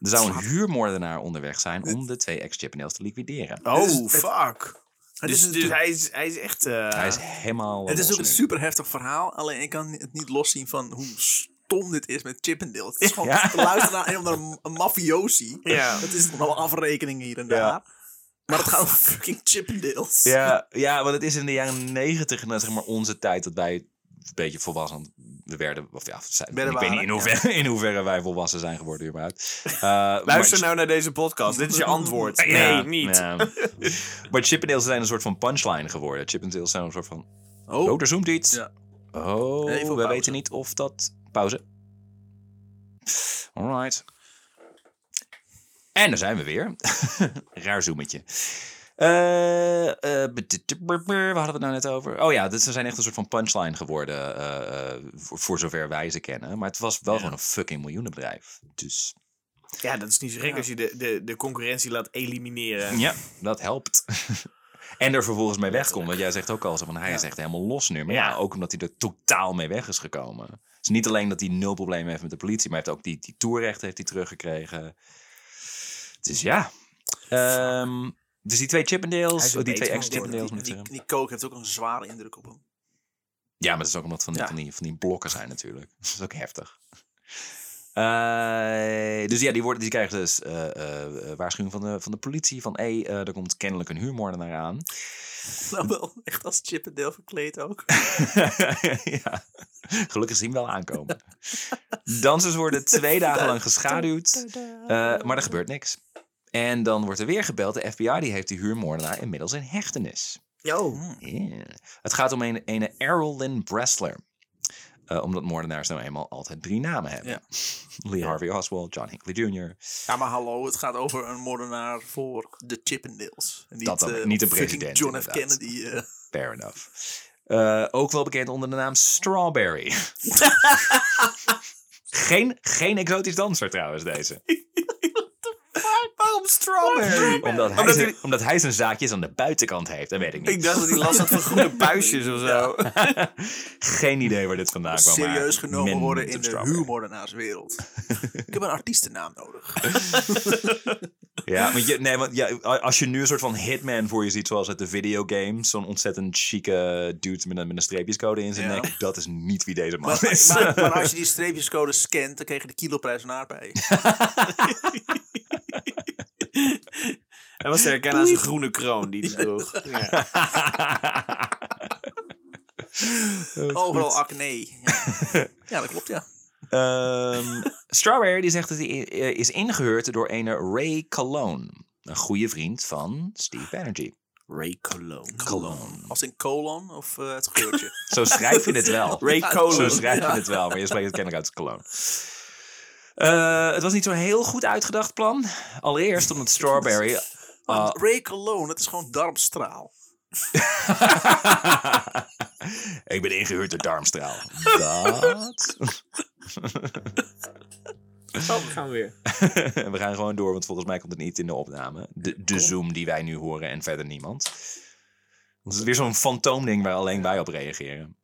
Er zou een huurmoordenaar onderweg zijn om de twee ex-Chippendales te liquideren. Het is- Oh, het- fuck. Het Dus, is dus natuurlijk- hij, is, hij is echt... eh, Hij is helemaal... Ah. Het is los ook een nu. super heftig verhaal. Alleen ik kan het niet loszien van hoe stom dit is met Chippendale. Het is gewoon Ja. te luisteren naar een, naar een, een mafiosi. Ja. Het is nog wel afrekening hier en daar. Ja. Maar het gaat om fucking Chippendales. Ja, ja, want het is in de jaren negentig, nou, zeg maar onze tijd, dat wij een beetje volwassen werden. Of ja, zijn, Werden ik weet waren, niet in hoeverre, in hoeverre wij volwassen zijn geworden überhaupt. Eh, Luister maar- nou naar deze podcast. Dit is je antwoord. Nee, Ja, niet. ja. maar Chip en Dale zijn een soort van punchline geworden. Chip en Dale zijn een soort van, Oh, oh, er zoomt iets. Ja. Oh, Even we pauze. weten niet of dat... Pauze. Alright. En daar zijn we weer. Raar zoemetje. Eh, eh, waar hadden we het nou net over? Oh ja, dus ze zijn echt een soort van punchline geworden. eh, eh, voor, voor zover wij ze kennen. Maar het was wel gewoon een fucking miljoenenbedrijf. Dus Ja, dat is niet zo gek als je de, de, de concurrentie laat elimineren. ja, dat helpt. en er vervolgens mee wegkomt. Want jij zegt ook al zo van hij is echt helemaal los nu. Maar ja. Ja. ook omdat hij er totaal mee weg is gekomen. Dus niet alleen dat hij nul problemen heeft met de politie. Maar hij heeft ook die, die toerrechten heeft hij teruggekregen. Dus ja. Ehm, dus die twee Hij Chippendales, is een oh, die twee Die, beter ex-Chippendales moet die, ik zeggen. die, die coke heeft ook een zware indruk op hem. Ja, maar dat is ook omdat van die, Ja. van die, van die blokken zijn natuurlijk. Dat is ook heftig. Eh, dus ja, die, worden, die krijgen dus eh, eh, eh, waarschuwing van de, van de politie. Van, hé, eh, er komt kennelijk een huurmoordenaar aan. Nou wel, echt als Chippendale verkleed ook. ja, gelukkig zien we wel aankomen. Dansers worden twee dagen lang geschaduwd. eh, maar er gebeurt niks. En dan wordt er weer gebeld. De FBI die heeft die huurmoordenaar inmiddels in hechtenis. Yo. Oh. Hmm. Ja. Het gaat om een, een Errol Lynn Bressler. Eh, omdat moordenaars nou eenmaal altijd drie namen hebben. Ja. Lee Harvey Oswald, John Hinckley Jr. Ja, maar hallo, het gaat over een moordenaar voor de Chippendales. En Niet, Dat dan eh, weer, niet een fucking president, John F. inderdaad. Kennedy. eh. Fair enough. Eh, ook wel bekend onder de naam Strawberry. geen, geen exotisch danser trouwens deze. Waarom strawberry? Omdat hij, Omdat zijn, hij- omdat hij zijn zaakjes aan de buitenkant heeft, dat weet ik niet. Ik dacht dat hij last had van groene puistjes of zo. Geen idee waar dit vandaan kwam. maar serieus genomen men worden in doet de strawberry. huurmoordenaarswereld. ik heb een artiestennaam nodig. Ja, want je, nee, want ja, als je nu een soort van hitman voor je ziet, zoals uit de videogames, zo'n ontzettend chique dude met een, met een streepjescode in zijn Ja. nek, dat is niet wie deze man Maar, is. maar, maar als je die streepjescode scant, dan kreeg je de kiloprijs van aardbei. Hij was te herkennen aan zijn groene kroon die hij droeg. Ja. Overal acne. Ja. ja, dat klopt, ja. Ehm, Strawberry die zegt dat hij i- eh, is ingehuurd door een Ray Cologne. Een goede vriend van Steve Energy. Ray Cologne. Cologne. Als in colon of eh, het geurtje. Zo schrijf je het wel. Ray Zo Cologne. schrijf je het wel, maar je spreekt het kennelijk uit Cologne. Eh, het was niet zo'n heel goed uitgedacht plan. Allereerst omdat Strawberry... eh, Want Ray Cologne, dat is gewoon darmstraal. ik ben ingehuurd door Darmstraal. Dat. Oh, we gaan weer. we gaan gewoon door, want volgens mij komt het niet in de opname. De, de Zoom die wij nu horen en verder niemand. Dat is weer zo'n fantoomding waar alleen wij op reageren.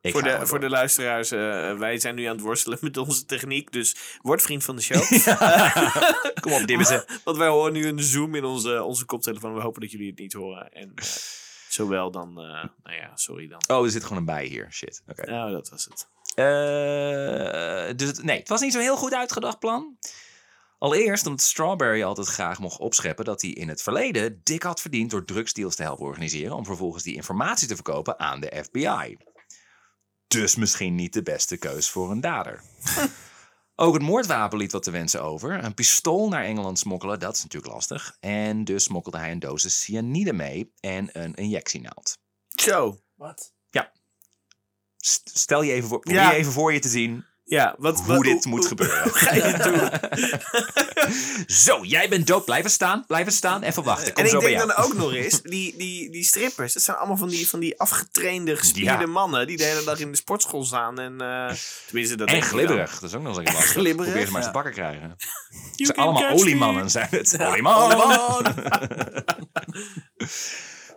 Ik Voor ga de, maar voor de door. luisteraars, eh, wij zijn nu aan het worstelen met onze techniek. Dus word vriend van de show. Kom op, Dimmissen. Want wij horen nu een zoom in onze, onze koptelefoon. We hopen dat jullie het niet horen. En eh, zowel dan, eh, nou ja, sorry dan. Oh, er zit gewoon een bij hier. Shit. Oké. Nou, dat was het. Eh, dus het- nee, het was niet zo'n heel goed uitgedacht plan. Allereerst omdat Strawberry altijd graag mocht opscheppen dat hij in het verleden dik had verdiend door drugsdeals te helpen organiseren om vervolgens die informatie te verkopen aan de FBI. Dus misschien niet de beste keus voor een dader. Ook het moordwapen liet wat te wensen over. Een pistool naar Engeland smokkelen, dat is natuurlijk lastig. En dus smokkelde hij een dosis cyanide mee en een injectienaald. Zo. Wat? St- Stel je even voor, probeer Ja. even voor je te zien Ja, wat, hoe wat- dit moet gebeuren. ga je doen? Zo, jij bent dood. Blijven staan, blijven staan. Even wachten. Kom en zo ik bij denk jou. dan ook nog eens, die, die, die strippers, dat zijn allemaal van die, van die afgetrainde, gespierde Ja. mannen die de hele dag in de sportschool staan. En, eh, tenminste, dat En denk ik glibberig. Dat is ook nog eens een lastig. glibberig, Probeer ze maar eens te ja. pakken krijgen. Het dan. You zijn can allemaal catch me. oliemannen, zijn het. Olieman!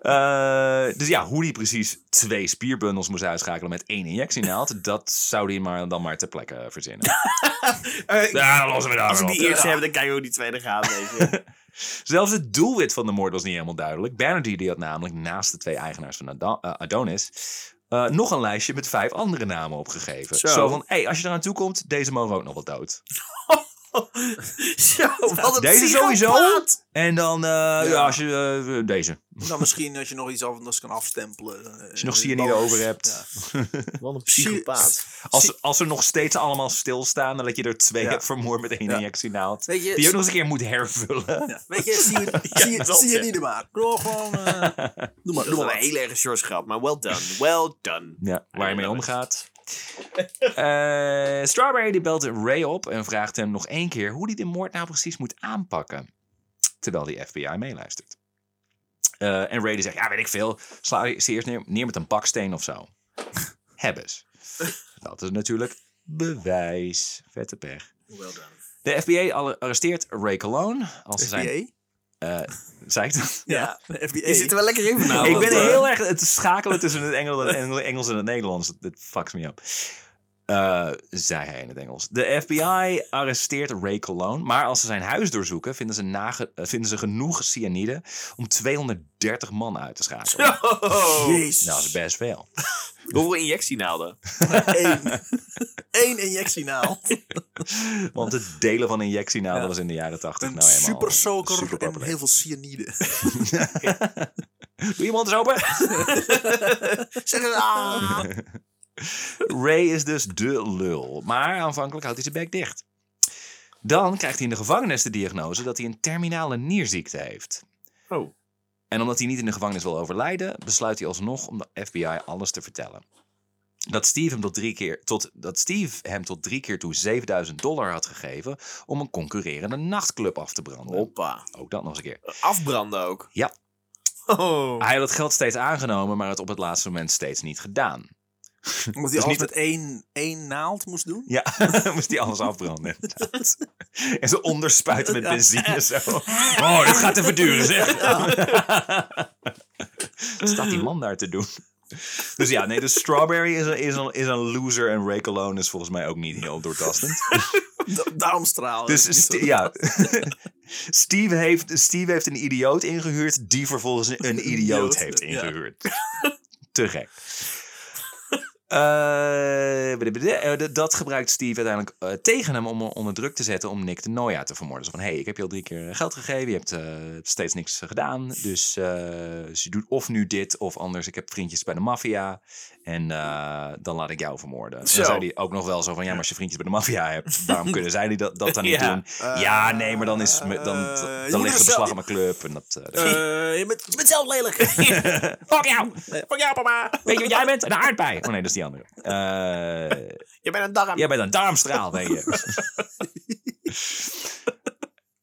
Eh, dus ja, hoe die precies twee spierbundels moest uitschakelen met één injectienaald, dat zou die maar, dan maar ter plekke verzinnen. Eh, Ja, dan lossen we daar Als we wel op. die eerste hebben, dan kijken we hoe die tweede gaat. Weet je. Zelfs het doelwit van de moord was niet helemaal duidelijk. Banerjee die had namelijk naast de twee eigenaars van Ada- eh, Adonis... eh, nog een lijstje met vijf andere namen opgegeven. Zo, Zo. van, hé, hey, als je eraan toe komt, deze mogen ook nog wel dood. Zo, wat een Deze psychopaat. sowieso. En dan, eh, ja. als je eh, deze. Dan Nou, misschien dat je nog iets anders kan afstempelen. eh, Als je nog cyanide over hebt. Wat een psychopaat. Als, als ze nog steeds allemaal stilstaan, dan dat je er twee Ja. hebt vermoord met één Ja. injectienaald. Weet je, Die je ook nog eens een keer moet hervullen. ja, weet je, cyan- cyan- dat, ja. cyanide maar. Doe gewoon, eh, doe maar, Dat is doe wel maar een wat. hele erge George grap, maar well done. Well done. Ja, waar je mee Ja, dat is- omgaat. Eh, Strawberry die belt Ray op en vraagt hem nog één keer hoe hij de moord nou precies moet aanpakken. Terwijl die FBI meeluistert. Eh, en Ray die zegt, ja weet ik veel, sla ze eerst neer, neer met een baksteen of zo. Hebben ze. Dat is natuurlijk bewijs. Vette pech. Well done. De FBI alle- arresteert Ray Cologne. Als ze zijn, FBA? eh zei ik dat? Ja, FBA. Je zit er wel lekker in Nou, vanavond. ik ben eh. heel erg het schakelen tussen het Engel- Engel- Engels en het Nederlands. Dat- Dat fucks me up. Eh, zei hij in het Engels. De FBI arresteert Ray Cologne. Maar als ze zijn huis doorzoeken, vinden ze, nage- eh, vinden ze genoeg cyanide om 230 man uit te schakelen. Oh. Jezus. Nou, dat is best veel. Hoeveel injectienaalden? Eén. Eén injectienaal. Want het delen van injectienaalden Ja. was in de jaren 80 Een nou helemaal super soaker en superpopulair. heel veel cyanide. Doe je mond eens open? Zeg eens, ah. Ray is dus de lul. Maar aanvankelijk houdt hij zijn bek dicht. Dan krijgt hij in de gevangenis de diagnose dat hij een terminale nierziekte heeft. Oh. En omdat hij niet in de gevangenis wil overlijden, besluit hij alsnog om de FBI alles te vertellen. Dat Steve hem tot drie keer, tot, dat Steve hem tot drie keer toe 7000 dollar had gegeven om een concurrerende nachtclub af te branden. Hoppa. Ook dat nog eens een keer. Afbranden ook. Ja. Oh. Hij had het geld steeds aangenomen, maar het op het laatste moment steeds niet gedaan. Omdat hij Dus niet alles dat- met één, één naald moest doen. Ja, moest die alles afbranden. inderdaad. en ze onderspuiten met Ja. benzine zo. Oh, dat gaat even duren zeg. Wat staat die man daar te doen? Dus ja, nee, dus Strawberry is een, is een, is een loser en Ray Cologne is volgens mij ook niet heel doortastend. Da- Daarom straalde het niet Dus zo. Ste- ja. Steve, heeft, Steve heeft een idioot ingehuurd die vervolgens een idioot Idioot, heeft ja. ingehuurd. Te gek. Eh, bidibidi, eh, d- dat gebruikt Steve uiteindelijk eh, tegen hem om hem onder druk te zetten om Nick de Noia te vermoorden. Zo van, hé, hey, ik heb je al drie keer geld gegeven, je hebt eh, steeds niks gedaan. Dus, eh, dus je doet of nu dit of anders, ik heb vriendjes bij de maffia en eh, dan laat ik jou vermoorden. En Zo. Dan zei hij ook nog wel zo van, ja, maar als je vriendjes bij de maffia hebt, waarom kunnen zij die dat, dat dan niet Ja. doen? Ja, nee, maar dan, is, me- dan, Eh, dan, je moet ligt de er beslag zelf- aan mijn club. En dat, eh, dat- Eh, je, bent, je bent zelf lelijk. Fuck jou! Pak jou, papa! Weet je wat jij bent? Een aardbei! Oh nee, dat is die andere. Eh, Je bent een darm. jij bent een darmstraal, ben je.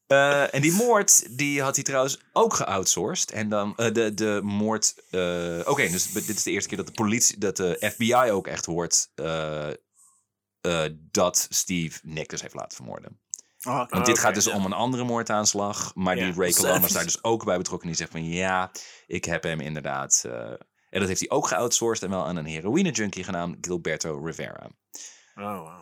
Eh, en die moord, die had hij trouwens ook geoutsourced. En dan eh, de, de moord... eh, Oké, dus dit is de eerste keer dat de politie, dat de FBI ook echt hoort... eh, eh, dat Steve Nick dus heeft laten vermoorden. Oh, oké. Want Ah, dit gaat oké, dus om een andere moordaanslag. Maar Ja, die Ray dus, Cologne eh, was daar dus ook bij betrokken. Die zegt van ja, ik heb hem inderdaad. eh, en dat heeft hij ook geoutsourced en wel aan een heroïne junkie genaamd Gilberto Rivera. Oh, wow.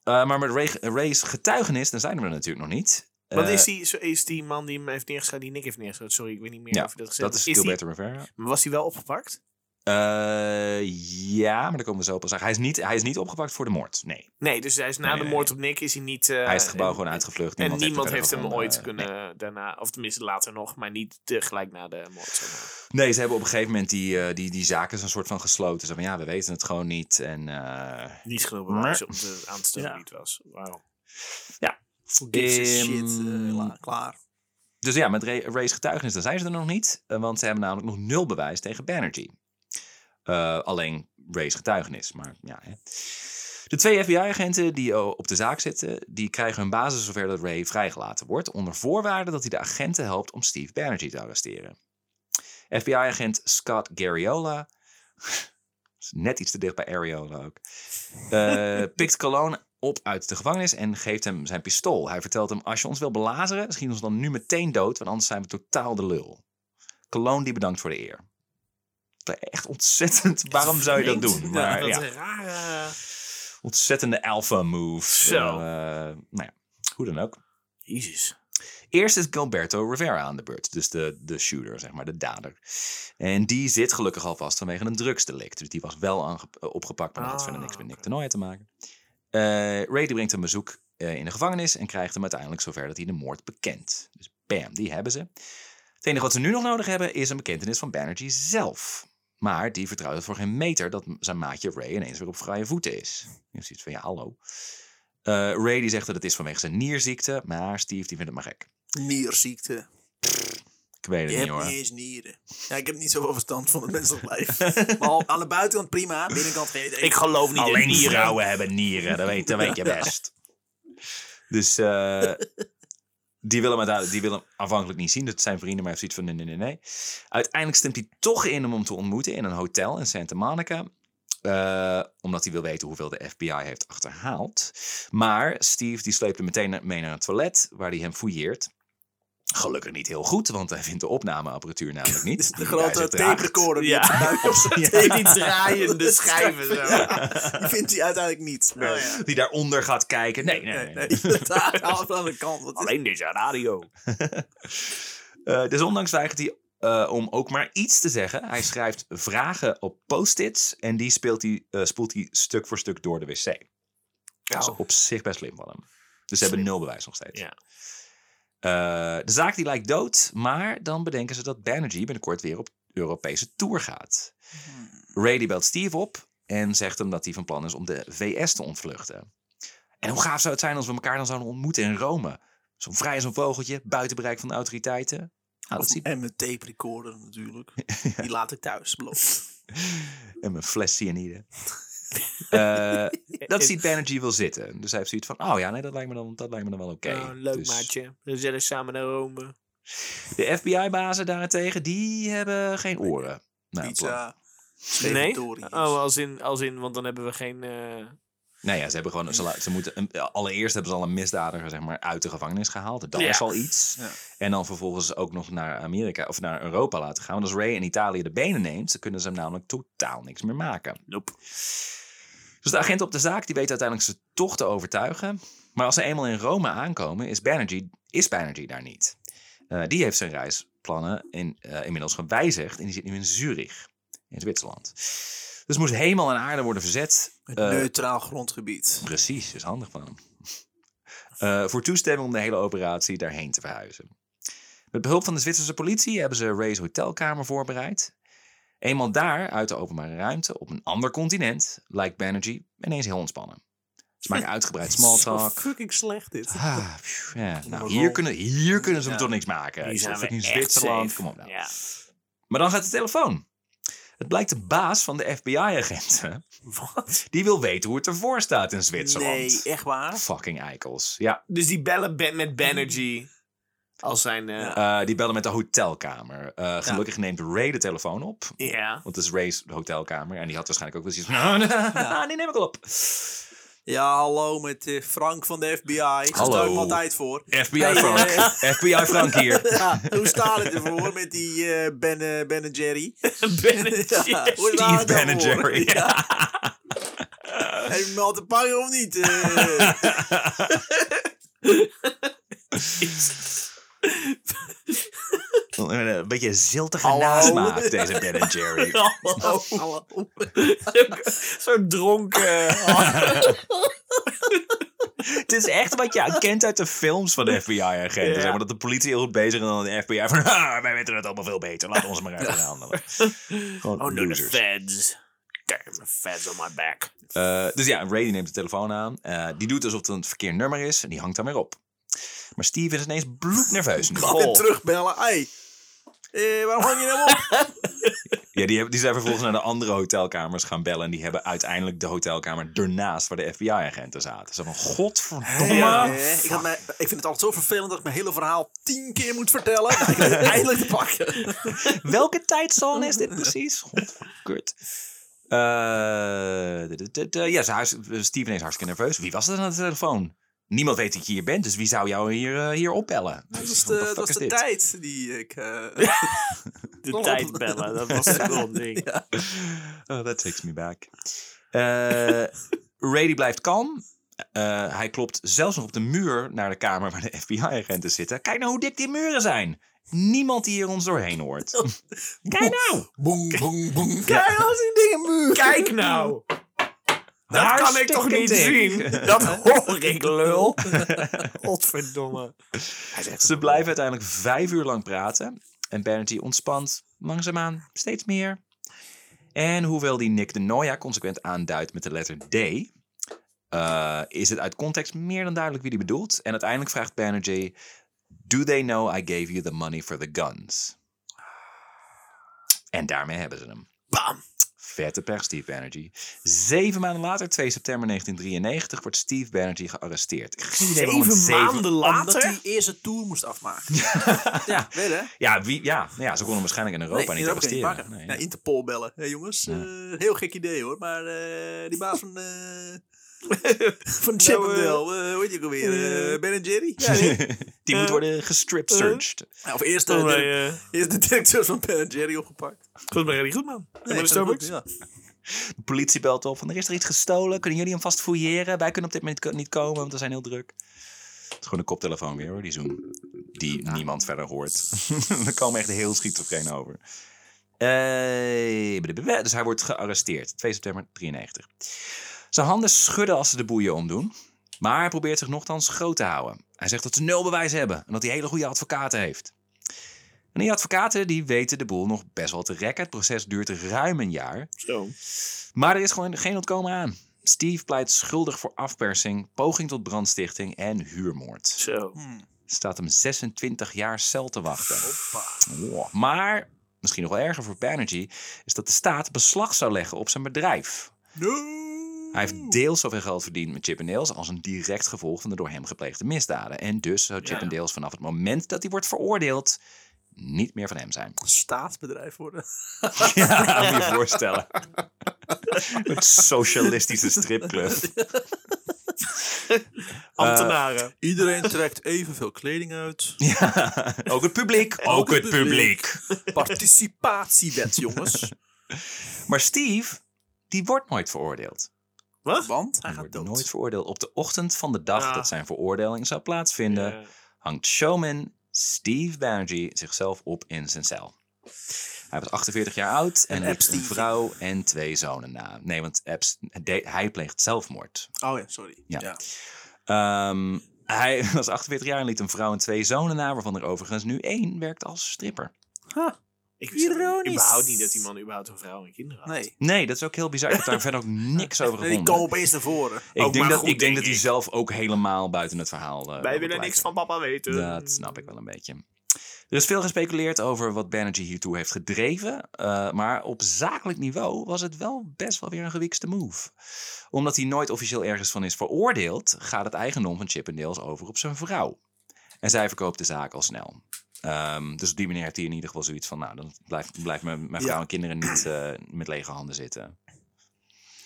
Eh, maar met Ray, Ray's getuigenis, dan zijn we er natuurlijk nog niet. Wat Eh, is die, zo- is die man die hem heeft neergeschoten, die Nick heeft neergeschoten? Sorry, ik weet niet meer Ja, of je dat gezegd Dat is, hebt. die- Gilberto Rivera. maar was hij wel opgepakt? Eh, ja, maar daar komen we zo op. Hij is, niet, hij is niet opgepakt voor de moord. Nee. Nee, dus hij is na Nee, de nee, moord op Nick is hij niet... eh, hij is het gebouw en- gewoon uitgevlucht. En niemand heeft, hem verder ooit gevonden. eh, kunnen daarna, of tenminste later nog, maar niet tegelijk na de moord. zeg maar. Nee, ze hebben op een gegeven moment die, eh, die, die zaken zo'n soort van gesloten. Ze van ja, we weten het gewoon niet. En eh, Niet genoeg Maar- bewijs om te, aan te stellen Ja. wie het was. Wauw. Gives a Ehm, shit. eh, la- klaar. Dus ja, met Ray- Ray's getuigenis, dan zijn ze er nog niet. eh, Want ze hebben namelijk nog nul bewijs tegen Banerjee. Eh, alleen Ray's getuigenis. Maar ja, hè. De twee FBI-agenten die eh, op de zaak zitten, die krijgen hun basis zover dat Ray vrijgelaten wordt. Onder voorwaarde dat hij de agenten helpt om Steve Banerjee te arresteren. FBI-agent Scott Gariola. Net iets te dicht bij Ariola ook. eh, pikt Cologne op uit de gevangenis en geeft hem zijn pistool. Hij vertelt hem, als je ons wil belazeren, schiet ons dan nu meteen dood, want anders zijn we totaal de lul. Cologne die bedankt voor de eer. Echt ontzettend. Waarom zou je dat doen? vreemd. Ja, Maar, dat ja. is een rare... Ontzettende alpha move. Zo. Eh, nou ja, hoe dan ook. Jezus. Eerst is Gilberto Rivera aan de beurt. Dus de, de shooter, zeg maar, de dader. En die zit gelukkig al vast vanwege een drugsdelict. Dus die was wel aange- eh, opgepakt, maar dat had Ah, verder niks met Nick oké. de Nooijen te maken. Eh Ray die brengt een bezoek eh, in de gevangenis en krijgt hem uiteindelijk zover dat hij de moord bekent. Dus bam, die hebben ze. Het enige wat ze nu nog nodig hebben is een bekentenis van Banerjee zelf. Maar die vertrouwt het voor geen meter dat m- zijn maatje Ray ineens weer op vrije voeten is. Je hebt zoiets van, ja, hallo. Eh, Ray die zegt dat het is vanwege zijn nierziekte, maar Steve die vindt het maar gek. Nierziekte. Ik weet het Je hebt niet hoor. niet eens nieren. Ja, ik heb niet zoveel verstand van het menselijk lijf. maar al- aan de buitenkant prima, aan de binnenkant geen idee. Ik geloof niet in Alleen dieren. vrouwen hebben nieren, dat weet, dat weet je best. Dus eh, die, willen hem uiteindelijk- die willen hem aanvankelijk niet zien. Dat zijn vrienden, maar hij heeft zoiets van nee, nee, nee, nee. Uiteindelijk stemt hij toch in om hem te ontmoeten in een hotel in Santa Monica. Eh, omdat hij wil weten hoeveel de FBI heeft achterhaald. Maar Steve die sleept hem meteen na- mee naar het toilet, waar hij hem fouilleert. Gelukkig niet heel goed, want hij vindt de opnameapparatuur namelijk niet. De Die bij grote zich draagt. tape recorder die Ja. op zijn buik op zijn tape- Die draaiende schijven zo. Ja, die vindt hij uiteindelijk niet. Oh, ja. Die daaronder gaat kijken. Nee, nee, nee. Nee, nee. inderdaad, aan de andere kant. Wat is- Alleen deze radio. Eh, dus ondanks weigert hij eh, om ook maar iets te zeggen. Hij schrijft vragen op post-its en die speelt hij, eh, spoelt hij stuk voor stuk door de wc. Dat is op zich best slim van hem. Dus ze hebben Oh. Slim. nul bewijs nog steeds. Ja. Eh, de zaak die lijkt dood, maar dan bedenken ze dat Banerjee binnenkort weer op Europese tour gaat. Hmm. Ray die belt Steve op en zegt hem dat hij van plan is om de VS te ontvluchten. En hoe gaaf zou het zijn als we elkaar dan zouden ontmoeten in Rome? Zo'n vrij als een vogeltje, buiten bereik van de autoriteiten. Nou, dat ziet En mijn tape recorder natuurlijk. Die laat ik thuis, beloofd. En mijn fles cyanide. Eh, dat ziet Banerjee wel zitten. Dus hij heeft zoiets van, oh ja, nee, dat lijkt me dan, dat lijkt me dan wel oké. Nou, leuk Dus maatje. We zullen samen naar Rome. De FBI-bazen daarentegen, die hebben geen oren. Nou, eh, Pizza. Nee? Scheventorie is. Oh, als in, als in, want dan hebben we geen... eh, Nou ja, ze hebben gewoon. Ze, la- ze moeten, een- allereerst hebben ze al een misdadiger zeg maar, uit de gevangenis gehaald. Dat Ja. is al iets. Ja. En dan vervolgens ook nog naar Amerika of naar Europa laten gaan. Want als Ray in Italië de benen neemt, dan kunnen ze hem namelijk totaal niks meer maken. Nope. Dus de agent op de zaak die weet uiteindelijk ze toch te overtuigen. Maar als ze eenmaal in Rome aankomen, is Banerjee, is Banerjee daar niet. Eh, die heeft zijn reisplannen in, eh, inmiddels gewijzigd en die zit nu in Zurich, in Zwitserland. Dus moest hemel en aarde worden verzet Het eh, neutraal grondgebied. Precies, is handig van hem. Eh, voor toestemming om de hele operatie daarheen te verhuizen. Met behulp van de Zwitserse politie hebben ze Ray's hotelkamer voorbereid. Eenmaal daar, uit de openbare ruimte, op een ander continent, lijkt Banerjee ineens heel ontspannen. Ze maken uitgebreid small talk. Zo fucking slecht dit. Ah, phew, ja. nou, Overal. hier, kunnen, hier kunnen ze hem Ja. toch niks maken. Hier Ik zijn zat we in echt Zwitserland. safe. Kom op nou. Ja. Maar dan gaat de telefoon. Het blijkt de baas van de FBI-agenten. Wat? Die wil weten hoe het ervoor staat in Zwitserland. Nee, echt waar? Fucking eikels. Ja, Dus die bellen Ben- met Banerjee als zijn... eh, ja. eh, die bellen met de hotelkamer. Eh, gelukkig neemt Ray de telefoon op. Want het is Ray's hotelkamer. En die had waarschijnlijk ook wel zoiets van... "Nou, Die neem ik al op. Ja, hallo met eh, Frank van de FBI. Daar Hallo. sta ik me altijd voor. FBI Hey, Frank. eh. FBI Frank hier. Ja, hoe staat het ervoor met die eh ben, eh, ben en Jerry? Banerjee. Ja, hoe staat Steve het Ben daarvoor? Jerry. Ja. Heb je hem al te pakken of niet? Eh, Een beetje ziltige Hallo. nasmaak, deze Ben Jerry. hallo, Oh, hallo. Zo'n dronken... Het is echt wat je kent uit de films van de FBI-agenten. Ja. Zeg maar dat de politie heel goed bezig is en dan de FBI van... "Ah, wij weten het allemaal veel beter. Laat ons maar uit gaan handelen. Gewoon Oh no, the losers. feds. Damn, the feds on my back. Eh, dus ja, Ray die neemt de telefoon aan. Eh, die doet alsof het een verkeerd nummer is en die hangt dan weer op. Maar Steve is ineens bloednerveus nu. Ik Goh. ben terugbellen. Hey, eh, waarom hang je nou op? Ja, die, hebben, die zijn vervolgens naar de andere hotelkamers gaan bellen. En die hebben uiteindelijk de hotelkamer ernaast waar de FBI-agenten zaten. Ze van, godverdomme. Ja, eh, ik, had mij, ik vind het altijd zo vervelend dat ik mijn hele verhaal tien keer moet vertellen. Nou, Ik heb het eindelijk te pakken. Welke tijdzone is dit precies? Godverkut. Eh, d- d- d- d- ja, ze- huis- Steven is hartstikke nerveus. Wie was dat aan de telefoon? Niemand weet dat je hier bent, dus wie zou jou hier, eh, hier opbellen? Dat Dus was de, what the dat fuck was is de dit? tijd die ik... eh, De tijd bellen, dat was toch wel een ding. Oh, that takes me back. Eh Ray die blijft kalm. Eh, hij klopt zelfs nog op de muur naar de kamer waar de FBI-agenten zitten. Kijk nou hoe dik die muren zijn. Niemand die hier ons doorheen hoort. Kijk nou! boem, boem, boem. Ja. als die dingen muur. Kijk nou! Dat kan ik toch Hartstikke niet dik. zien? Dat hoor ik, lul. Godverdomme. Hij zegt, Ze blijven uiteindelijk vijf uur lang praten. En Bernity ontspant langzaamaan steeds meer. En hoewel die Nick de Noia consequent aanduidt met de letter D... eh, is het uit context meer dan duidelijk wie die bedoelt. En uiteindelijk vraagt Banerjee... Do they know I gave you the money for the guns? En daarmee hebben ze hem. bam. Vette pech, Steve Banerjee. Zeven maanden later, 2 september 1993, wordt Steve Banerjee gearresteerd. Ik heb geen idee waarom het Zeven maanden Omdat later? hij eerst een tour moest afmaken. ja, weet hè? Ja, wie, ja, ja, ze konden hem waarschijnlijk in Europa niet Europa kan je arresteren. pakken. Nee. Ja, Interpol bellen. Hé, jongens, eh, heel gek idee hoor. Maar eh, die baas van, eh van Chippendale, eh, hoe heet je ook alweer? eh, ben en Jerry? Ja, die- Die moet worden gestripped searched. Ja, of eerst, eh, Volgens de, mij, eh, eerst de directeur van Ben en Jerry opgepakt. volgens mij gaat die goed, man. Nee, Nee, maar de Starbucks? ja. De politie belt op van er is er iets gestolen. Kunnen jullie hem vast fouilleren? Wij kunnen op dit moment ko- niet komen, want we zijn heel druk. Het is gewoon een koptelefoon weer hoor, die Zoom. Die niemand verder hoort. Daar komen echt heel schizofreen over. Eh, blablabla. dus hij wordt gearresteerd. 2 september 93. Zijn handen schudden als ze de boeien omdoen. Maar hij probeert zich nogthans groot te houden. Hij zegt dat ze nul bewijs hebben en dat hij hele goede advocaten heeft. En die advocaten die weten de boel nog best wel te rekken. Het proces duurt ruim een jaar. Zo. Maar er is gewoon geen ontkomen aan. Steve pleit schuldig voor afpersing, poging tot brandstichting en huurmoord. Zo. Hmm. Staat hem 26 jaar cel te wachten. Wow. Maar, misschien nog wel erger voor Banerjee, is dat de staat beslag zou leggen op zijn bedrijf. No. Hij heeft deels zoveel geld verdiend met Chip and Dales als een direct gevolg van de door hem gepleegde misdaden. En dus zou Chip Ja. and Dales vanaf het moment dat hij wordt veroordeeld niet meer van hem zijn. Staatsbedrijf worden. Ja, moet je voorstellen. Met socialistische stripclub. Ambtenaren. Iedereen trekt evenveel kleding uit. Ja. Ook het publiek. Ook, het het publiek. publiek. Participatiewet, jongens. Maar Steve, die wordt nooit veroordeeld. Wat? Want hij Hij gaat wordt dood. nooit veroordeeld. Op de ochtend van de dag Ah. dat zijn veroordeling zou plaatsvinden, Ja. hangt showman Steve Banerjee zichzelf op in zijn cel. Hij was 48 jaar oud en En liep een Epstein. vrouw en twee zonen na. Nee, want Epst- de- hij pleegt zelfmoord. Oh ja, sorry. Ja. Ja. Ehm, hij was 48 jaar en liet een vrouw en twee zonen na, waarvan er overigens nu één werkt als stripper. Ik wist Ironisch. überhaupt niet dat die man überhaupt een vrouw en kinderen had. Nee. Nee, dat is ook heel bizar. Ik heb daar verder ook niks over Nee, die gevonden. komen opeens naar voren. Oh, ik Ook denk, maar dat, goed, ik denk denk dat hij ik. zelf ook helemaal buiten het verhaal. eh, Wij wil willen niks blijven. van papa weten. Dat snap ik wel een beetje. Er is veel gespeculeerd over wat Banerjee hiertoe heeft gedreven. eh, maar op zakelijk niveau was het wel best wel weer een gewikste move. Omdat hij nooit officieel ergens van is veroordeeld, gaat het eigendom van Chippendales over op zijn vrouw. En zij verkoopt de zaak al snel. Ehm, dus op die manier heeft hij in ieder geval zoiets van: nou, dan blijft, blijft mijn, mijn vrouw Ja. en kinderen niet eh, met lege handen zitten.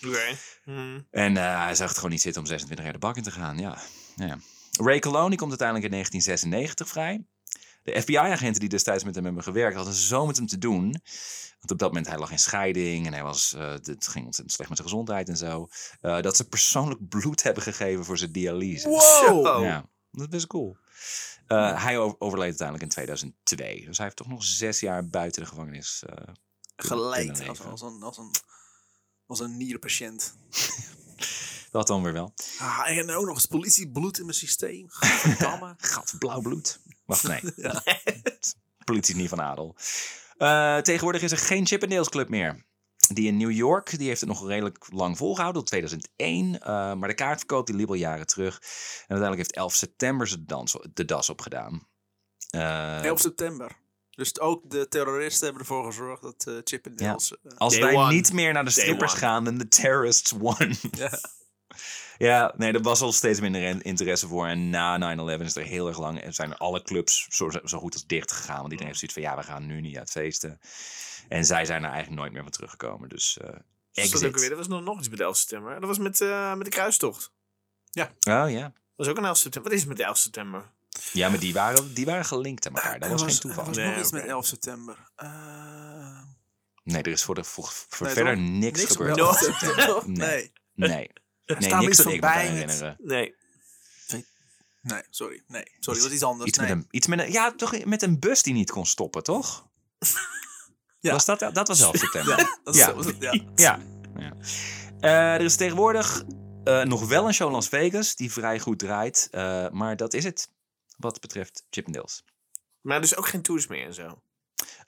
Oké. Hm. En eh, hij zag het gewoon niet zitten om 26 jaar de bak in te gaan. Ja. Nou Ja, ja. Ray Coloni komt uiteindelijk in 1996 vrij. De FBI-agenten die destijds met hem hebben gewerkt, hadden zo met hem te doen. Want op dat moment hij lag in scheiding en hij was, eh, het ging ontzettend slecht met zijn gezondheid en zo. eh, dat ze persoonlijk bloed hebben gegeven voor zijn dialyse. Wow! Ja, dat is best cool. Eh, hij o- overleed uiteindelijk in 2002. Dus hij heeft toch nog zes jaar buiten de gevangenis. eh, Gelijk. Kunnen Als, leven. als, een, als, een, als een nierpatiënt. dat dan weer wel. Ah, en ook nog eens politiebloed in mijn systeem. Gadverdamme. Gat, blauw bloed. Wacht, nee. Ja. Politie is niet van adel. Eh, tegenwoordig is er geen Chippendales Club meer. Die in New York, die heeft het nog redelijk lang volgehouden, tot 2001. eh, maar de kaartverkoop die liep al jaren terug. En uiteindelijk heeft 11 september ze dans, de das opgedaan. Eh 11 september. Dus ook de terroristen hebben ervoor gezorgd dat eh, Chip en Ja. Dale's... eh, als Day wij one. niet meer naar de Day strippers one. gaan, dan de terrorists won. ja. Ja, nee, er was al steeds minder in- interesse voor. En na 9-11 is er heel erg lang. zijn alle clubs zo, zo goed als dicht gegaan. Want iedereen heeft zoiets van: ja, we gaan nu niet uit feesten. En zij zijn er eigenlijk nooit meer van teruggekomen. Dus eh Was Dat, ook weer? exit. dat was nog, nog iets met 11 september. Dat was met, eh, met de kruistocht. Oh ja. Dat was ook een 11 september. Wat is het met de 11 september? Ja, maar die waren, die waren gelinkt aan elkaar. Dat Ah, Er was, geen Er toeval. was Nee, nog iets oké. met 11 september. Eh, Nee, er is voor, de, voor, voor Nee, verder toch? niks, niks gebeurd. met No. 11 september. Nee. Nee. Nee. Nee, staan niks iets dat ik me van kan bij met- herinneren. Nee. Nee, sorry. Nee, sorry. Dat was iets anders. Iets, nee. met een, iets met een... Ja, toch met een bus die niet kon stoppen, toch? Ja. Was dat, dat was 11 september. Ja, dat is Ja. zo. is het, ja. Ja. ja. Eh, er is tegenwoordig eh, nog wel een show in Las Vegas die vrij goed draait. eh, maar dat is het wat betreft Chippendales. Maar dus ook geen tours meer en zo.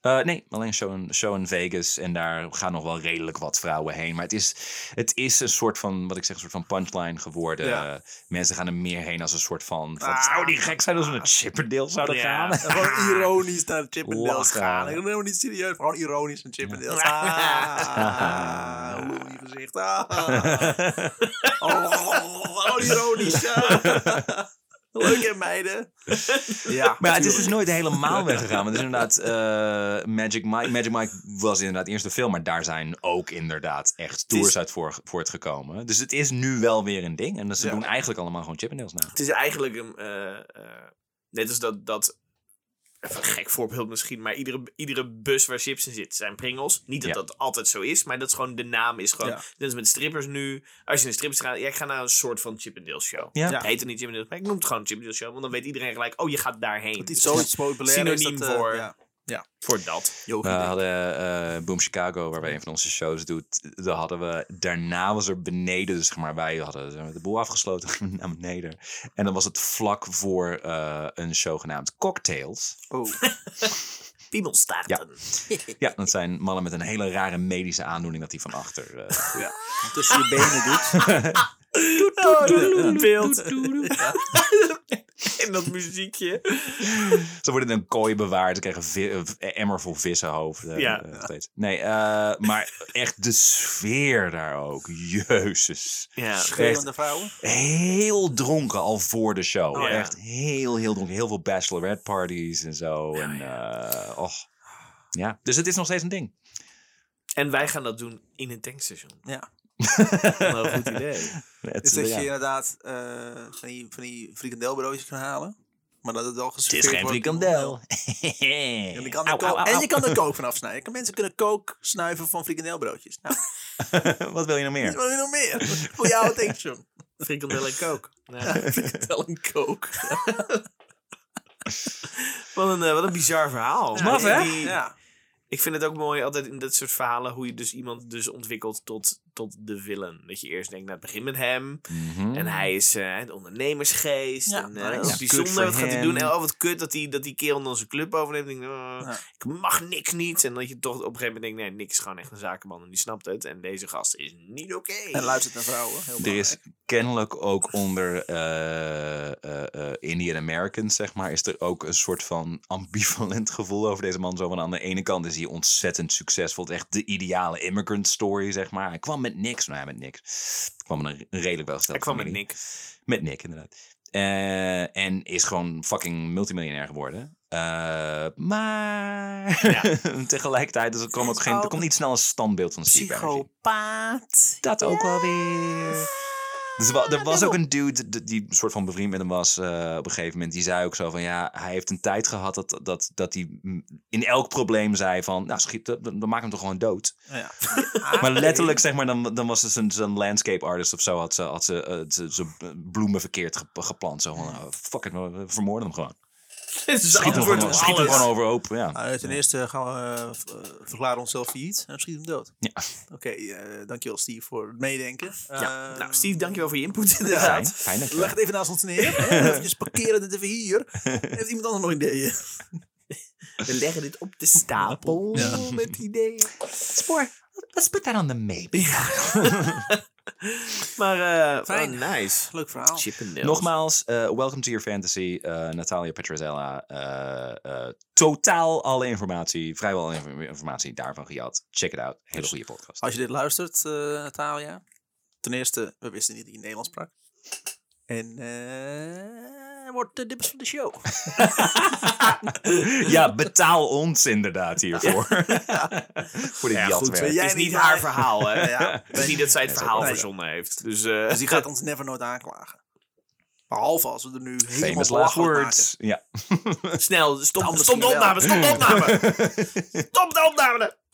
Eh nee, alleen een show in, show in Vegas. En daar gaan nog wel redelijk wat vrouwen heen. Maar het is, het is een soort van, wat ik zeg, een soort van punchline geworden. Ja. Eh, mensen gaan er meer heen als een soort van... van Ah. zou die gek zijn als we naar Chippendales zouden Ja. gaan? En Gewoon ironisch naar Chip en Dale's Lachen. gaan. Ik ben helemaal niet serieus. Gewoon ironisch naar Chip en Dale's. Ja. Ah, hoe lief gezicht. Ah. Oh, oh, ironisch. ja. Leuk hè, meiden? Ja, Maar ja, het is dus nooit helemaal weggegaan. Want het is inderdaad eh, Magic Mike. Magic Mike was inderdaad eerst de film. Maar daar zijn ook inderdaad echt tours uit voor, voortgekomen. Dus het is nu wel weer een ding. En dus ze Ja. doen eigenlijk allemaal gewoon Chippendales na. Het is eigenlijk een. eh, eh, net als dat. dat even een gek voorbeeld misschien, maar iedere, iedere bus waar chips in zit zijn Pringles. Niet dat Ja. dat altijd zo is, maar dat is gewoon de naam is gewoon. Ja. Net als met strippers nu. Als je een strippers gaat, jij gaat naar een soort van Chip and Dale show. Ja. Het heet er niet Chip and Dale, maar ik noem het gewoon Chip and Dale show, want dan weet iedereen gelijk, oh je gaat daarheen. Het is zoiets populair. Synoniem is dat, eh, voor- Ja, voor dat. We yogi. hadden eh, Boom Chicago, waar wij een van onze shows doet. Daar hadden we, daarna was er beneden, dus zeg maar, wij hadden zeg maar, de boel afgesloten gingen we naar beneden. En dan was het vlak voor eh, een show genaamd Cocktails. oh. Piemelstaarten. Ja, dat zijn mannen met een hele rare medische aandoening dat die van achter eh, ja. Tussen je benen doet. Oh, dat beeld. en dat muziekje. Ze worden in een kooi bewaard. Ze krijgen vi- eh, emmer vol vissenhoofden. Ja. eh, nog steeds. Nee, eh, maar echt de sfeer daar ook. Jezus. Ja. Schreeuwende vrouwen. Heel dronken al voor de show. Oh, ja. Echt heel, heel dronken. Heel veel bachelorette parties en zo. en, eh, och. Ja, dus het is nog steeds een ding. En wij gaan dat doen in een tankstation. Ja. Wel een goed idee. Het, Dus dat ja. je inderdaad eh, van, die, van die frikandelbroodjes kan halen. Maar dat het wel Het is geserveerd geen wordt. frikandel. En je kan er, Eh, Au, kook, au, au, en je kan er kook van afsnijden. Kan- Mensen kunnen kook snuiven van frikandelbroodjes. Nou, au. Wat wil je nog meer? wat wil je nog meer? Voor jou attention. Frikandel en coke. Vertel een kook. Wat, een, eh, wat een bizar verhaal. is maf, hè? Die- Ja. Ik vind het ook mooi altijd in dat soort verhalen hoe je dus iemand dus ontwikkelt tot, tot de villain. Dat je eerst denkt, nou het begint met hem. Mhm. En hij is eh, de ondernemersgeest. Ja, en, nice. eh, dat is Ja, kut bijzonder, wat voor gaat hij hem. doen? En oh, wat kut dat die, dat die kerel dan zijn club overneemt. Denk, ik, oh, Ja. Ik mag niks niet. En dat je toch op een gegeven moment denkt, nee, Nick is gewoon echt een zakenman. En die snapt het. En deze gast is niet oké. En luistert naar vrouwen. Heel Er is belangrijk. eh, kennelijk ook onder eh, eh, eh, Indian Americans, zeg maar, is er ook een soort van ambivalent gevoel over deze man. Zo van aan de ene kant is hij ontzettend succesvol. Het is Echt de ideale immigrant story, zeg maar. Hij kwam met niks. Nou ja, met niks. Hij kwam met een redelijk welgestelde Hij kwam met familie. Nick. Met Nick, inderdaad. Eh, en is gewoon fucking multimiljonair geworden. Eh, maar tegelijkertijd is er, kwam ook geen, er komt niet snel een standbeeld van Steve Aoki. Psychopaat. Dat ook wel weer. Dus er, wa- er was ook een dude d- die soort van bevriend met hem was eh, op een gegeven moment. Die zei ook zo van ja, hij heeft een tijd gehad dat, dat, dat hij mm, in elk probleem zei van nou schiet, dan, dan maak hem toch gewoon dood. Ja. Oh Maar letterlijk zeg maar, dan, dan was het een, zo'n landscape artist of zo had ze, had ze, eh, ze, ze bloemen verkeerd ge- geplant. Zo van nou, fuck it, we vermoorden hem gewoon. Het is Schiet hem antwoord gewoon, op schiet hem alles. gewoon overhoop, ja. Eh, ten eerste gaan we eh, v- eh, verklaren onszelf failliet en schieten hem dood. Ja. Oké, eh, dankjewel Steve voor het meedenken. Ja. Eh, Nou, Steve, dankjewel voor je input Fijn, inderdaad. fijn dat je- Leg het even naast ons neer. Even parkeren dit even hier. Heeft iemand anders nog ideeën? We leggen dit op de stapel met ideeën. Spoor, let's put that on the map. Maar eh Fijn. oh, nice. Leuk verhaal. Chippendales. Nogmaals, eh, welcome to your fantasy, eh, Natalia Petrozella. eh, eh, totaal alle informatie, vrijwel alle inf- informatie daarvan gejat. Check it out. Dus Hele goede podcast. Als je dit luistert, eh, Natalia. Ten eerste, we wisten niet dat je Nederlands sprak. En eh wordt de dips van de show. ja, betaal ons inderdaad hiervoor. Voor dit Ja, goed. jatwerk. jij het is niet, niet maar- haar verhaal, hè? ja. Het is niet dat zij het Nee, verhaal nee. verzonnen heeft. Dus, eh, Dus die gaat ons never nooit aanklagen. Behalve als we er nu helemaal Famous belachelijk last maken. words. Ja. snel, stop, Nou, stop de misschien wel. opname, stop de opname! stop de opname!